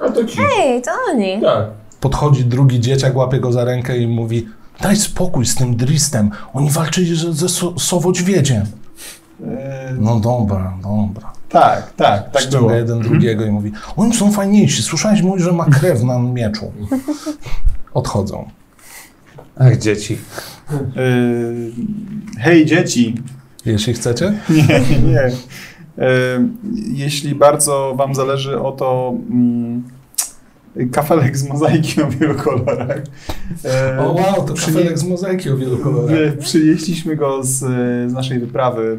A to ci.
Ej, to oni.
Tak.
Podchodzi drugi dzieciak, łapie go za rękę i mówi Daj spokój z tym Dristem, oni walczyli ze, ze so, sowodźwiedziem.
E,
No dobra, dobra.
Tak, tak, tak
Ściąga
było.
jeden drugiego i mówi, oni są fajniejsi, słyszałeś mój, że ma krew na mieczu. Odchodzą.
Ach, dzieci.
Y, Hej dzieci!
Jeśli chcecie,
Nie, nie, nie. E, Jeśli bardzo Wam zależy o to, mm, kafelek z mozaiki o wielu kolorach. E,
o wow, to
przy-
kafelek z mozaiki o wielu kolorach.
e, Przynieśliśmy go z, e, z naszej wyprawy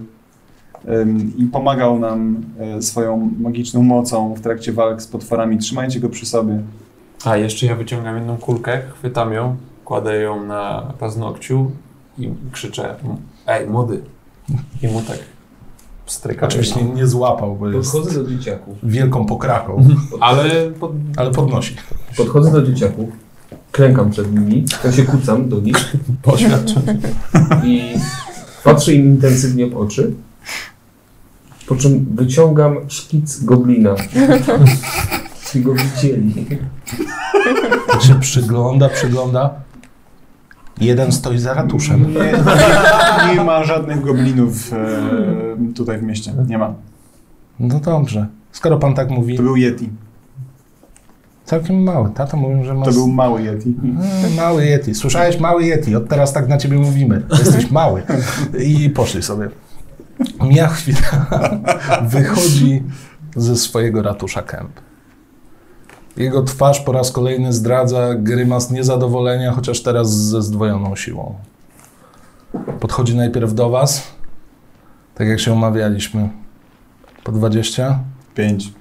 em, i pomagał nam e, swoją magiczną mocą w trakcie walk z potworami. Trzymajcie go przy sobie.
A jeszcze ja wyciągam jedną kulkę, chwytam ją, kładę ją na paznokciu i krzyczę, ej, młody. I mu tak pstrykam.
Oczywiście nie złapał, bo jest
Podchodzę do dzieciaków.
wielką pokraką,
Mhm.
Ale pod...
ale podnosi.
Podchodzę do dzieciaków. Klękam przed nimi. Ja się kucam do nich.
poświadczam.
i patrzę im intensywnie w oczy. Po czym wyciągam szkic goblina. I go widzieli.
Tak się przygląda, przygląda. Jeden stoi za ratuszem.
Nie, nie ma żadnych goblinów e, tutaj w mieście. Nie ma.
No dobrze. Skoro pan tak mówi,
To był Yeti.
całkiem mały. Tata mówił, że ma...
To był mały Yeti.
Mm, Mały Yeti. Słyszałeś? Mały Yeti. Od teraz tak na ciebie mówimy. Jesteś mały. I poszli sobie. Mija chwila. Wychodzi ze swojego ratusza Kemp. Jego twarz po raz kolejny zdradza grymas niezadowolenia, chociaż teraz ze zdwojoną siłą. Podchodzi najpierw do was, tak jak się umawialiśmy. Po 20,
Pięć.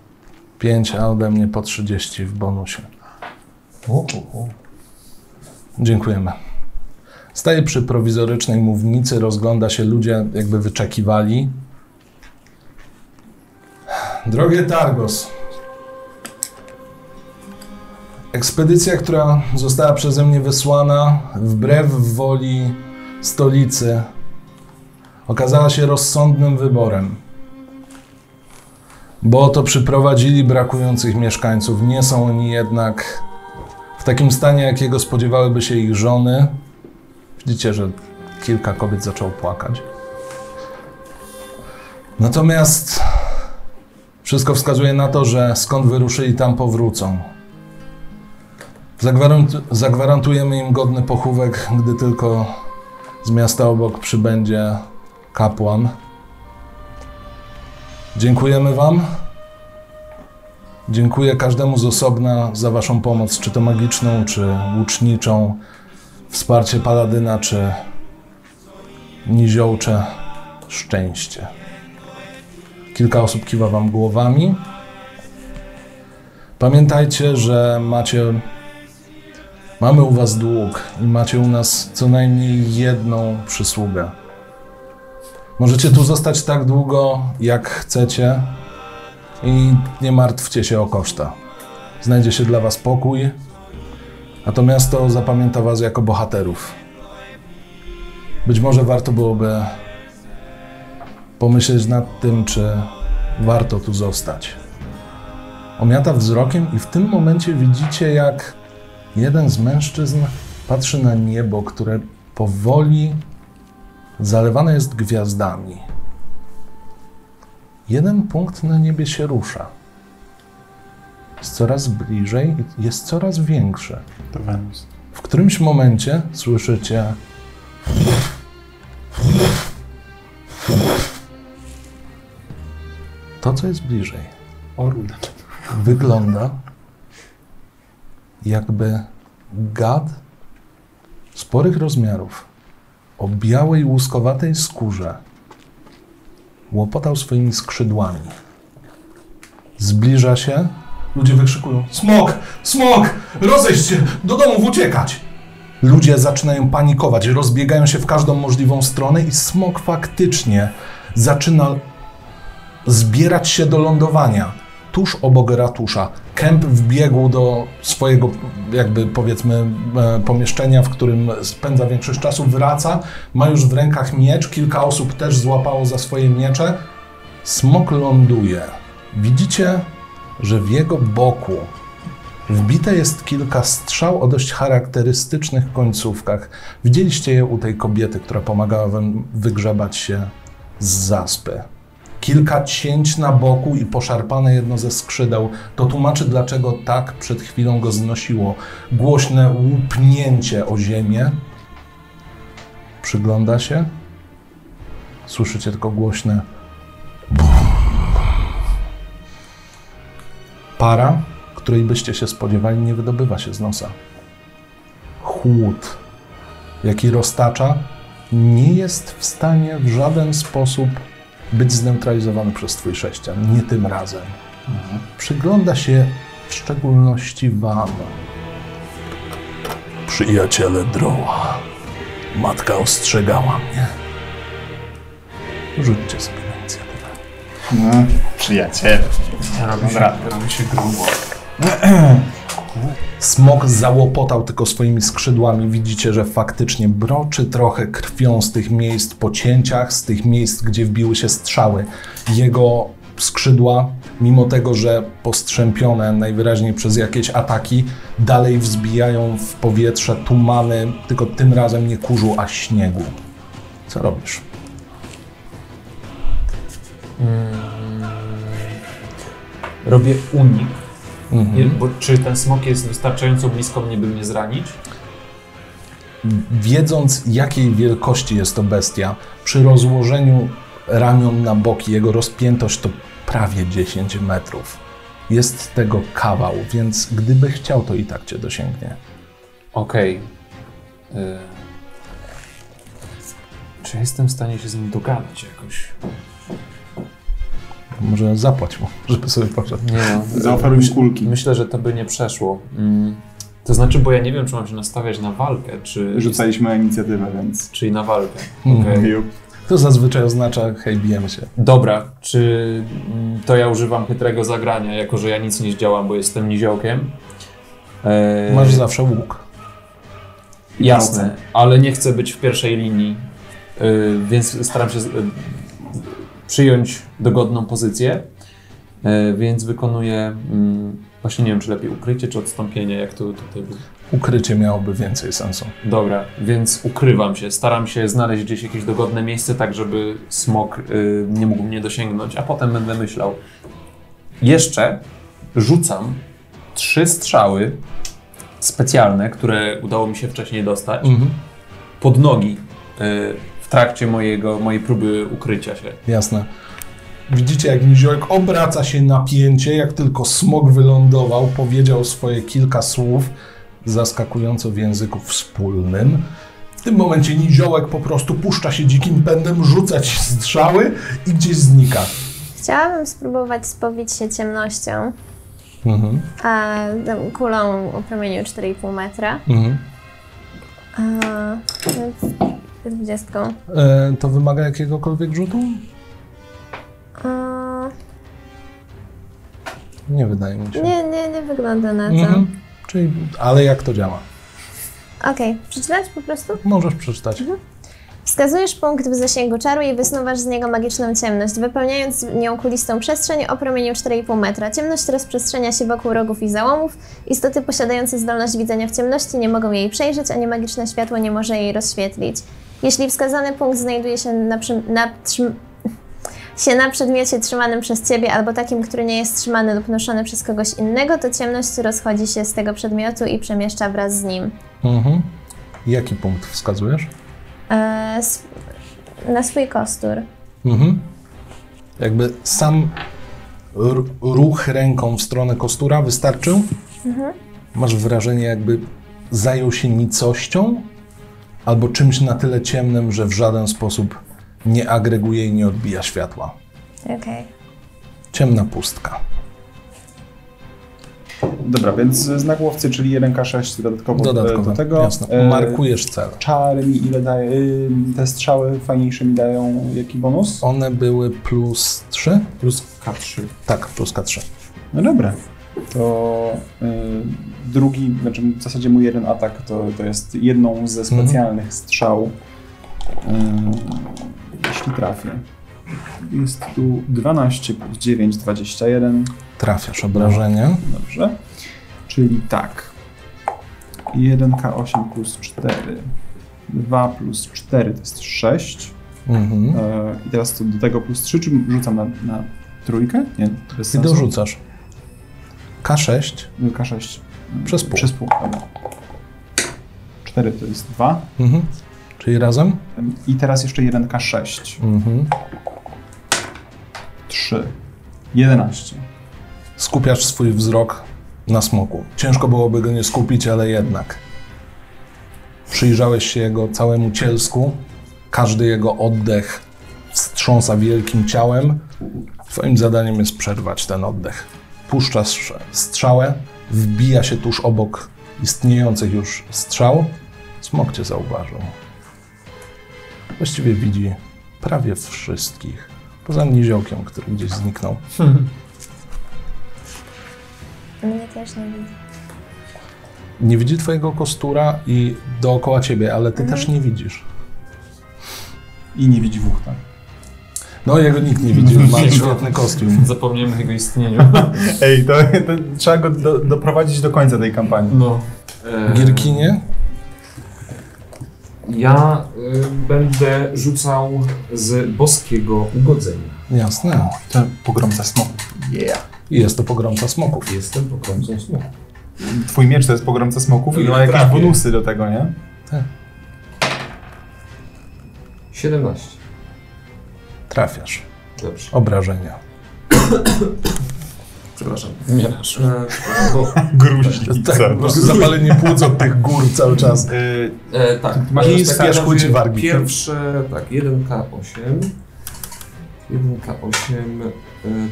5, a ode mnie po 30 w bonusie. Dziękujemy. Staje przy prowizorycznej mównicy, rozgląda się, ludzie jakby wyczekiwali. Drogie Targos. Ekspedycja, która została przeze mnie wysłana wbrew woli stolicy, okazała się rozsądnym wyborem. Bo oto przyprowadzili brakujących mieszkańców. Nie są oni jednak w takim stanie, jakiego spodziewałyby się ich żony. Widzicie, że kilka kobiet zaczęło płakać. Natomiast wszystko wskazuje na to, że skąd wyruszyli, tam powrócą. Zagwarant- zagwarantujemy im godny pochówek, gdy tylko z miasta obok przybędzie kapłan. Dziękujemy Wam. Dziękuję każdemu z osobna za Waszą pomoc, czy to magiczną, czy łuczniczą, wsparcie paladyna, czy niziołcze szczęście. Kilka osób kiwa Wam głowami. Pamiętajcie, że macie. Mamy u Was dług i macie u nas co najmniej jedną przysługę. Możecie tu zostać tak długo, jak chcecie i nie martwcie się o koszta. Znajdzie się dla Was pokój, a to miasto zapamięta Was jako bohaterów. Być może warto byłoby pomyśleć nad tym, czy warto tu zostać. Omiata wzrokiem i w tym momencie widzicie, jak jeden z mężczyzn patrzy na niebo, które powoli Zalewane jest gwiazdami. Jeden punkt na niebie się rusza. Jest coraz bliżej i jest coraz większy.
To Wenus.
W którymś momencie słyszycie. To, co jest bliżej,
Orul.
wygląda jakby gad sporych rozmiarów o białej, łuskowatej skórze łopotał swoimi skrzydłami. Zbliża się. Ludzie wykrzykują: Smok! Smok! Rozejść się! Do domów uciekać! Ludzie zaczynają panikować, rozbiegają się w każdą możliwą stronę i smok faktycznie zaczyna zbierać się do lądowania tuż obok ratusza. Kemp wbiegł do swojego, jakby powiedzmy, e, pomieszczenia, w którym spędza większość czasu, wraca, ma już w rękach miecz, kilka osób też złapało za swoje miecze. Smok ląduje. Widzicie, że w jego boku wbite jest kilka strzał o dość charakterystycznych końcówkach. Widzieliście je u tej kobiety, która pomagała wam wygrzebać się z zaspy kilka cięć na boku i poszarpane jedno ze skrzydeł. To tłumaczy, dlaczego tak przed chwilą go znosiło. Głośne łupnięcie o ziemię. Przygląda się. Słyszycie tylko głośne. bum. Para, której byście się spodziewali, nie wydobywa się z nosa. Chłód, jaki roztacza, nie jest w stanie w żaden sposób być zneutralizowany przez twój sześcian. Nie tym razem. Mhm. Przygląda się w szczególności wam. Przyjaciele Droła. Matka ostrzegała mnie. Rzućcie sobie na inicjatywę.
No, przyjaciele. Robi się, robi się grubo.
Smok załopotał tylko swoimi skrzydłami. Widzicie, że faktycznie broczy trochę krwią z tych miejsc po cięciach, z tych miejsc, gdzie wbiły się strzały. Jego skrzydła, mimo tego, że postrzępione najwyraźniej przez jakieś ataki, dalej wzbijają w powietrze tumany, tylko tym razem nie kurzu, a śniegu. Co robisz?
Mm. Robię unik.
Mhm.
Nie, Bo czy ten smok jest wystarczająco blisko mnie, by mnie zranić?
Wiedząc, jakiej wielkości jest to bestia, przy rozłożeniu ramion na boki, jego rozpiętość to prawie 10 metrów. Jest tego kawał, więc gdyby chciał, to i tak cię dosięgnie.
Okej. Y, Czy jestem w stanie się z nim dogadać jakoś?
Może zapłać mu, żeby sobie poszedł.
Nie no.
Zaoferuj mi kulki.
Myślę, że to by nie przeszło. Mm. To znaczy, bo ja nie wiem, czy mam się nastawiać na walkę, czy,
Rzucaliśmy inicjatywę, więc...
czy na walkę.
Mhm.
Okej.
Jup.
To zazwyczaj oznacza, hej, bijemy się.
Dobra, czy mm, to ja używam chytrego zagrania, jako że ja nic nie zdziałam, bo jestem niziołkiem? E,
Masz zawsze łuk.
Jasne, ale nie chcę być w pierwszej linii, e, więc staram się z- e, przyjąć dogodną pozycję, E, więc wykonuję, mm, właśnie nie wiem, czy lepiej ukrycie, czy odstąpienie, jak to tutaj było.
Ukrycie miałoby więcej sensu.
Dobra, więc ukrywam się. Staram się znaleźć gdzieś jakieś dogodne miejsce, tak żeby smok y, nie mógł mnie dosięgnąć, a potem będę myślał. Jeszcze rzucam trzy strzały specjalne, które udało mi się wcześniej dostać,
Mhm.
pod nogi y, w trakcie mojego, mojej próby ukrycia się.
Jasne. Widzicie, jak niziołek obraca się napięcie, jak tylko smok wylądował, powiedział swoje kilka słów, zaskakująco w języku wspólnym. W tym momencie niziołek po prostu puszcza się dzikim pędem, rzuca ci strzały i gdzieś znika.
Chciałabym spróbować spowić się ciemnością,
Mhm,
a tą kulą o promieniu 4,5 metra.
mhm.
A, więc 20.
E, to wymaga jakiegokolwiek rzutu?
A,
Nie wydaje mi się.
nie, nie, nie wygląda na to.
Mhm. Czyli, ale jak to działa?
Okej, przeczytać po prostu?
Możesz przeczytać.
Wskazujesz punkt w zasięgu czaru i wysnuwasz z niego magiczną ciemność, wypełniając nią kulistą przestrzeń o promieniu 4,5 metra. Ciemność rozprzestrzenia się wokół rogów i załomów. Istoty posiadające zdolność widzenia w ciemności nie mogą jej przejrzeć, ani magiczne światło nie może jej rozświetlić. Jeśli wskazany punkt znajduje się na, przy, na, trzym, się na przedmiocie trzymanym przez ciebie albo takim, który nie jest trzymany lub noszony przez kogoś innego, to ciemność rozchodzi się z tego przedmiotu i przemieszcza wraz z nim.
Mhm. Jaki punkt wskazujesz?
E, s- na swój kostur.
Mhm. Jakby sam r- ruch ręką w stronę kostura wystarczył? Masz wrażenie, jakby zajął się nicością albo czymś na tyle ciemnym, że w żaden sposób nie agreguje i nie odbija światła.
Okej.
Ciemna pustka.
Dobra, więc znak łowcy, czyli ręka 6 dodatkowo,
Dodatkowo.
do tego.
Jasne.
E,
Markujesz cel.
Czary mi ile daje, y, te strzały fajniejsze mi dają jaki bonus?
One były plus 3?
Plus K3.
Tak, plus K3.
No dobra. To y, drugi, znaczy w zasadzie mój jeden atak to, to jest jedną ze specjalnych strzał. Y, jeśli trafię. Jest tu 12 plus 9, 21.
Trafiasz obrażenie.
Dobrze. Czyli tak. 1K8 plus 4. 2 plus 4 to jest 6.
Mhm.
E, I teraz to do tego plus 3, czy rzucam na, na trójkę? Nie, bez
I
sensu.
dorzucasz. K6
K6.
przez pół.
Przez pół. Dobra. 4 to jest 2.
Mhm. Czyli razem?
I teraz jeszcze 1K6.
Mhm.
3. 11.
Skupiasz swój wzrok na smoku. Ciężko byłoby go nie skupić, ale jednak. Przyjrzałeś się jego całemu cielsku. Każdy jego oddech wstrząsa wielkim ciałem. Twoim zadaniem jest przerwać ten oddech. Puszczasz strzałę, wbija się tuż obok istniejących już strzał. Smok cię zauważył. Właściwie widzi prawie wszystkich. Poza niziołkiem, który gdzieś zniknął.
Mnie też nie widzi.
Nie widzi twojego kostura i dookoła ciebie, ale ty też nie widzisz.
I nie tak. widzi Wuchta.
No jego nikt nie widzi, ma świetny kostium.
Zapomniałem o jego istnieniu.
Ej, to, to trzeba go do, doprowadzić do końca tej kampanii.
No. E,
Gierkinie?
Ja y, będę rzucał z boskiego ugodzenia.
Jasne.
Ten pogromca smoku. Yeah.
I jest to pogromca smoków.
Jestem pogromcą smoku.
Twój miecz to jest pogromca smoków i
Ja
ma jakieś
trafię.
No, bonusy do tego, nie?
17.
Trafiasz.
Dobrze.
Obrażenia.
Przepraszam. Umierasz. E, bo,
Gruźlica.
Tak, po prostu zapalenie płuc od tych gór cały czas.
Y,
e, tak.
masz
E,
listę,
tak,
aż chuj ci wargi.
Pierwsze, tak, 1K8. 1K8 e,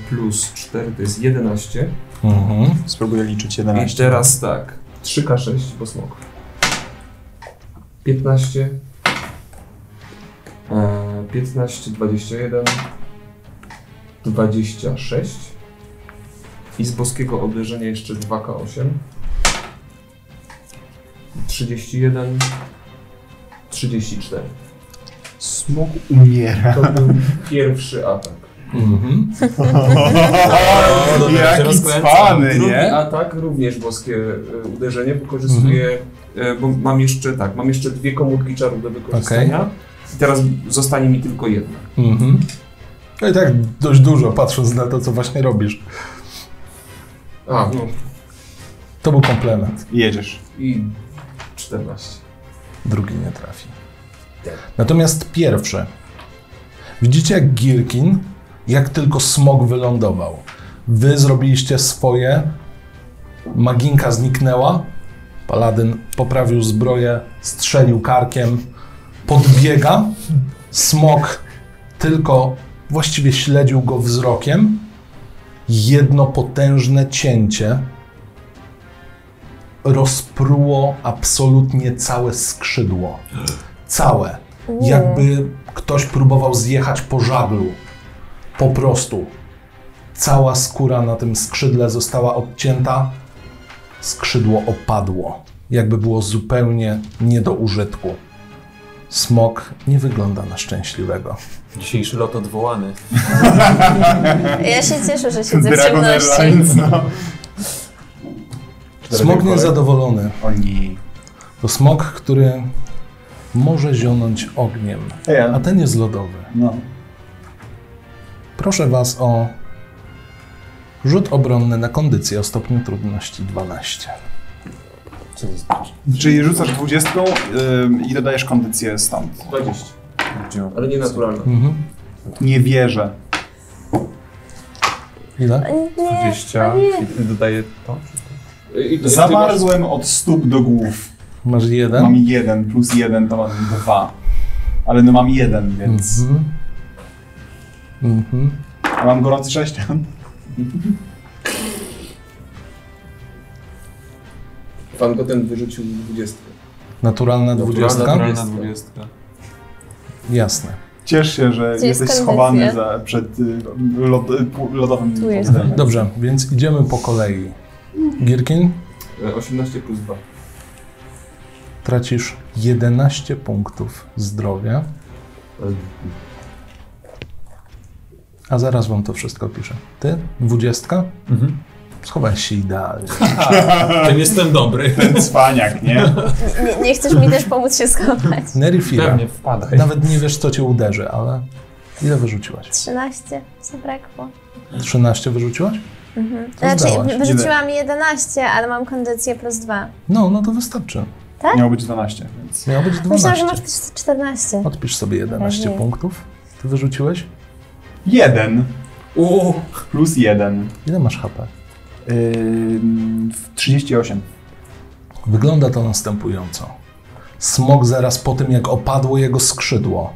plus 4 to jest 11.
Mhm.
Spróbuję liczyć
I
11.
teraz tak. 3K6, bo smok. 15. E, 15, 21. 26. I z boskiego uderzenia jeszcze 2K8. 31. 34.
Smok umiera.
To był pierwszy atak.
Mhm.
Dobra, się
Jaki
rozkręcam.
cwany,
Drugi
nie?
atak, również boskie e, uderzenie, wykorzystuję,
Mhm.
e, bo mam jeszcze, tak, mam jeszcze dwie komórki czaru do wykorzystania. I teraz zostanie mi tylko jedna.
Mhm. No i tak dość dużo, patrząc na to, co właśnie robisz.
A, no
To był komplement.
Jedziesz.
i 14.
Drugi nie trafi. Natomiast pierwszy. Widzicie jak Gierkin, jak tylko smog wylądował. Wy zrobiliście swoje, maginka zniknęła, paladyn poprawił zbroję, strzelił karkiem, podbiega, smog tylko właściwie śledził go wzrokiem. Jedno potężne cięcie rozpruło absolutnie całe skrzydło. Całe. Jakby ktoś próbował zjechać po żaglu. Po prostu. Cała skóra na tym skrzydle została odcięta. Skrzydło opadło. Jakby było zupełnie nie do użytku. Smok nie wygląda na szczęśliwego.
Dzisiejszy lot odwołany.
Ja się cieszę, że siedzę w ciemności.
no.
Smok niezadowolony.
O nie.
To smok, który może zionąć ogniem,
Ej,
a
a,
ten jest lodowy.
no.
Proszę Was o rzut obronny na kondycję o stopniu trudności 12.
Czyli rzucasz 20 y, i dodajesz kondycję stąd.
20. Ale nie naturalne.
Mhm.
Nie wierzę.
Ile?
Nie,
20
o nie.
i ty dodaję to?
E, I ty- ty masz-
Zamarzłem od stóp do głów.
Masz
Mam
jeden?
jeden plus jeden to mam dwa. Ale no mam jeden, więc...
Mhm. Mhm.
A mam gorący sześcian.
Pan go ten wyrzucił 20.
Naturalna dwudziestka?
Naturalna 20.
Jasne.
Ciesz się, że
Gdzie jest
jesteś
kondycja?
schowany za, przed y, lod, y, pu- lodowym
Tu jest.
poddaniem.
Dobrze, więc idziemy po kolei. Gierkin,
E, 18 plus 2.
tracisz 11 punktów zdrowia, a zaraz wam to wszystko piszę. Ty, dwudziestka?
Mhm.
Schowałeś się idealnie.
Ten jestem dobry.
Ten cwaniak, nie?
Nie, nie chcesz mi też pomóc się schować.
Nerifira.
Pewnie wpadaj.
Nawet nie wiesz, co cię uderzy, ale... Ile wyrzuciłaś?
13 zabrakło.
13 wyrzuciłaś?
Mhm.
To
Znaczy,
zdałaś.
wyrzuciłam 11, ale mam kondycję plus 2.
No, no to wystarczy.
Miało być 12, więc...
Miało być
Myślałam,
12.
że masz plus 14.
Odpisz sobie 11
Pewnie.
punktów. Ty wyrzuciłeś?
Jeden
Uuu.
plus jeden.
Ile masz HP?
Ym, w 38.
Wygląda to następująco. Smok zaraz po tym, jak opadło jego skrzydło,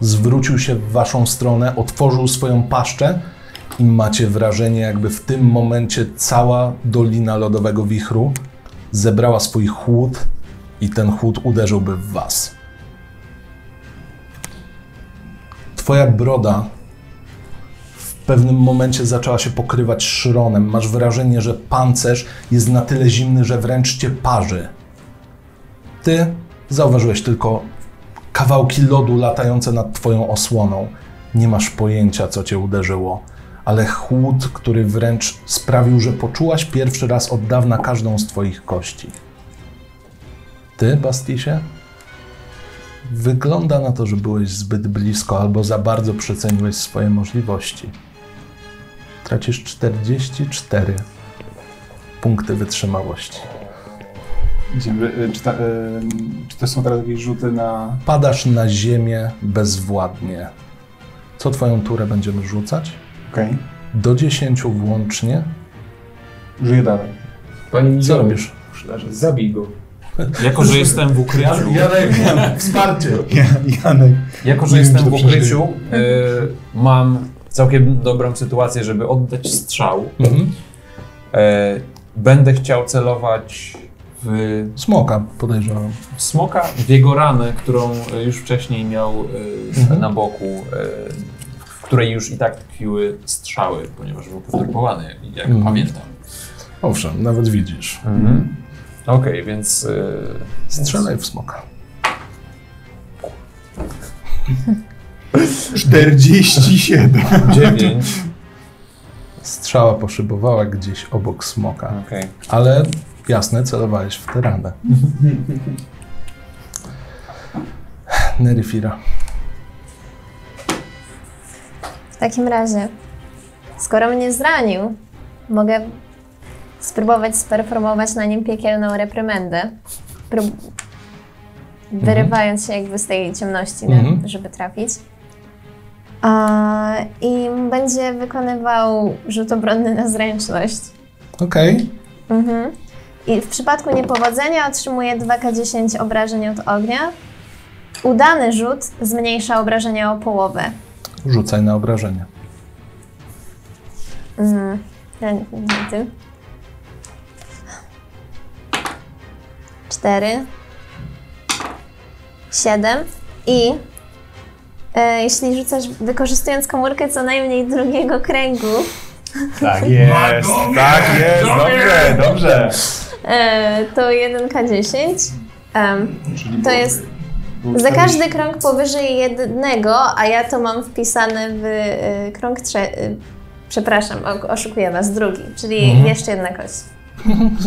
zwrócił się w waszą stronę, otworzył swoją paszczę i macie wrażenie, jakby w tym momencie cała dolina lodowego wichru zebrała swój chłód i ten chłód uderzyłby w was. Twoja broda w pewnym momencie zaczęła się pokrywać szronem. Masz wrażenie, że pancerz jest na tyle zimny, że wręcz cię parzy. Ty zauważyłeś tylko kawałki lodu latające nad twoją osłoną. Nie masz pojęcia, co cię uderzyło, ale chłód, który wręcz sprawił, że poczułaś pierwszy raz od dawna każdą z twoich kości. Ty, Bastisie? Wygląda na to, że byłeś zbyt blisko albo za bardzo przeceniłeś swoje możliwości. Tracisz 44 punkty wytrzymałości.
Idziemy, y, Czy, ta, y, czy to są teraz jakieś rzuty na...
Padasz na ziemię bezwładnie. Co twoją turę będziemy rzucać?
Okej.
Do 10 włącznie.
Żyję dalej.
Pani nie
Co robisz?
Zabij go.
Jako, że jestem w ukryciu.
Wsparcie!
Janek.
Jako, że
Nie wiem,
jestem
czy
w
to przeżyję.
ukryciu, y, mam całkiem dobrą sytuację, żeby oddać strzał.
Mhm.
E, będę chciał celować w
Smoka podejrzewam.
smoka, w jego ranę, którą e, już wcześniej miał e,
Mhm.
na boku, e, w której już i tak tkwiły strzały, ponieważ był poturbowany, jak
Mhm.
pamiętam.
Owszem, nawet widzisz.
Okej, więc e,
Strzelaj w smoka.
47.
dziewięć.
Strzała poszybowała gdzieś obok smoka.
Okej.
Ale jasne, celowałeś w tę ranę. Neryfira.
W takim razie, skoro mnie zranił, mogę spróbować sperformować na nim piekielną reprymendę. Prób- Wyrywając się jakby z tej ciemności, na-
Mhm.
żeby trafić. A, I będzie wykonywał rzut obronny na zręczność.
Okej.
Mhm. I w przypadku niepowodzenia otrzymuje 2K10 obrażeń od ognia. Udany rzut zmniejsza obrażenia o połowę.
Rzucaj na obrażenie.
Mm. Ja nie wiem, ty. Cztery. Siedem. I e, jeśli rzucasz wykorzystując komórkę co najmniej drugiego kręgu,
Tak jest, tak jest, dobrze, dobrze.
e, to 1K10. Em,
Czyli
to
było-
jest
było
za
40.
każdy krąg powyżej jednego, a ja to mam wpisane w y, krąg trze... Y, przepraszam, o- oszukuję was, drugi, czyli
Mhm.
jeszcze jedna kość.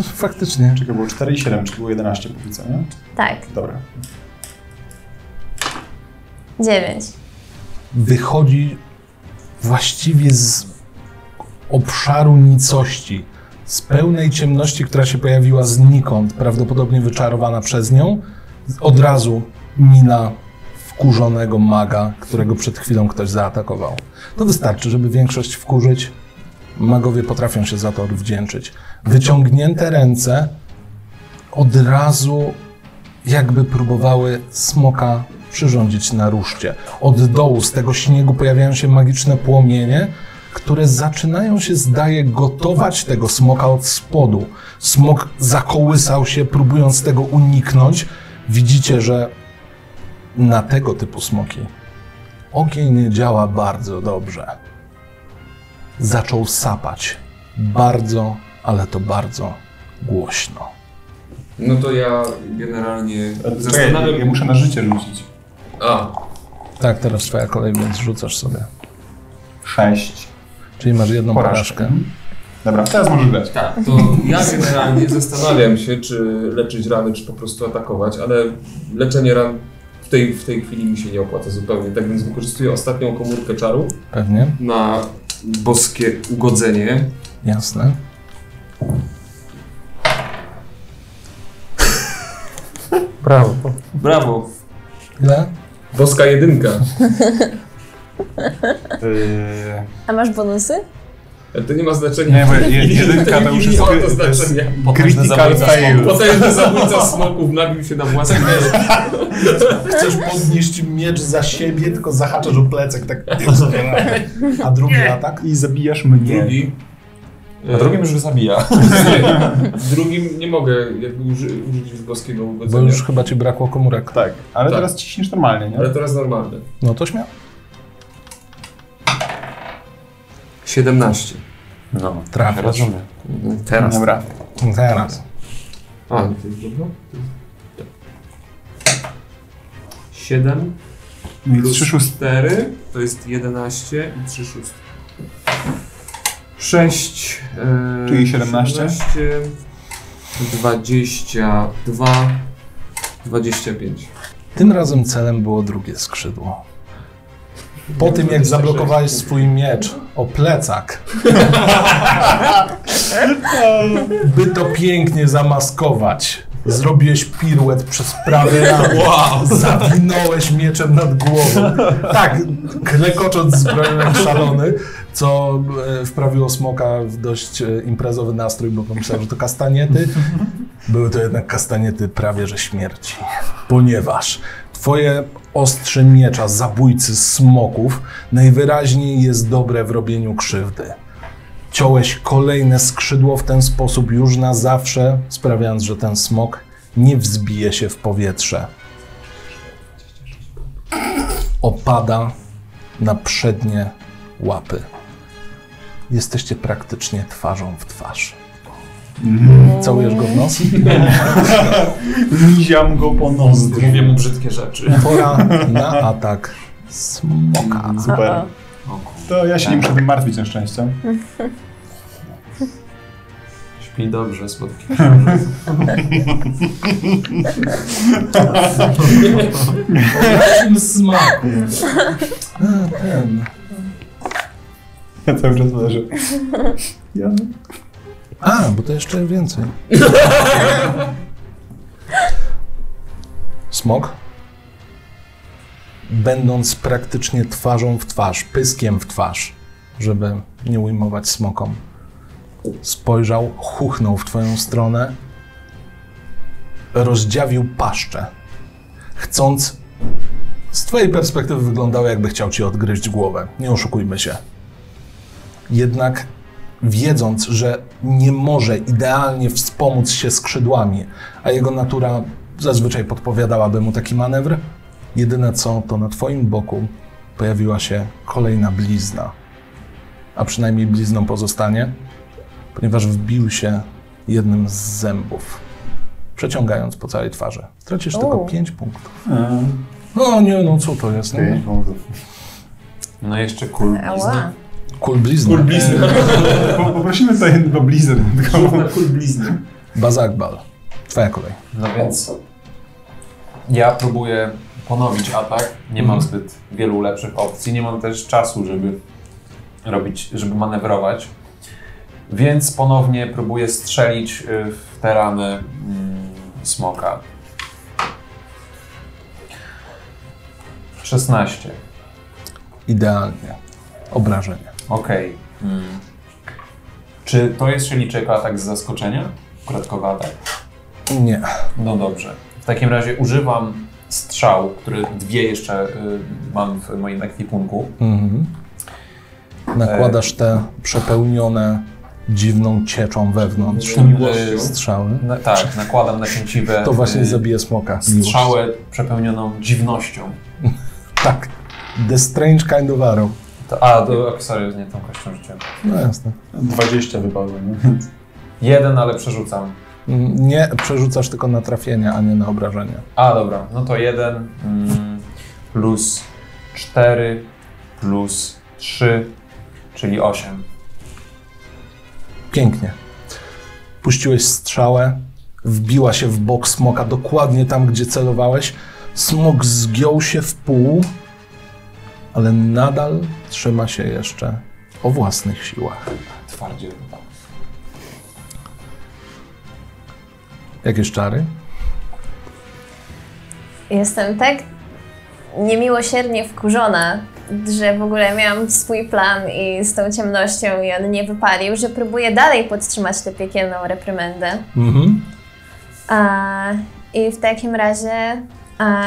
Faktycznie.
Czekaj, było 4 i 7, czyli było 11 póki co, nie?
Tak.
Dobra.
Dziewięć.
wychodzi właściwie z obszaru nicości, z pełnej ciemności, która się pojawiła znikąd, prawdopodobnie wyczarowana przez nią, od razu mina wkurzonego maga, którego przed chwilą ktoś zaatakował. To wystarczy, żeby większość wkurzyć. Magowie potrafią się za to odwdzięczyć. Wyciągnięte ręce od razu jakby próbowały smoka przyrządzić na ruszcie. Od dołu z tego śniegu pojawiają się magiczne płomienie, które zaczynają się, zdaje, gotować tego smoka od spodu. Smok zakołysał się, próbując tego uniknąć. Widzicie, że na tego typu smoki ogień nie działa bardzo dobrze. Zaczął sapać bardzo, ale to bardzo głośno.
No to ja generalnie
Czekaj, ja,
zastanawiam...
muszę na życie rzucić.
A,
Tak, teraz twoja kolej, więc rzucasz sobie.
Sześć.
Czyli masz jedną
Porażkę.
porażkę.
Dobra, teraz możesz grać.
tak, to ja generalnie zastanawiam się, czy leczyć rany, czy po prostu atakować, ale leczenie ran w tej, w tej chwili mi się nie opłaca zupełnie, tak więc wykorzystuję ostatnią komórkę czaru
Pewnie,
na boskie ugodzenie.
jasne.
Brawo.
Brawo!
Ile?
Boska jedynka.
Yy,
A masz bonusy?
Ale to nie ma znaczenia.
nie, bo je- jedynka to już
Nie
jest,
ma
to
to znaczy,
jest, to jest
znaczenia.
critical fail.
Potężny zabójca smoków nabił się na własne
Tak
Chcesz podnieść miecz za siebie, tylko zahaczasz o plecak tak.
A drugi atak?
I zabijasz mnie.
Drugi.
A drugim już zabija.
Nie, w drugim nie mogę jakby uży, użyć już boskiego
Bo
ugodzenia.
już chyba ci brakło komórek.
Tak, ale
Tak.
teraz ciśniesz normalnie, nie?
Ale teraz normalne.
No to śmiało.
17.
No,
Trafiasz.
rozumiem.
Teraz.
Dobra.
Teraz.
A, to jest dobro? 7
Więc
plus
trzy szóstki.
4 to jest 11 i 3 szóstki. 6. E,
Czyli 17.
17 22 25.
Tym razem celem było drugie skrzydło. Po tym jak zablokowałeś swój miecz o plecak, by to pięknie zamaskować, zrobiłeś piruet przez prawy ramię, zawinąłeś mieczem nad głową. Tak, klekocząc zbrojem szalony, co e, wprawiło smoka w dość e, imprezowy nastrój, bo pomyślał, że to kastaniety. Były to jednak kastaniety prawie że śmierci ponieważ twoje ostrze miecza zabójcy smoków najwyraźniej jest dobre w robieniu krzywdy. Ciąłeś kolejne skrzydło w ten sposób już na zawsze, sprawiając, że ten smok nie wzbije się w powietrze. Opada na przednie łapy. Jesteście praktycznie twarzą w twarz. Całujesz go w nos?
Niziam go po nozdrzu.
Mówię mu brzydkie rzeczy.
Pora na atak smoka.
Super. To ja się nie muszę tym martwić na szczęście.
Śpi dobrze, słodki.
Jakim smaku? A, ten.
Ja cały czas leżę. Ja...
A, bo to jeszcze więcej. Smok? Będąc praktycznie twarzą w twarz, pyskiem w twarz, żeby nie ujmować smokom, spojrzał, chuchnął w twoją stronę, rozdziawił paszczę, chcąc. Z twojej perspektywy wyglądało, jakby chciał ci odgryźć głowę. Nie oszukujmy się. Jednak wiedząc, że nie może idealnie wspomóc się skrzydłami, a jego natura zazwyczaj podpowiadałaby mu taki manewr, jedyne co to na twoim boku pojawiła się kolejna blizna. A przynajmniej blizną pozostanie, ponieważ wbił się jednym z zębów, przeciągając po całej twarzy. Tracisz tylko
O.
5 punktów. No nie, no co to jest? No,
No jeszcze kul.
Ała.
kul blizny.
Po- Poprosimy tutaj jednego blizer.
Kul blizny.
Bazagbal. Twoja kolej.
No więc ja próbuję ponowić atak. Nie mam zbyt wielu lepszych opcji. Nie mam też czasu, żeby robić, żeby manewrować. Więc ponownie próbuję strzelić y, w te rany mm, smoka. 16.
Idealnie. Obrażenie.
Okej. Mm. Czy to jest szeliczek atak z zaskoczenia? Kratkowy atak.
Nie.
No dobrze. W takim razie używam strzał, który dwie jeszcze y, mam w moim ekwipunku.
Mhm. Nakładasz te przepełnione dziwną cieczą wewnątrz
Tym, y,
strzały.
na, tak, nakładam na cięciwe
To właśnie
y,
zabije smoka.
strzałę przepełnioną dziwnością.
Tak. The Strange Kind of Arrow.
To, a, do, o, sorry, nie tą kością rzuciłem.
No jasne.
20 wypadło, nie?
Jeden, ale przerzucam.
Mm, Nie, przerzucasz tylko na trafienie, a nie na obrażenie.
A, dobra, no to jeden mm, plus 4 plus 3, czyli 8.
Pięknie. Puściłeś strzałę, wbiła się w bok smoka, dokładnie tam, gdzie celowałeś. Smok zgiął się w pół, ale nadal trzyma się jeszcze o własnych siłach.
Twardziej chyba.
Jakieś czary?
Jestem tak niemiłosiernie wkurzona, że w ogóle miałam swój plan i z tą ciemnością i on nie wypalił, że próbuję dalej podtrzymać tę piekielną reprymendę.
Mhm.
A, I w takim razie a,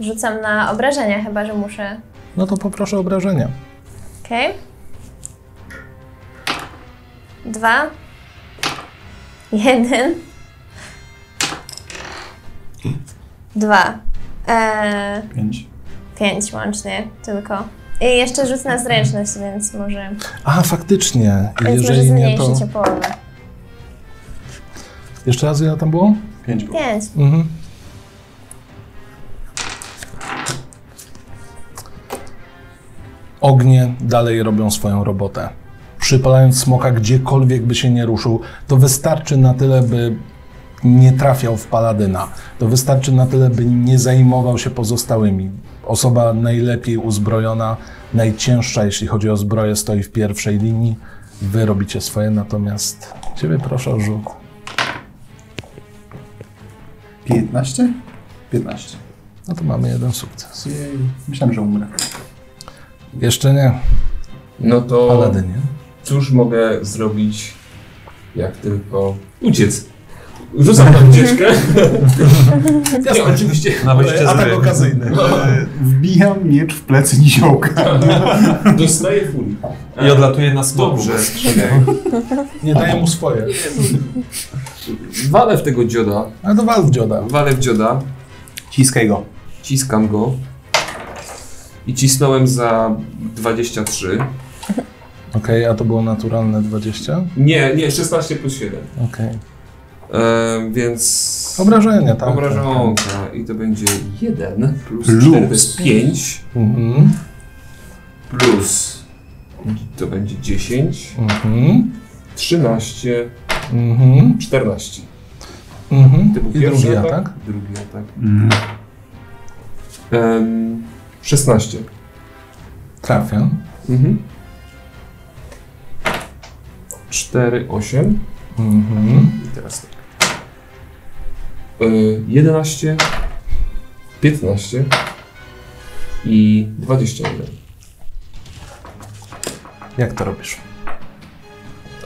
rzucam na obrażenia, chyba że muszę.
No to poproszę obrażenia.
Okej. Dwa. Jeden. Dwa. Eee,
5.
Pięć łącznie tylko. I jeszcze rzut na zręczność, więc może,
A, faktycznie.
więc może
Jeżeli nie,
zmniejszy
to...
się połowę.
Jeszcze raz ile tam było?
5 było.
Pięć.
Mhm. Ognie dalej robią swoją robotę. Przypalając smoka gdziekolwiek by się nie ruszył, to wystarczy na tyle, by nie trafiał w paladyna. To wystarczy na tyle, by nie zajmował się pozostałymi. Osoba najlepiej uzbrojona, najcięższa, jeśli chodzi o zbroję, stoi w pierwszej linii. Wy robicie swoje, natomiast ciebie proszę o rzut.
15? 15.
No to mamy jeden sukces.
Jej. Myślałem, że umrę.
Jeszcze nie.
No to
Paladynie.
cóż mogę zrobić, jak tylko uciec. Rzucam tam ucieczkę. Nie, oczywiście.
Na wyjście z gry.
okazyjny.
E, Wbijam miecz w plecy niziołka.
Dostaję furii.
I
Tak.
odlatuje na smoku.
Dobrze.
bez skrzydeł.
Nie daję mu swoje.
Walę w tego dzioda.
A to wal w dzioda.
Walę w dzioda.
Ciskaj go.
Ciskam go. I cisnąłem za 23.
Okej, a to było naturalne 20?
Nie, nie, 16 plus 7.
Okej.
E, więc.
Obrażenia, tak.
Obrażonka. I to będzie 1 plus,
Plus.
4 to jest 5.
Mhm.
Plus. To będzie 10.
Mhm.
13.
Mhm.
14.
Mhm.
To był
I
pierwszy tak?
drugi
atak.
atak.
Drugi atak.
Mm.
Em, 16.
Trafia.
Mhm. 4, 8.
Mhm.
I teraz tak. Y, 11, 15 i 21.
Jak to robisz?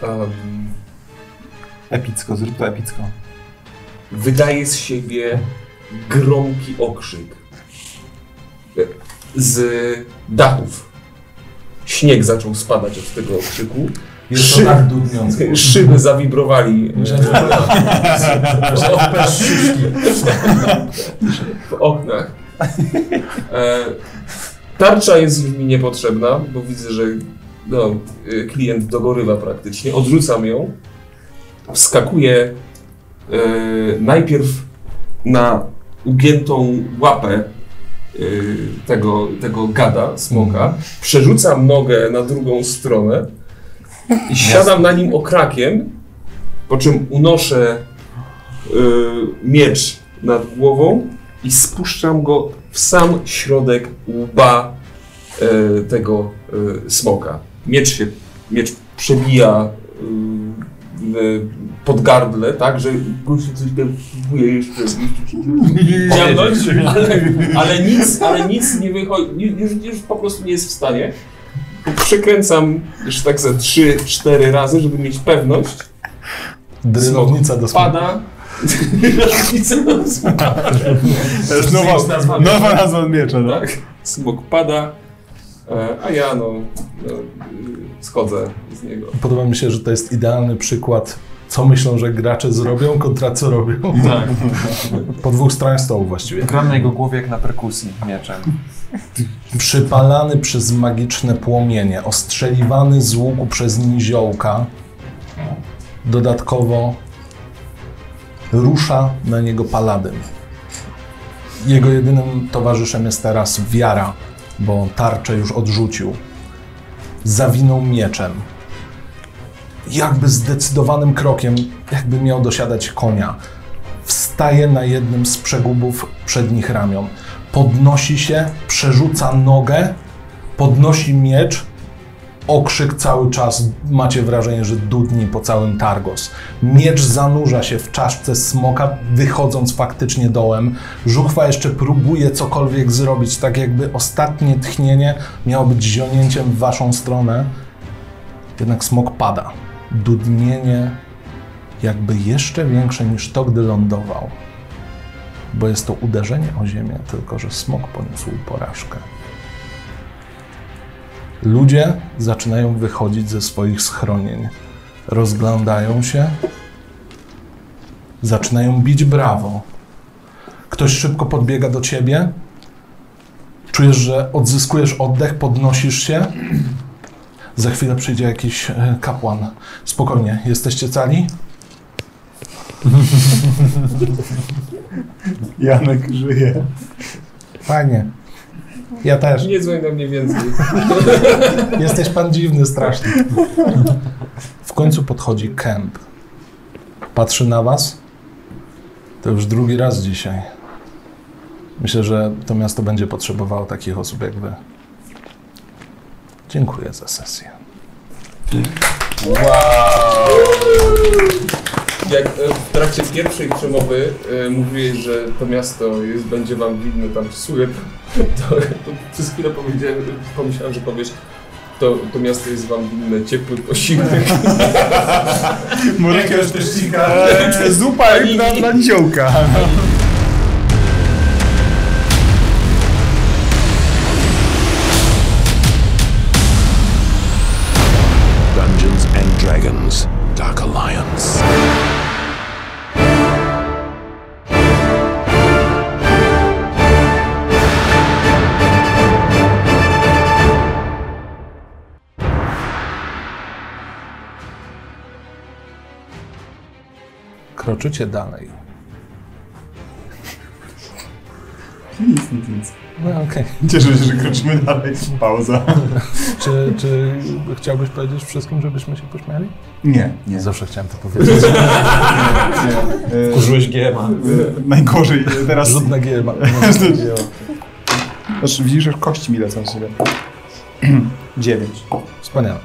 Um,
Epicko, zrób to epicko.
wydaje z siebie gromki okrzyk. Y, Z dachów. Śnieg zaczął spadać od tego okrzyku.
Jest
Szy-
to tak dudniące.
Szyby zawibrowali. w oknach. E, tarcza jest już mi niepotrzebna, bo widzę, że no, y, klient dogorywa praktycznie. Odrzucam ją. Wskakuję e, najpierw na ugiętą łapę y, tego, tego gada, smoka. Przerzucam nogę na drugą stronę i siadam na nim okrakiem, po czym unoszę y, miecz nad głową i i spuszczam go w sam środek łba e, tego e, smoka. Miecz się, miecz przebija e, w podgardle, tak, że gościu coś tam próbuje jeszcze ciągnąć, ale, ale nic, ale nic nie wychodzi, już, już po prostu nie jest w stanie. Przekręcam już tak ze 3-4 razy, żeby mieć pewność.
Drynownica do smoka.
Pada. Drynownica.
To jest nowa, nowa nazwa miecza, no.
Tak. Smok pada, e, a ja no, no y, schodzę z niego.
Podoba mi się, że to jest idealny przykład, co myślą, że gracze zrobią, kontra co robią.
Tak.
Po dwóch stronach stołu właściwie.
Gram na jego głowie jak na perkusji mieczem.
Przypalany przez magiczne płomienie, ostrzeliwany z łuku przez niziołka, dodatkowo rusza na niego paladyn. Jego jedynym towarzyszem jest teraz wiara, bo tarczę już odrzucił. Zawinął mieczem. Jakby zdecydowanym krokiem, jakby miał dosiadać konia. Wstaje na jednym z przegubów przednich ramion. Podnosi się, przerzuca nogę, podnosi miecz. Okrzyk cały czas, macie wrażenie, że dudni po całym Targos. Miecz zanurza się w czaszce smoka, wychodząc faktycznie dołem. Żuchwa jeszcze próbuje cokolwiek zrobić, tak jakby ostatnie tchnienie miało być zionięciem w waszą stronę. Jednak smok pada. Dudnienie jakby jeszcze większe niż to, gdy lądował. Bo jest to uderzenie o ziemię, tylko że smok poniósł porażkę. Ludzie zaczynają wychodzić ze swoich schronień. Rozglądają się. Zaczynają bić brawo. Ktoś szybko podbiega do ciebie. Czujesz, że odzyskujesz oddech, podnosisz się. Za chwilę przyjdzie jakiś e, kapłan. Spokojnie, jesteście cali?
Janek żyje.
Fajnie. Ja też.
Nie dzwoń do mnie więcej.
Jesteś pan dziwny, straszny. W końcu podchodzi Kemp. Patrzy na was. To już drugi raz dzisiaj. Myślę, że to miasto będzie potrzebowało takich osób jak wy. Dziękuję za sesję.
Jak e, w trakcie pierwszej przemowy e, mówiłeś, że to miasto jest, będzie wam winne tam przysługę, to, to przez chwilę powiedziałem, pomyślałem, że powiesz, to, to miasto jest wam winne ciepły posiłek.
Murek już też cika. Zupa jak E, na, na niziołka.
Dungeons and Dragons Dark Alliance.
Kroczycie dalej.
Nic, nic, nic.
No okej.
Cieszę się, że kroczymy dalej. Pauza.
Czy, czy chciałbyś powiedzieć wszystkim, żebyśmy się pośmiali?
Nie, nie.
Zawsze chciałem to powiedzieć.
E,
Użyłeś GMA.
e, najgorzej teraz.
Rzut na GM.
Znaczy, widzisz, że kości mi lecą z siebie. Dziewięć.
Wspaniale.